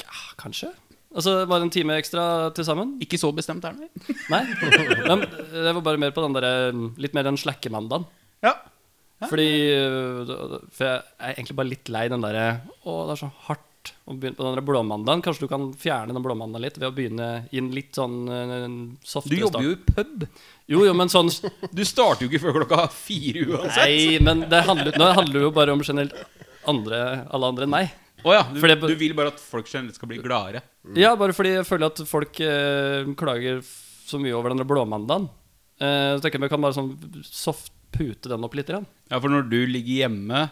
Speaker 3: Ja, kanskje? Altså bare en time ekstra til sammen?
Speaker 1: Ikke så bestemt er det. nei.
Speaker 3: Nei. Men det var bare mer på den der, litt mer den slackemandagen.
Speaker 1: Ja.
Speaker 3: Fordi øh, For jeg er egentlig bare litt lei den derre Å, det er så hardt å begynne på den der blåmandagen. Kanskje du kan fjerne den blåmandagen litt ved å begynne i en litt sånn øh, en
Speaker 1: Du
Speaker 3: softere
Speaker 1: jobber jo i pub.
Speaker 3: Jo, jo, men sånn
Speaker 1: Du starter jo ikke før klokka fire uansett.
Speaker 3: Nei, men det handler, nå handler det jo bare om generelt andre, alle andre enn meg.
Speaker 1: Å ja, du,
Speaker 3: For det-
Speaker 1: du vil bare at folk generelt skal bli gladere.
Speaker 3: Ja, bare fordi jeg føler at folk eh, klager f- så mye over den der blåmandagen. Eh, så tenker jeg vi kan bare sånn soft pute den opp litt. Igjen.
Speaker 1: Ja, For når du ligger hjemme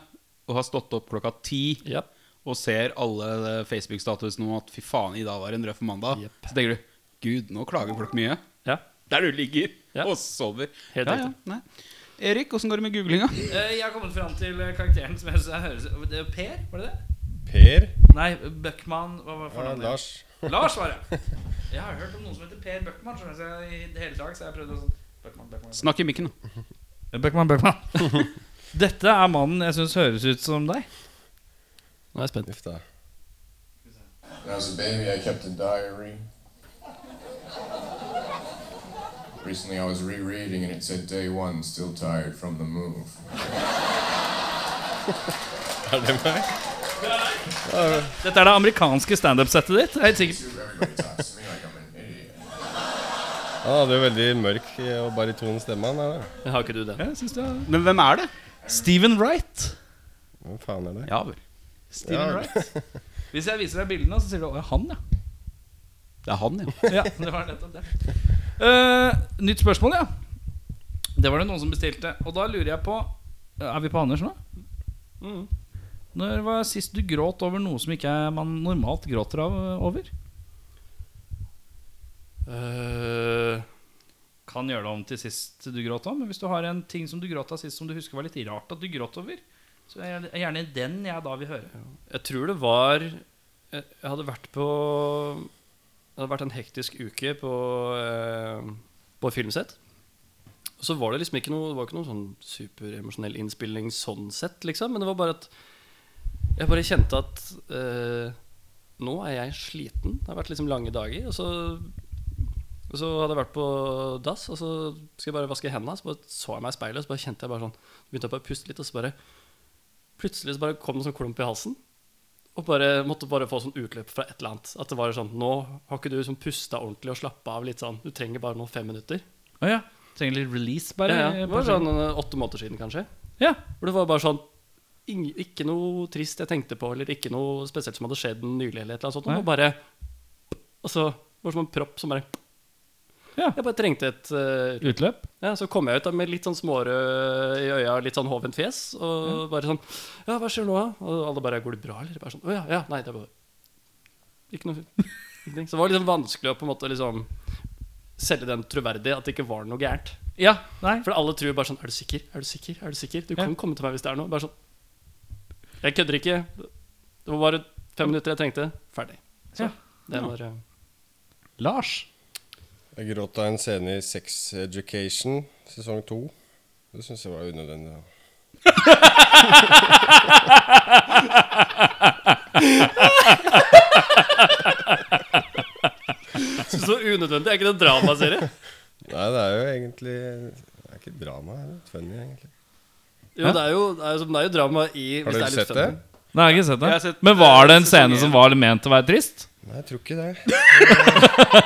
Speaker 1: og har stått opp klokka ti
Speaker 3: Ja.
Speaker 1: og ser alle Facebook-statusene om at fy faen, i dag var det en røff mandag,
Speaker 3: Jepp.
Speaker 1: så tenker du gud, nå klager folk mye.
Speaker 3: ja.
Speaker 1: Der du ligger
Speaker 3: Ja.
Speaker 1: og sover.
Speaker 3: Helt
Speaker 1: ja, ja,
Speaker 3: riktig.
Speaker 1: nei. Erik, åssen går det med googlinga?
Speaker 2: Eh, Jeg har kommet fram til karakteren som jeg synes høres det er Per, var det det?
Speaker 4: Per?
Speaker 2: Nei, Bøckmann. Hva var
Speaker 4: Ja,
Speaker 2: fornavnet?
Speaker 4: Eh, Lars.
Speaker 2: Lars var det. Jeg har hørt om noen som heter Per Bøckmann. skjønner du, Så jeg, i det hele dag så har jeg prøvd å sånn Bøckmann, Bøckmann.
Speaker 1: Snakk i mikken. da.
Speaker 2: Bøckmann, Bøckmann. Eh, Dette er mannen jeg syns høres ut som deg.
Speaker 3: Nå er jeg spent.
Speaker 4: Uff da.
Speaker 7: When I was a baby, I kept a diary. Recently, I was rereading and it said, Day one, still tired from the move.
Speaker 4: Er det meg?
Speaker 2: Dette er det amerikanske standup-settet ditt. Jeg er helt sikker.
Speaker 7: Dude, everybody talks to me like I'm an idiot.
Speaker 4: Han hadde jo veldig mørk og bariton stemme. Han er det.
Speaker 3: Jeg har ikke du den?
Speaker 2: Jeg synes det er-
Speaker 1: Men hvem er det?
Speaker 2: Steven Wright.
Speaker 4: Hvem faen er det?
Speaker 1: Ja vel.
Speaker 2: Steven
Speaker 4: Ja.
Speaker 2: Wright. Hvis jeg viser deg bildene, så sier du 'Å, ja, han, ja'.
Speaker 1: Det er han, ja.
Speaker 2: Ja, det var nettopp det. Eh, nytt spørsmål, ja. Det var det noen som bestilte. Og da lurer jeg på Er vi på Anders nå?
Speaker 3: Mm.
Speaker 2: Når var sist du gråt over noe som ikke er man normalt gråter av over?
Speaker 3: Øh,
Speaker 2: Kan gjøre det om til sist du gråt av, men hvis du har en ting som du gråt av sist som du husker var litt rart at du gråt over, så er det gjerne den jeg da vil høre.
Speaker 3: jeg tror det var Jeg jeg hadde vært på Det hadde vært en hektisk uke på, eh, på et filmsett. Og så var det liksom ikke noe Det var ikke noe sånn superemosjonell innspilling sånn sett, liksom. Men det var bare at jeg bare kjente at eh, nå er jeg sliten. Det har vært liksom lange dager. Og så, og så hadde jeg vært på dass, og så skal jeg bare vaske hendene. Så bare så jeg meg i speilet, og så bare kjente jeg bare sånn Begynte jeg bare å puste litt, og så bare Plutselig så bare kom det en sånn klump i halsen. Og bare, måtte bare få sånn utløp fra et eller annet. At det var sånn Nå har ikke du sånn pusta ordentlig og slappa av litt sånn. Du trenger bare nå fem minutter.
Speaker 2: Å ja. Trenger litt release,
Speaker 3: Ja,
Speaker 2: bare.
Speaker 3: ja.
Speaker 2: eh,
Speaker 3: Det var
Speaker 2: på-
Speaker 3: sånn eh, åtte måneder siden, kanskje.
Speaker 2: ja.
Speaker 3: Hvor det var bare sånn ing- Ikke noe trist jeg tenkte på, eller ikke noe spesielt som hadde skjedd nylig, eller et eller annet sånt. Det var bare Og så var det som en propp som bare
Speaker 2: Ja.
Speaker 3: Jeg bare trengte et eh,
Speaker 2: Utløp.
Speaker 3: ja, Så kom jeg ut da med litt sånn smårød i øya, litt sånn hovent fjes. Og bare sånn Ja, hva skjer nå, da? Og alle bare Går det bra, eller? Bare sånn Å ja, ja. Nei, det er bare Ikke noe ingenting. Så det var liksom vanskelig å på en måte liksom selge den troverdig at det ikke var noe gærent.
Speaker 2: Ja. Nei.
Speaker 3: For alle tror bare sånn Er du sikker? Er du sikker? Er du sikker? Du kan
Speaker 2: Ja.
Speaker 3: komme til meg hvis det er noe. Bare sånn Jeg kødder ikke. Det var bare fem minutter jeg trengte. Ferdig. Så
Speaker 2: Ja.
Speaker 3: det var eh,
Speaker 2: Lars.
Speaker 4: Jeg gråt av en scene i Sex Education sesong to. Det syns jeg var unødvendig. da.
Speaker 3: Så unødvendig. Er ikke det en dramaserie?
Speaker 4: Nei, det er jo egentlig Det er ikke et drama. Det er litt funny, egentlig.
Speaker 3: Jo, det er jo, det er jo, det er jo drama i hvis
Speaker 4: Har
Speaker 3: det
Speaker 4: dere
Speaker 3: er litt
Speaker 4: sett det?
Speaker 3: funny.
Speaker 2: Nei, jeg har ikke sett det.
Speaker 1: Jeg har sett,
Speaker 2: men var det en
Speaker 1: eh,
Speaker 2: scene
Speaker 1: sesong
Speaker 2: som var ment til å være trist?
Speaker 4: Nei, jeg tror ikke det.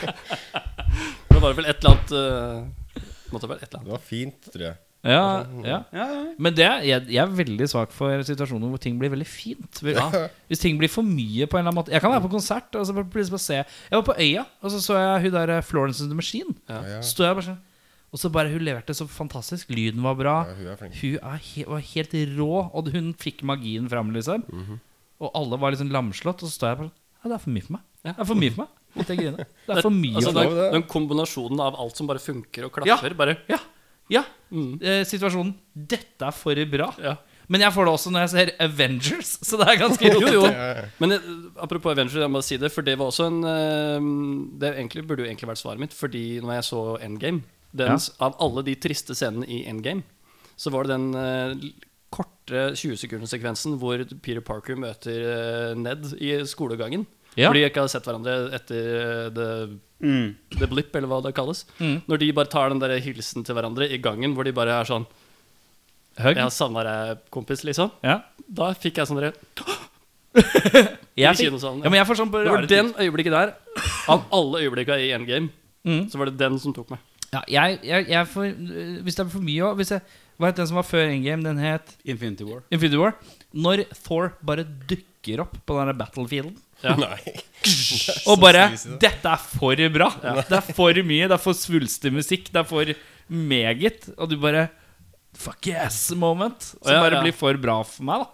Speaker 3: For Det var vel et eller annet eh, måtte være et eller annet.
Speaker 4: Det var fint, tror jeg.
Speaker 2: Ja, ja. Men det, er- jeg, jeg er veldig svak for situasjoner hvor ting blir veldig fint. Hvis ting blir for mye på en eller annen måte. Jeg kan være på konsert og så bare plutselig bare se Jeg var på Øya, og så så jeg hun der eh, Florence and the Machine.
Speaker 4: Ja.
Speaker 2: Så Stod jeg bare sånn Og så bare Hun leverte så fantastisk. Lyden var bra.
Speaker 4: Ja, hun er flink.
Speaker 2: Hun er he var helt rå, og hun fikk magien fram, liksom.
Speaker 4: Mhm.
Speaker 2: Og alle var liksom lamslått, og så står jeg bare sånn ja, Det er for mye for meg. Det er for mye for meg. Måtte jeg grine. Det er for mye
Speaker 3: Altså,
Speaker 2: for meg.
Speaker 3: den,
Speaker 4: det.
Speaker 3: den kombinasjonen av alt som bare funker og klaffer, bare mm,
Speaker 2: Ja. ja. Eh, situasjonen 'Dette er for bra'.
Speaker 3: ja.
Speaker 2: Men jeg får det også når jeg ser Avengers, så det er ganske
Speaker 3: Jo, jo.
Speaker 2: rotete.
Speaker 3: Men eh, apropos Avenger, jeg må si det, for det var også en eh, Det er egentlig, burde jo egentlig vært svaret mitt, fordi når jeg så Endgame den, Av alle de triste scenene i Endgame, så var det den eh, l- korte 20-sekundersekvensen hvor Peter Parker møter eh, Ned i skolegangen.
Speaker 2: Ja. Mm.
Speaker 3: Hvor de ikke har sett hverandre etter eh, The, the Blip, eller hva det kalles. Når de bare tar den der hilsen til hverandre i gangen, hvor de bare er sånn
Speaker 2: Hugg.
Speaker 3: Jeg har savna deg, kompis, liksom.
Speaker 2: Ja.
Speaker 3: Da fikk jeg sånn der,
Speaker 2: Jeg,
Speaker 3: I
Speaker 2: fikk,
Speaker 3: kinosalen, ja.
Speaker 2: ja, men jeg får sånn på
Speaker 3: Det var
Speaker 2: rare tider.
Speaker 3: den øyeblikket der, av alle øyeblikka i Endgame,
Speaker 2: Mm.
Speaker 3: så var det den som tok meg.
Speaker 2: Ja, jeg, jeg, jeg får, øh, hvis det er for mye også, hvis jeg, Hva het den som var før Endgame? Den het
Speaker 1: Infinity War.
Speaker 2: Infinity War. Når Thor bare dukker opp på den der battlefielden
Speaker 4: Nei.
Speaker 2: og bare
Speaker 4: sleazy,
Speaker 2: 'Dette er for bra! Det er for mye, det er for svulstig musikk, det er for meget.' Og du bare Fuck yes moment. Som
Speaker 3: ja,
Speaker 2: bare
Speaker 3: ja.
Speaker 2: blir for bra for meg, da.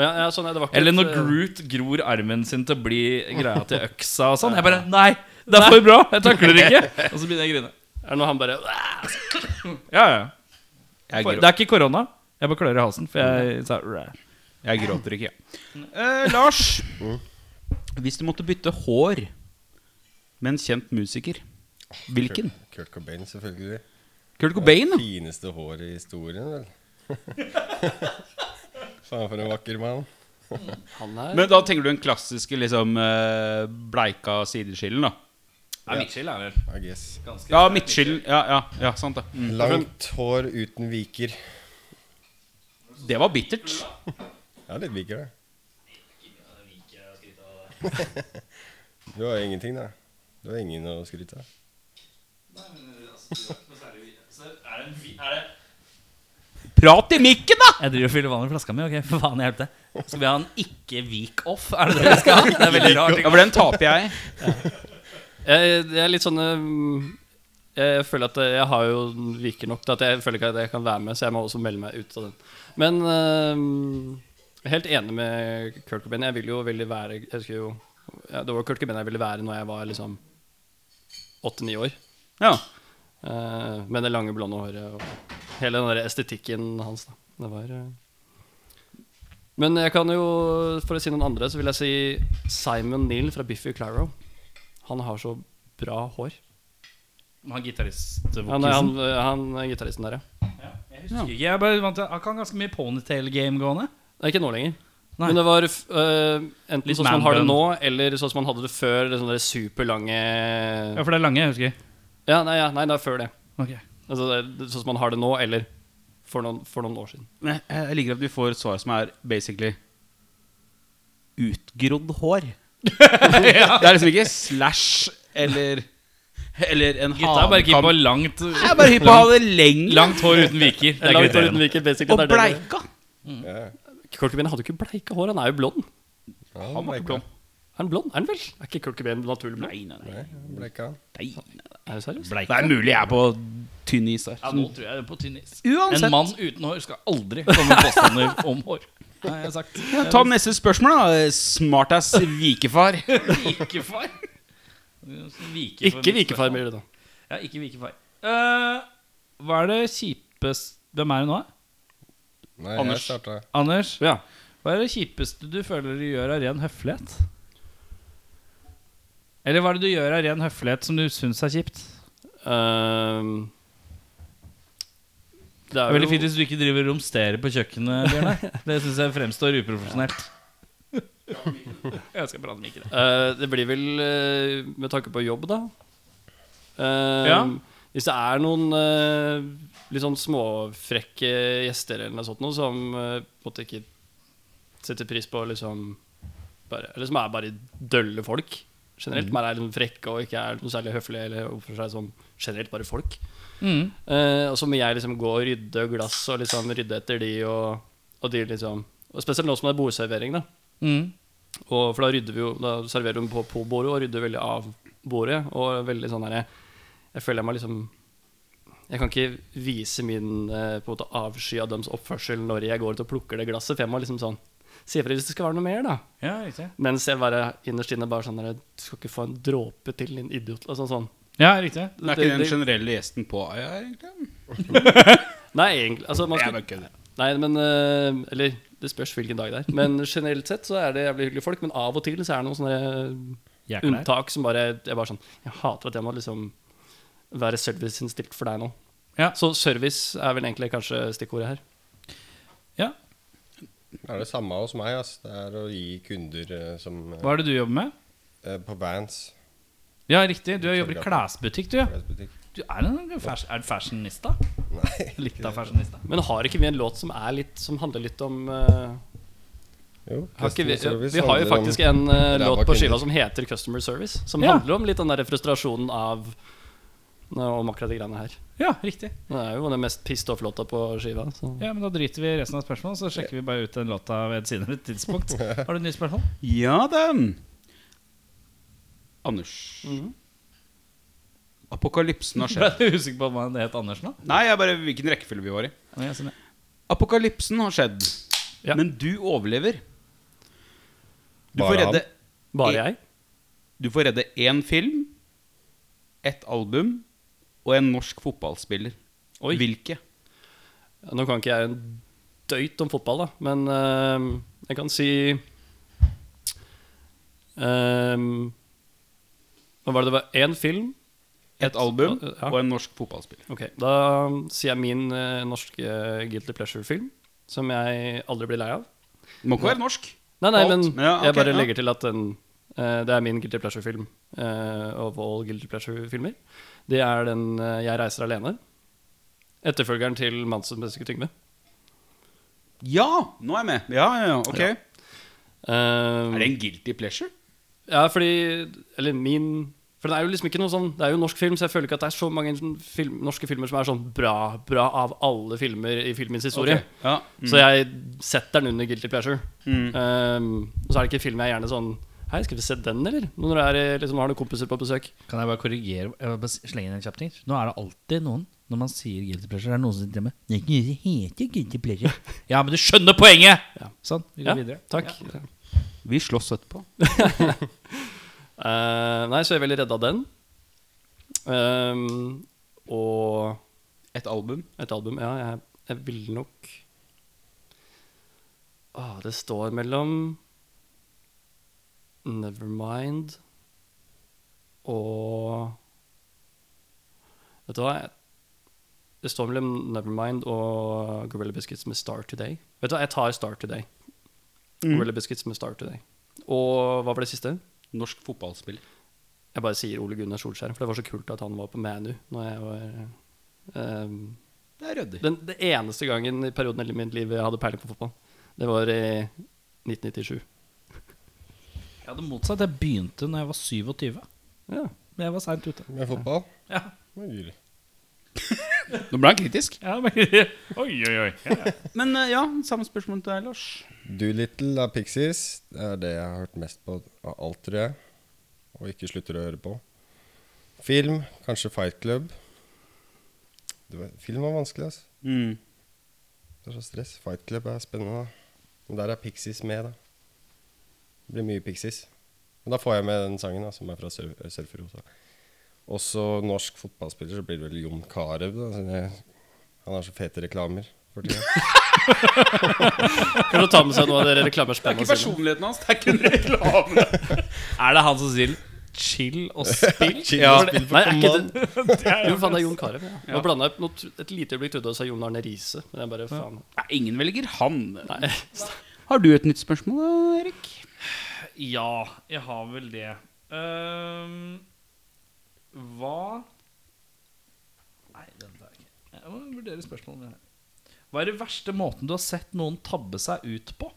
Speaker 3: Og ja, ja, sånn, ja, det var ikke
Speaker 2: Eller
Speaker 3: et,
Speaker 2: når
Speaker 3: eh,
Speaker 2: Groot gror armen sin til å bli greia til øksa og sånn. Jeg bare Nei! Det er for bra! Jeg takler det ikke! Og så begynner jeg å grine.
Speaker 3: er det når han bare
Speaker 2: Ja, ja.
Speaker 1: Jeg,
Speaker 2: For,
Speaker 1: grå,
Speaker 2: det er ikke korona. Jeg bare klør i halsen, for jeg sa "Ræ."
Speaker 1: jeg gråter ikke, jeg. Eh, Lars, hvis du måtte bytte hår med en kjent musiker, hvilken?
Speaker 4: Kurt- Kurt Cobain, selvfølgelig.
Speaker 1: Kurt Cobain? da.
Speaker 4: Fineste hår i historien, vel. Faen, for en vakker mann.
Speaker 3: Han er
Speaker 1: Men da tenker du den klassiske liksom, eh, bleika sideskillen, da.
Speaker 4: I guess.
Speaker 1: Ja, midtskillen. Ja, ja, ja, sant det. Mm.
Speaker 4: Langt hår uten viker.
Speaker 1: Det var bittert.
Speaker 4: Ja, litt viker, det. Du har ingenting, da. Du har ingen å skryte av.
Speaker 1: Prat i mikken, da!
Speaker 2: Jeg driver og fyller vann i flaska mi. Ok, for faen hjelp det Skal vi ha en ikke week off? Er det det vi skal ha? Det er veldig rart.
Speaker 1: Ja, for den taper jeg.
Speaker 3: jeg, jeg er litt sånn eh, Jeg føler at jeg har jo viker nok til at jeg føler ikke at jeg kan være med, så jeg må også melde meg ut av den. Men eh, jeg er helt enig med Kurt Cobain. Jeg vil jo veldig være Jeg husker jo ja, Det var Kurt Cobain jeg ville være når jeg var liksom åtte-ni år.
Speaker 1: Ja.
Speaker 3: Eh, med det lange, blonde håret og hele den der estetikken hans. da Det var eh. Men jeg kan jo, for å si noen andre, så vil jeg si Simon Neal fra Biffy Clyro. Han har så bra hår.
Speaker 2: Han
Speaker 3: Han, er- han, eh,
Speaker 2: gitarist-vokisen.
Speaker 3: han er gitaristen der, ja.
Speaker 2: Jeg er bare vant til Han kan ganske mye ponytail-game gående.
Speaker 3: Det er ikke nå lenger.
Speaker 2: Nei.
Speaker 3: Men det var f- eh, enten
Speaker 2: Litt
Speaker 3: sånn som han har det
Speaker 2: man-bun.
Speaker 3: nå, eller sånn som han hadde det før. Det sånne der superlange
Speaker 2: Ja, for det er lange, jeg husker.
Speaker 3: Ja, nei, ja, nei, det er før det.
Speaker 2: Ok.
Speaker 3: Altså, det er sånn som han har det nå, eller for noen, for noen år siden.
Speaker 1: Men jeg- jeg liker at vi får et svar som er basically utgrodd hår. Det er liksom ikke slash eller Eller en
Speaker 2: Gutta er bare keen på
Speaker 1: hanekam.
Speaker 2: langt,
Speaker 1: Jeg er bare hypp på å ha det lenger.
Speaker 2: langt hår uten viker. Det er
Speaker 3: Langt hår uten
Speaker 2: irriterende.
Speaker 3: viker, basically.
Speaker 1: og
Speaker 3: det er det det-
Speaker 1: bleika.
Speaker 4: Ja.
Speaker 3: Kurt Cobain hadde jo ikke bleika hår, han er jo blond.
Speaker 4: Han
Speaker 1: var ikke blond.
Speaker 3: Er han blond? Er han vel? Er ikke Kurt Cobain naturlig blond?
Speaker 1: Nei, nei, nei,
Speaker 4: Bleika han.
Speaker 1: nei.
Speaker 3: Er du seriøs?
Speaker 1: Det er mulig jeg er på tynn is her.
Speaker 2: Ja, nå tror jeg det er på tynn is. En
Speaker 1: Uansett,
Speaker 2: mann uten hår skal aldri komme med påstander om hår. Nei, jeg har sagt
Speaker 1: ta neste spørsmål, da. Smartass vikefar.
Speaker 2: vikefar. Vike
Speaker 3: Ikke vikefar, blir det da.
Speaker 2: Ja, ikke vikefar. Eh, hva er det kjipeste Hvem er det nå? da?
Speaker 4: Nei,
Speaker 1: Anders.
Speaker 4: jeg starta.
Speaker 2: Anders,
Speaker 3: Ja.
Speaker 2: hva er det kjipeste du føler du gjør av ren høflighet? Eller hva er det du gjør av ren høflighet som du syns er kjipt?
Speaker 3: Ehm, det
Speaker 2: Det
Speaker 3: er
Speaker 2: er
Speaker 3: jo
Speaker 2: veldig fint hvis du ikke driver og romsterer på kjøkkenet, Bjørnar. Det syns jeg fremstår uprofesjonelt. Jeg skal prate med ikke det.
Speaker 3: eh, Det blir vel eh, med tanke på jobb, da. Ehm,
Speaker 2: Ja.
Speaker 3: Hvis det er noen eh, litt sånn småfrekke gjester eller noe sånt noe, som eh, på en måte ikke setter pris på liksom bare, Eller som er bare dølle folk generelt.
Speaker 2: Mm.
Speaker 3: Som er litt frekke og ikke er noe særlig høflige eller oppfører seg som generelt bare folk.
Speaker 2: Mm.
Speaker 3: Eh, og så må jeg liksom gå og rydde glass og liksom rydde etter de og, og de liksom Og spesielt nå som det er bordservering, da.
Speaker 2: Mm.
Speaker 3: Og, for da rydder vi jo Da serverer vi på, på bordet og rydder veldig av bordet. Og veldig sånn derre Jeg føler meg liksom Jeg kan ikke vise min eh, på en måte avsky av deres oppførsel når jeg går ut og plukker det glasset, for jeg må liksom sånn Si ifra hvis det skal være noe mer, da.
Speaker 2: Ja, riktig.
Speaker 3: Mens jeg bare innerst inne bare sånn derre Du skal ikke få en dråpe til, din idiot. Og sånn sånn.
Speaker 2: Ja, riktig.
Speaker 1: Det er ikke den generelle gjesten på AI, egentlig.
Speaker 3: Nei, egentlig altså, man
Speaker 1: Jeg
Speaker 3: skal,
Speaker 1: bare kødder.
Speaker 3: Nei, men eh, Eller det spørs hvilken dag det er. Men generelt sett så er det jævlig hyggelige folk. Men av og til så er det noen sånne
Speaker 2: Jækla her.
Speaker 3: unntak som bare Jeg bare sånn Jeg hater at jeg må liksom være serviceinnstilt for deg nå.
Speaker 2: Ja.
Speaker 3: Så service er vel egentlig kanskje stikkordet her.
Speaker 2: Ja.
Speaker 4: Det er det samme hos meg. Ass. Det er å gi kunder eh, som eh,
Speaker 2: Hva er det du jobber med?
Speaker 4: eh, På Vans
Speaker 2: Ja, riktig. Du jobber i klesbutikk, du. ja.
Speaker 4: klesbutikk.
Speaker 2: Du er en fas er du fashionista?
Speaker 4: Nei.
Speaker 2: Litt av fashionista.
Speaker 3: Men har ikke vi en låt som, er litt, som handler litt om eh,
Speaker 4: Jo,
Speaker 3: har ikke vi,
Speaker 4: customer service
Speaker 3: vi har jo
Speaker 4: handler om-
Speaker 3: faktisk en eh,
Speaker 4: ræva
Speaker 3: låt på
Speaker 4: kunder.
Speaker 3: skiva som heter 'Customer Service'. Som
Speaker 2: Ja.
Speaker 3: handler om litt den der frustrasjonen av nå, om akkurat de greiene her.
Speaker 2: Ja, riktig.
Speaker 3: Det er jo den mest pissed off-låta på skiva. Så.
Speaker 2: Ja, men Da driter vi i resten av spørsmålet, så sjekker vi bare ut den låta ved et senere tidspunkt. Har du et nytt spørsmål?
Speaker 1: Ja, den Anders. Apokalypsen har
Speaker 2: Jeg
Speaker 1: skjedd.
Speaker 2: er usikker på hva han het Andersen, da.
Speaker 1: Nei, jeg bare hvilken rekkefølge vi var i.
Speaker 2: Å, jeg skjønner.
Speaker 1: Apokalypsen har skjedd,
Speaker 3: Ja.
Speaker 1: men du overlever. Du
Speaker 4: Bare
Speaker 1: får,
Speaker 4: han.
Speaker 1: redde,
Speaker 3: Bare
Speaker 1: Ja.
Speaker 3: jeg?
Speaker 1: du får redde én film, ett album og en norsk fotballspiller.
Speaker 3: Oi.
Speaker 1: Hvilke?
Speaker 3: Nå kan ikke jeg en døyt om fotball, da, men eh, jeg kan si um, Hva var det det var? Én film?
Speaker 1: Et album
Speaker 3: Ja.
Speaker 1: og en norsk fotballspiller.
Speaker 3: Ok, Da sier jeg min eh, norske Guilty Pleasure-film, som jeg aldri blir lei av.
Speaker 1: Det må ikke være norsk.
Speaker 3: Nei, nei,
Speaker 1: Alt.
Speaker 3: men
Speaker 1: Ja, ok,
Speaker 3: jeg bare
Speaker 1: ja.
Speaker 3: legger til at den eh, Det er min Guilty Pleasure-film eh, of all Guilty Pleasure-filmer. Det er den eh, Jeg reiser alene. Etterfølgeren til Mannen som menneske Tyngve.
Speaker 1: Ja! Nå er jeg med. Ja, ja, ja, ok
Speaker 3: Eh,
Speaker 1: Er det en guilty pleasure?
Speaker 3: Ja, fordi Eller min For den er jo liksom ikke noe sånn Det er jo norsk film, så jeg føler ikke at det er så mange sånn film, norske filmer som er sånn bra, bra av alle filmer i filmens historie.
Speaker 1: Ok, Ja.
Speaker 3: Så jeg setter den under guilty pleasure. Um, og så er det ikke film jeg gjerne sånn Hei, skal vi se den, eller? Når du er, i- liksom, har noen kompiser på besøk.
Speaker 5: Kan jeg bare korrigere jeg vil bare slenge inn en kjapp ting? Nå er det alltid noen når man sier guilty pleasure, er det noen som sier med Det er ikke noe som heter guilty pleasure. Ja, men du skjønner poenget! Sånn. Vi går
Speaker 3: Ja,
Speaker 5: videre.
Speaker 3: takk.
Speaker 1: Vi slåss etterpå.
Speaker 3: Eh, nei, så jeg er veldig redd av den. Um, og
Speaker 1: Et album.
Speaker 3: et album Ja, jeg, jeg ville nok Åh, det står mellom Nevermind og Vet du hva? Jeg- Det står mellom Nevermind og Gorilla Biscuits med Star Today. Vet du hva, jeg tar Star Today. Gorilla Biscuits med Star Today. Og hva var det siste?
Speaker 1: Norsk fotballspiller.
Speaker 3: Jeg bare sier Ole Gunnar Solskjær, for det var så kult at han var på Manu når jeg var eh,
Speaker 1: Det er ryddig.
Speaker 3: den, det eneste gangen i perioden i mitt liv jeg hadde peiling på fotball, det var i
Speaker 2: Jeg
Speaker 3: 1997.
Speaker 2: hadde motsatt. Jeg begynte når jeg var 27.
Speaker 3: Ja.
Speaker 2: Men jeg var seint ute.
Speaker 4: Med fotball?
Speaker 2: Ja.
Speaker 4: Det er gul.
Speaker 1: Nå ble han kritisk.
Speaker 2: Ja, men, oi, oi, oi.
Speaker 1: Men eh, ja, samme spørsmål til deg, Lars.
Speaker 4: Doolittle av Pixies. Det er det jeg har hørt mest på av alt, tror jeg. Og ikke slutter å høre på. Film, kanskje Fight Club. Det var, film var vanskelig, ass.
Speaker 3: Mm.
Speaker 4: Det er så stress. Fight Club er spennende. da. Men der er Pixies med, da. Det blir mye Pixies. Men da får jeg med den sangen, da, som er fra Surf- Surferosa. Også norsk fotballspiller, så blir det vel Jon Carew, da. siden jeg- Han har så fete reklamer for tida.
Speaker 3: Kan du ta med seg noe av dere reklamespennene sine?
Speaker 1: personligheten hans. Det er kun reklame.
Speaker 5: Er det han som sier 'chill og spill'?
Speaker 3: Ja. Nei, er ikke det Jo, faen, det er Jon Carew. Ja. Nå blanda jeg nå tr- et lite øyeblikk trodde jeg sa Jon Arne Riise, men jeg bare faen.
Speaker 1: Nei, ingen velger han.
Speaker 3: Nei.
Speaker 1: Har du et nytt spørsmål, da, Erik?
Speaker 2: Ja, jeg har vel det. Ehm, hva Nei, den der ikke. Jeg må vurdere spørsmålet med det her. Hva er det verste måten du har sett noen tabbe seg ut på?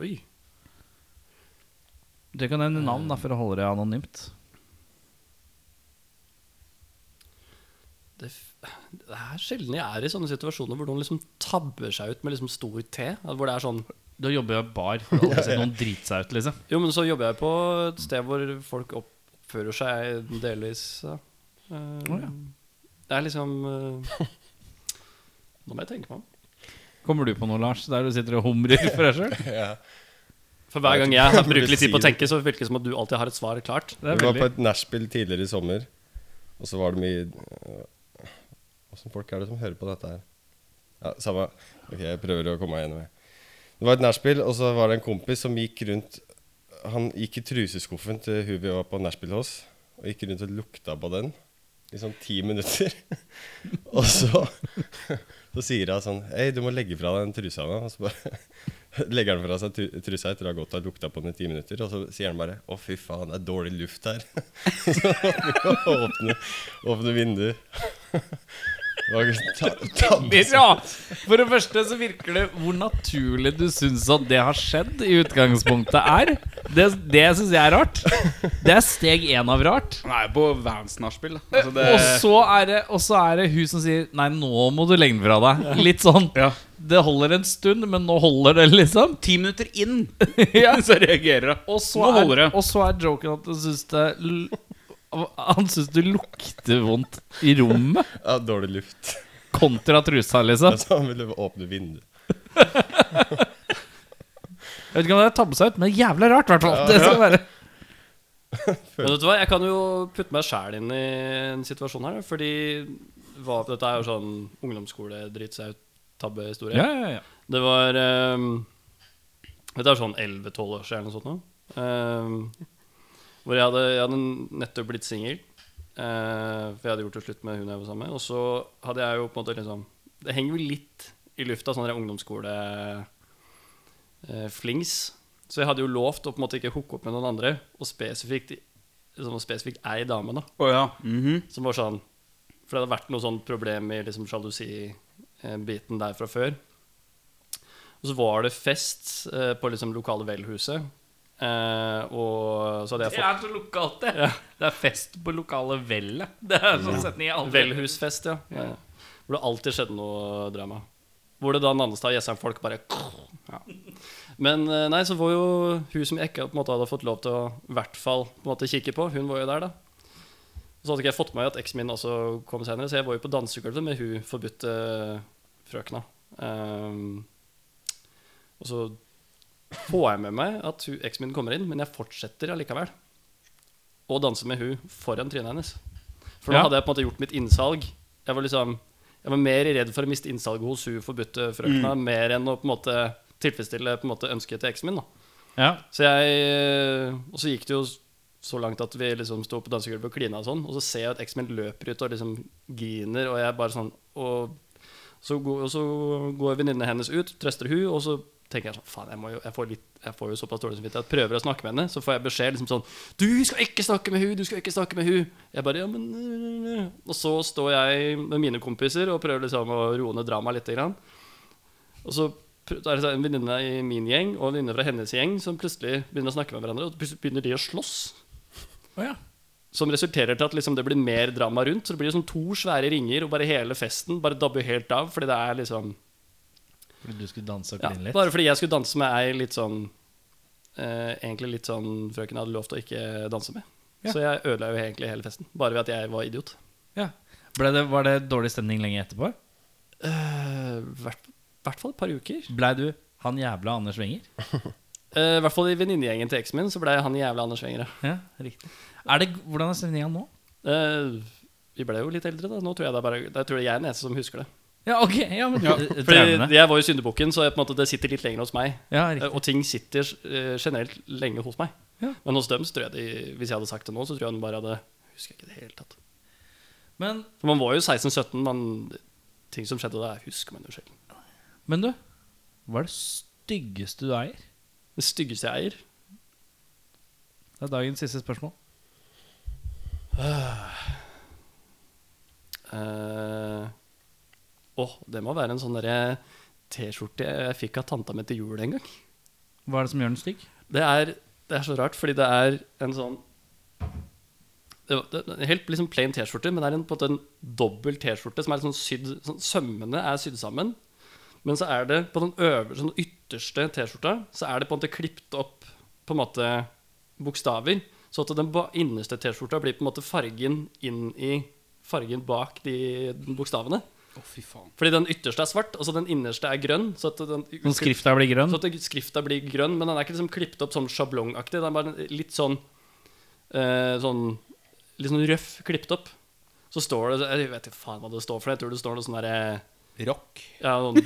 Speaker 3: Oi.
Speaker 2: Du kan nevne navn da, for å holde det anonymt.
Speaker 3: Det, f- det er sjelden jeg er i sånne situasjoner hvor noen liksom tabber seg ut med liksom stor T. Hvor det er sånn
Speaker 2: Da jobber jeg i bar. Har aldri sett noen drite seg ut, liksom.
Speaker 3: Jo, men så jobber jeg på et sted hvor folk oppfører seg delvis ja. Eh, Det er liksom eh, Nå må jeg tenke meg om.
Speaker 2: Kommer du på noe, Lars, der du sitter og humrer for deg sjøl?
Speaker 3: For hver gang jeg
Speaker 4: burde
Speaker 3: bruker litt tid på å
Speaker 4: si
Speaker 3: tenke, så virker det som at du alltid har et svar klart.
Speaker 2: Det er
Speaker 4: Vi var på
Speaker 2: veldig
Speaker 4: et nachspiel tidligere i sommer, og så var det mye Åssen folk er det som hører på dette her? Ja, samme. Ok, jeg prøver å komme meg gjennom. Jeg. Det var et nachspiel, og så var det en kompis som gikk rundt Han gikk i truseskuffen til hun vi var på nachspiel hos, og gikk rundt og lukta på den i sånn ti minutter. og så Så sier hun sånn Hei, du må legge fra deg den trusa nå. Og så bare legger han fra seg tru- trusa etter å ha gått og lukta på den i ti minutter. Og så sier han bare Å, fy faen, det er dårlig luft her. så åpne, åpne vinduer. Og ta, ta,
Speaker 5: Ja, For det første så virker det hvor naturlig du syns at det har skjedd i utgangspunktet er. Det, det syns jeg er rart. Det er steg én av rart.
Speaker 1: Nei, på Vans-nachspiel. da. Altså, det-
Speaker 5: Og så er det, og så er det hun som sier Nei, nå må du legge den fra deg. Litt sånn. Det holder en stund, men nå holder det, liksom.
Speaker 1: Ti minutter inn,
Speaker 5: Ja.
Speaker 1: så reagerer hun.
Speaker 5: Og så,
Speaker 1: Nå holder
Speaker 5: er,
Speaker 1: det.
Speaker 5: og så er joken at han syns det l- Han syns det lukter vondt i rommet.
Speaker 4: ja, dårlig luft.
Speaker 5: Kontra trusa, liksom.
Speaker 4: Altså, han ville åpne vinduet.
Speaker 5: Jeg vet ikke om det er tabbe seg ut, men det er jævla rart, i hvert fall. Det skal være
Speaker 3: Men vet du hva, jeg kan jo putte meg sjæl inn i en situasjon her. Fordi hva, dette er jo sånn ungdomsskole-drittsaut-tabbehistorie. Det var um, Dette er sånn 11-12 år siden eller noe sånt nå. Ehm, hvor jeg hadde, jeg hadde nettopp blitt singel. eh, for jeg hadde gjort det slutt med hun jeg var sammen med. Og så hadde jeg jo på en måte liksom Det henger jo litt i lufta, sånn der ungdomsskole-flings. så jeg hadde jo lovt å på en måte ikke hooke opp med noen andre, og spesifikt, liksom, spesifikt ei dame, da.
Speaker 1: Å ja. mhm.
Speaker 3: Som var sånn For det hadde vært noe sånn problem i liksom sjalusi-biten der fra før. Og så var det fest eh, på liksom lokale velhuset. Eh, og så hadde jeg
Speaker 5: Det
Speaker 3: fått
Speaker 5: er så lokalt, det. Det er fest på lokale vellet. Det er sånn setning jeg aldri
Speaker 3: velhusfest, ja. Eh, Hvor det alltid skjedde noe drama. Hvor det da Nannestad og Jessheim-folk bare ja. Men eh, nei, så var jo hun som jeg ikke på en måte hadde fått lov til å i hvert fall på en måte kikke på, hun var jo der, da. Så hadde ikke jeg fått med meg at eksen min også kom senere, så jeg var jo på dansegulvet med hun forbudte eh, frøkna. Ehm, og så får jeg med meg at hun- eksen min kommer inn, men jeg fortsetter allikevel å danse med hun foran trynet hennes. For nå
Speaker 5: Ja.
Speaker 3: hadde jeg på en måte gjort mitt innsalg. Jeg var liksom Jeg var mer redd for å miste innsalget hos hun forbudte frøkna, mer enn å på en måte tilfredsstille på en måte ønsket til eksen min. da
Speaker 5: Ja.
Speaker 3: så jeg eh, Og så gikk det jo så langt at vi liksom sto på dansegulvet og klina og sånn. Og så ser jeg at eksen min løper ut og liksom griner, og jeg bare sånn Og så, går- og så går venninnene hennes ut, trøster hun, og så tenker jeg sånn Faen, jeg, må jo, jeg, får litt, jeg får jo såpass dårlig samvittighet. Prøver å snakke med henne, så får jeg beskjed liksom sånn Du skal ikke snakke med hun, du skal ikke snakke med hun. Jeg bare Ja, men øh, øh, øh». Og så står jeg med mine kompiser og prøver liksom å roe ned dramaet lite grann. Og så pr- da er det så en venninne i min gjeng og en venninne fra hennes gjeng som plutselig begynner å snakke med hverandre, og plutselig begynner de å slåss. Som resulterer til at liksom det blir mer drama rundt. Så det blir liksom to svære ringer, og bare hele festen bare dabber helt av. Fordi det er liksom
Speaker 2: Fordi du skulle danse og
Speaker 3: ja,
Speaker 2: kline litt?
Speaker 3: Bare fordi jeg skulle danse med ei litt sånn eh, Egentlig litt sånn frøken hadde lovt å ikke danse med. Så jeg ødela jo egentlig hele festen. Bare ved at jeg var idiot.
Speaker 2: Ja. Ble det, var det dårlig stemning lenge etterpå?
Speaker 3: I Eh, hvert, hvert fall et par uker.
Speaker 2: Blei du han jævla Anders Wenger?
Speaker 3: Eh, I hvert fall i venninnegjengen til eksen min så blei han jævla Anders Wenger. ja.
Speaker 2: Ja, riktig. Er det, hvordan er stemninga nå?
Speaker 3: Eh, vi ble jo litt eldre, da. Nå tror jeg det er bare Jeg tror jeg er den eneste som husker det.
Speaker 2: Ja, ok. Ja, men
Speaker 1: Ja,
Speaker 2: Eh, traumene.
Speaker 3: Fordi jeg var jo syndebukken, så jeg, på en måte, det sitter litt lenger hos meg.
Speaker 2: Ja,
Speaker 3: Eh,
Speaker 2: riktig.
Speaker 3: Og ting sitter eh, generelt lenge hos meg.
Speaker 2: Ja.
Speaker 3: Men hos dem, så tror jeg de, hvis jeg hadde sagt det nå, så tror jeg de bare hadde Husker jeg ikke i det hele tatt.
Speaker 2: Men,
Speaker 3: For man var jo 16-17, men ting som skjedde da, husker man jo sjelden.
Speaker 2: men du, hva er det styggeste du eier?
Speaker 3: Det styggeste jeg eier
Speaker 2: Det er dagens siste spørsmål.
Speaker 3: eh, Åh, det må være en sånn derre T-skjorte jeg fikk av tanta mi til jul en gang.
Speaker 2: Hva er det som gjør den stygg?
Speaker 3: Det er, det er så rart, fordi det er en sånn det var- det er en Helt liksom plain T-skjorte, men det er en, på en måte en dobbel T-skjorte som er sånn sydd sånn, Sømmene er sydd sammen. Men så er det på den øverste, den ytterste T-skjorta Så er det på en måte klippet opp på en måte bokstaver. Så at den ba innerste T-skjorta blir på en måte fargen inn i fargen bak de bokstavene.
Speaker 1: Å, fy faen.
Speaker 3: Fordi den ytterste er svart, og så den innerste er grønn. Så at den
Speaker 2: Når skrifta blir grønn?
Speaker 3: så at det- skrifta blir grønn, men den er ikke liksom klippet opp sånn sjablongaktig. Den er bare litt sånn, eh, sånn Litt sånn røff klippet opp. Så står det Jeg vet ikke faen hva det står for. Jeg tror det står noe sånn derre
Speaker 1: Rock.
Speaker 3: Ja, noen,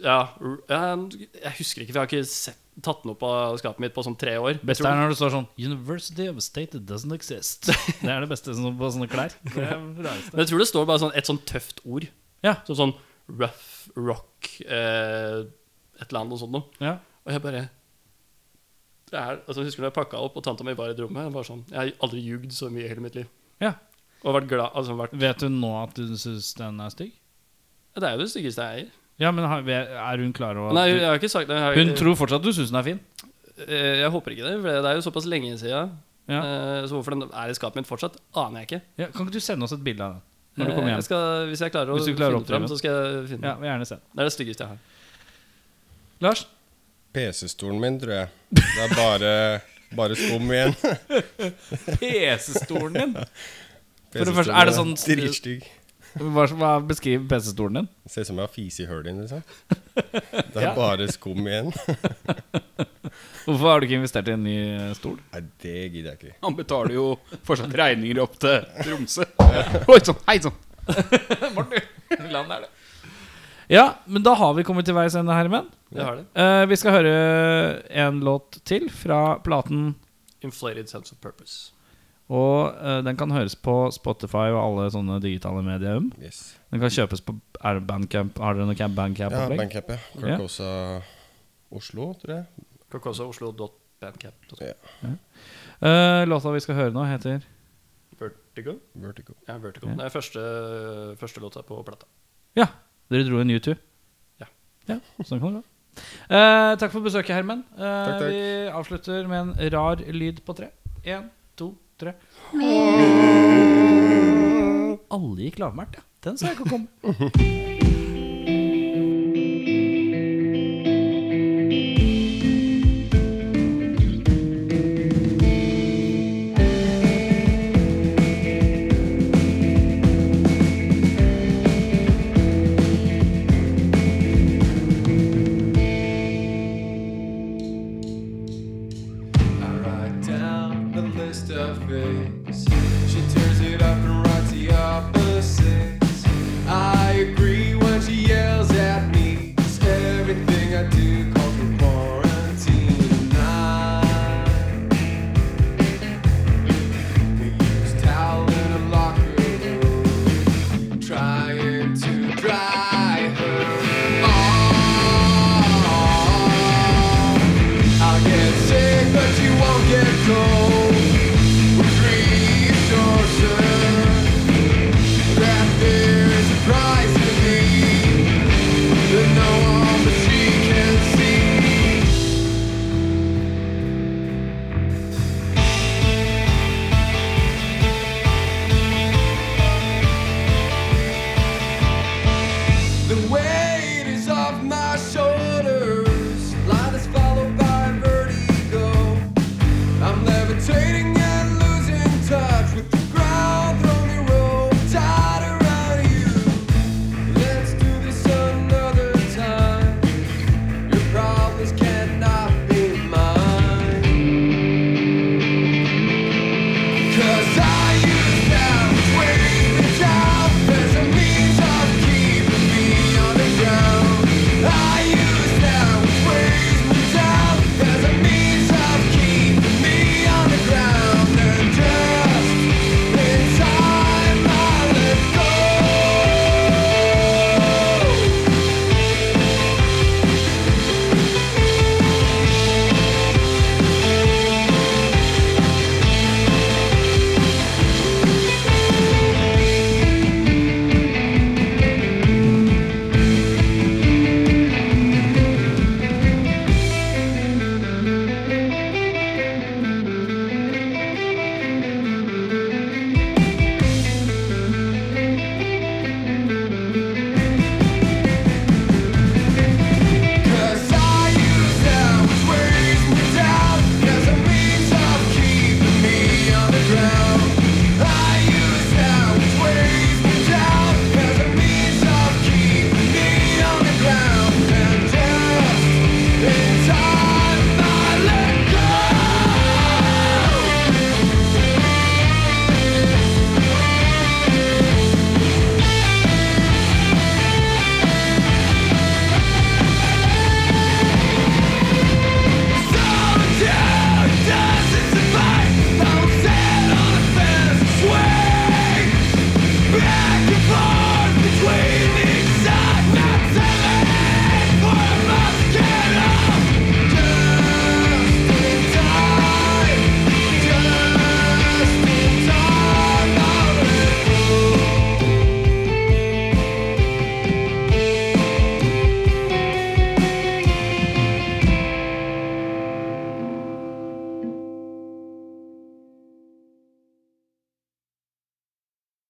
Speaker 3: ja, r- ja, jeg husker ikke, for jeg har ikke sett, tatt den opp av skapet mitt på sånn tre år.
Speaker 2: Best er når det står sånn 'University of State doesn't exist'. Det er det beste som- på sånne klær. Det er det rareste.
Speaker 3: Men jeg tror det står bare sånn, et sånn tøft ord.
Speaker 2: Ja.
Speaker 3: Som sånn rough rock eh, Et eller annet og sånt noe.
Speaker 2: Ja.
Speaker 3: Og jeg bare det er, altså, Jeg husker da jeg pakka opp, og tanta mi var i et rom her. og Bare sånn, jeg har aldri ljugd så mye i hele mitt liv.
Speaker 2: Ja.
Speaker 3: Og vært glad, altså vært,
Speaker 2: Vet hun nå at hun syns den er stygg?
Speaker 3: Det er jo det styggeste jeg eier.
Speaker 2: Ja, men har- er hun klar over at
Speaker 3: Nei,
Speaker 2: du-
Speaker 3: jeg har ikke sagt det. Jeg, har-
Speaker 2: Hun tror fortsatt du syns den er fin.
Speaker 3: Eh, jeg håper ikke det, for det er jo såpass lenge siden.
Speaker 2: Ja.
Speaker 3: Eh, så hvorfor den er i skapet mitt fortsatt, aner jeg ikke.
Speaker 2: Ja, kan ikke du sende oss et bilde av den? Når du kommer
Speaker 3: Eh,
Speaker 2: hjem.
Speaker 3: Jeg skal, hvis jeg klarer å
Speaker 2: Hvis du klarer å
Speaker 3: finne fram,
Speaker 2: oppdrive den.
Speaker 3: så skal jeg finne den.
Speaker 2: Ja, vi gjerne se.
Speaker 3: Det er det styggeste jeg har.
Speaker 2: Lars?
Speaker 4: PC-stolen min, tror jeg. Det er bare, bare skum igjen.
Speaker 2: PC-stolen din?
Speaker 4: For
Speaker 2: det første, er det sånn-
Speaker 4: Dritstygg.
Speaker 2: Hva, hva beskriver PC-stolen din?
Speaker 4: Ser ut som jeg har fise i hølet inni. Liksom. Det er bare skum igjen.
Speaker 2: Hvorfor har du ikke investert i en ny eh, stol?
Speaker 4: Nei, det gidder jeg ikke.
Speaker 1: Han betaler jo fortsatt regninger opp til Tromsø. Oi sann, hei sånn. sann.
Speaker 2: Ja, men da har vi kommet til veis ende, Herman.
Speaker 3: Jeg har det.
Speaker 2: Eh, vi skal høre en låt til fra platen,
Speaker 3: Inflated sense of purpose.
Speaker 2: og eh, den kan høres på Spotify og alle sånne digitale medier.
Speaker 4: Yes.
Speaker 2: Den kan kjøpes på er det Bandcamp. Har dere noe camp-
Speaker 4: Ja,
Speaker 2: Bandcamp-opplegg?
Speaker 4: Bandcamp, ja.
Speaker 2: Ja.
Speaker 4: Carcosa Oslo, tror jeg.
Speaker 3: Kokosaoslo.bandcamp.com.
Speaker 2: Eh, låta vi skal høre nå, heter
Speaker 3: Vertigo?
Speaker 4: Vertigo.
Speaker 3: Ja, Vertigo. Det er første, første låta på plata.
Speaker 2: Ja, dere dro en U2.
Speaker 3: Ja.
Speaker 2: ja sånn kan det gå. Eh, takk for besøket, Herman. Eh,
Speaker 4: Takk, takk.
Speaker 2: Vi avslutter med en rar lyd på tre. Én, to, tre. Alle gikk lavmælt, ja. Den sa jeg ikke å komme.
Speaker 6: Oh.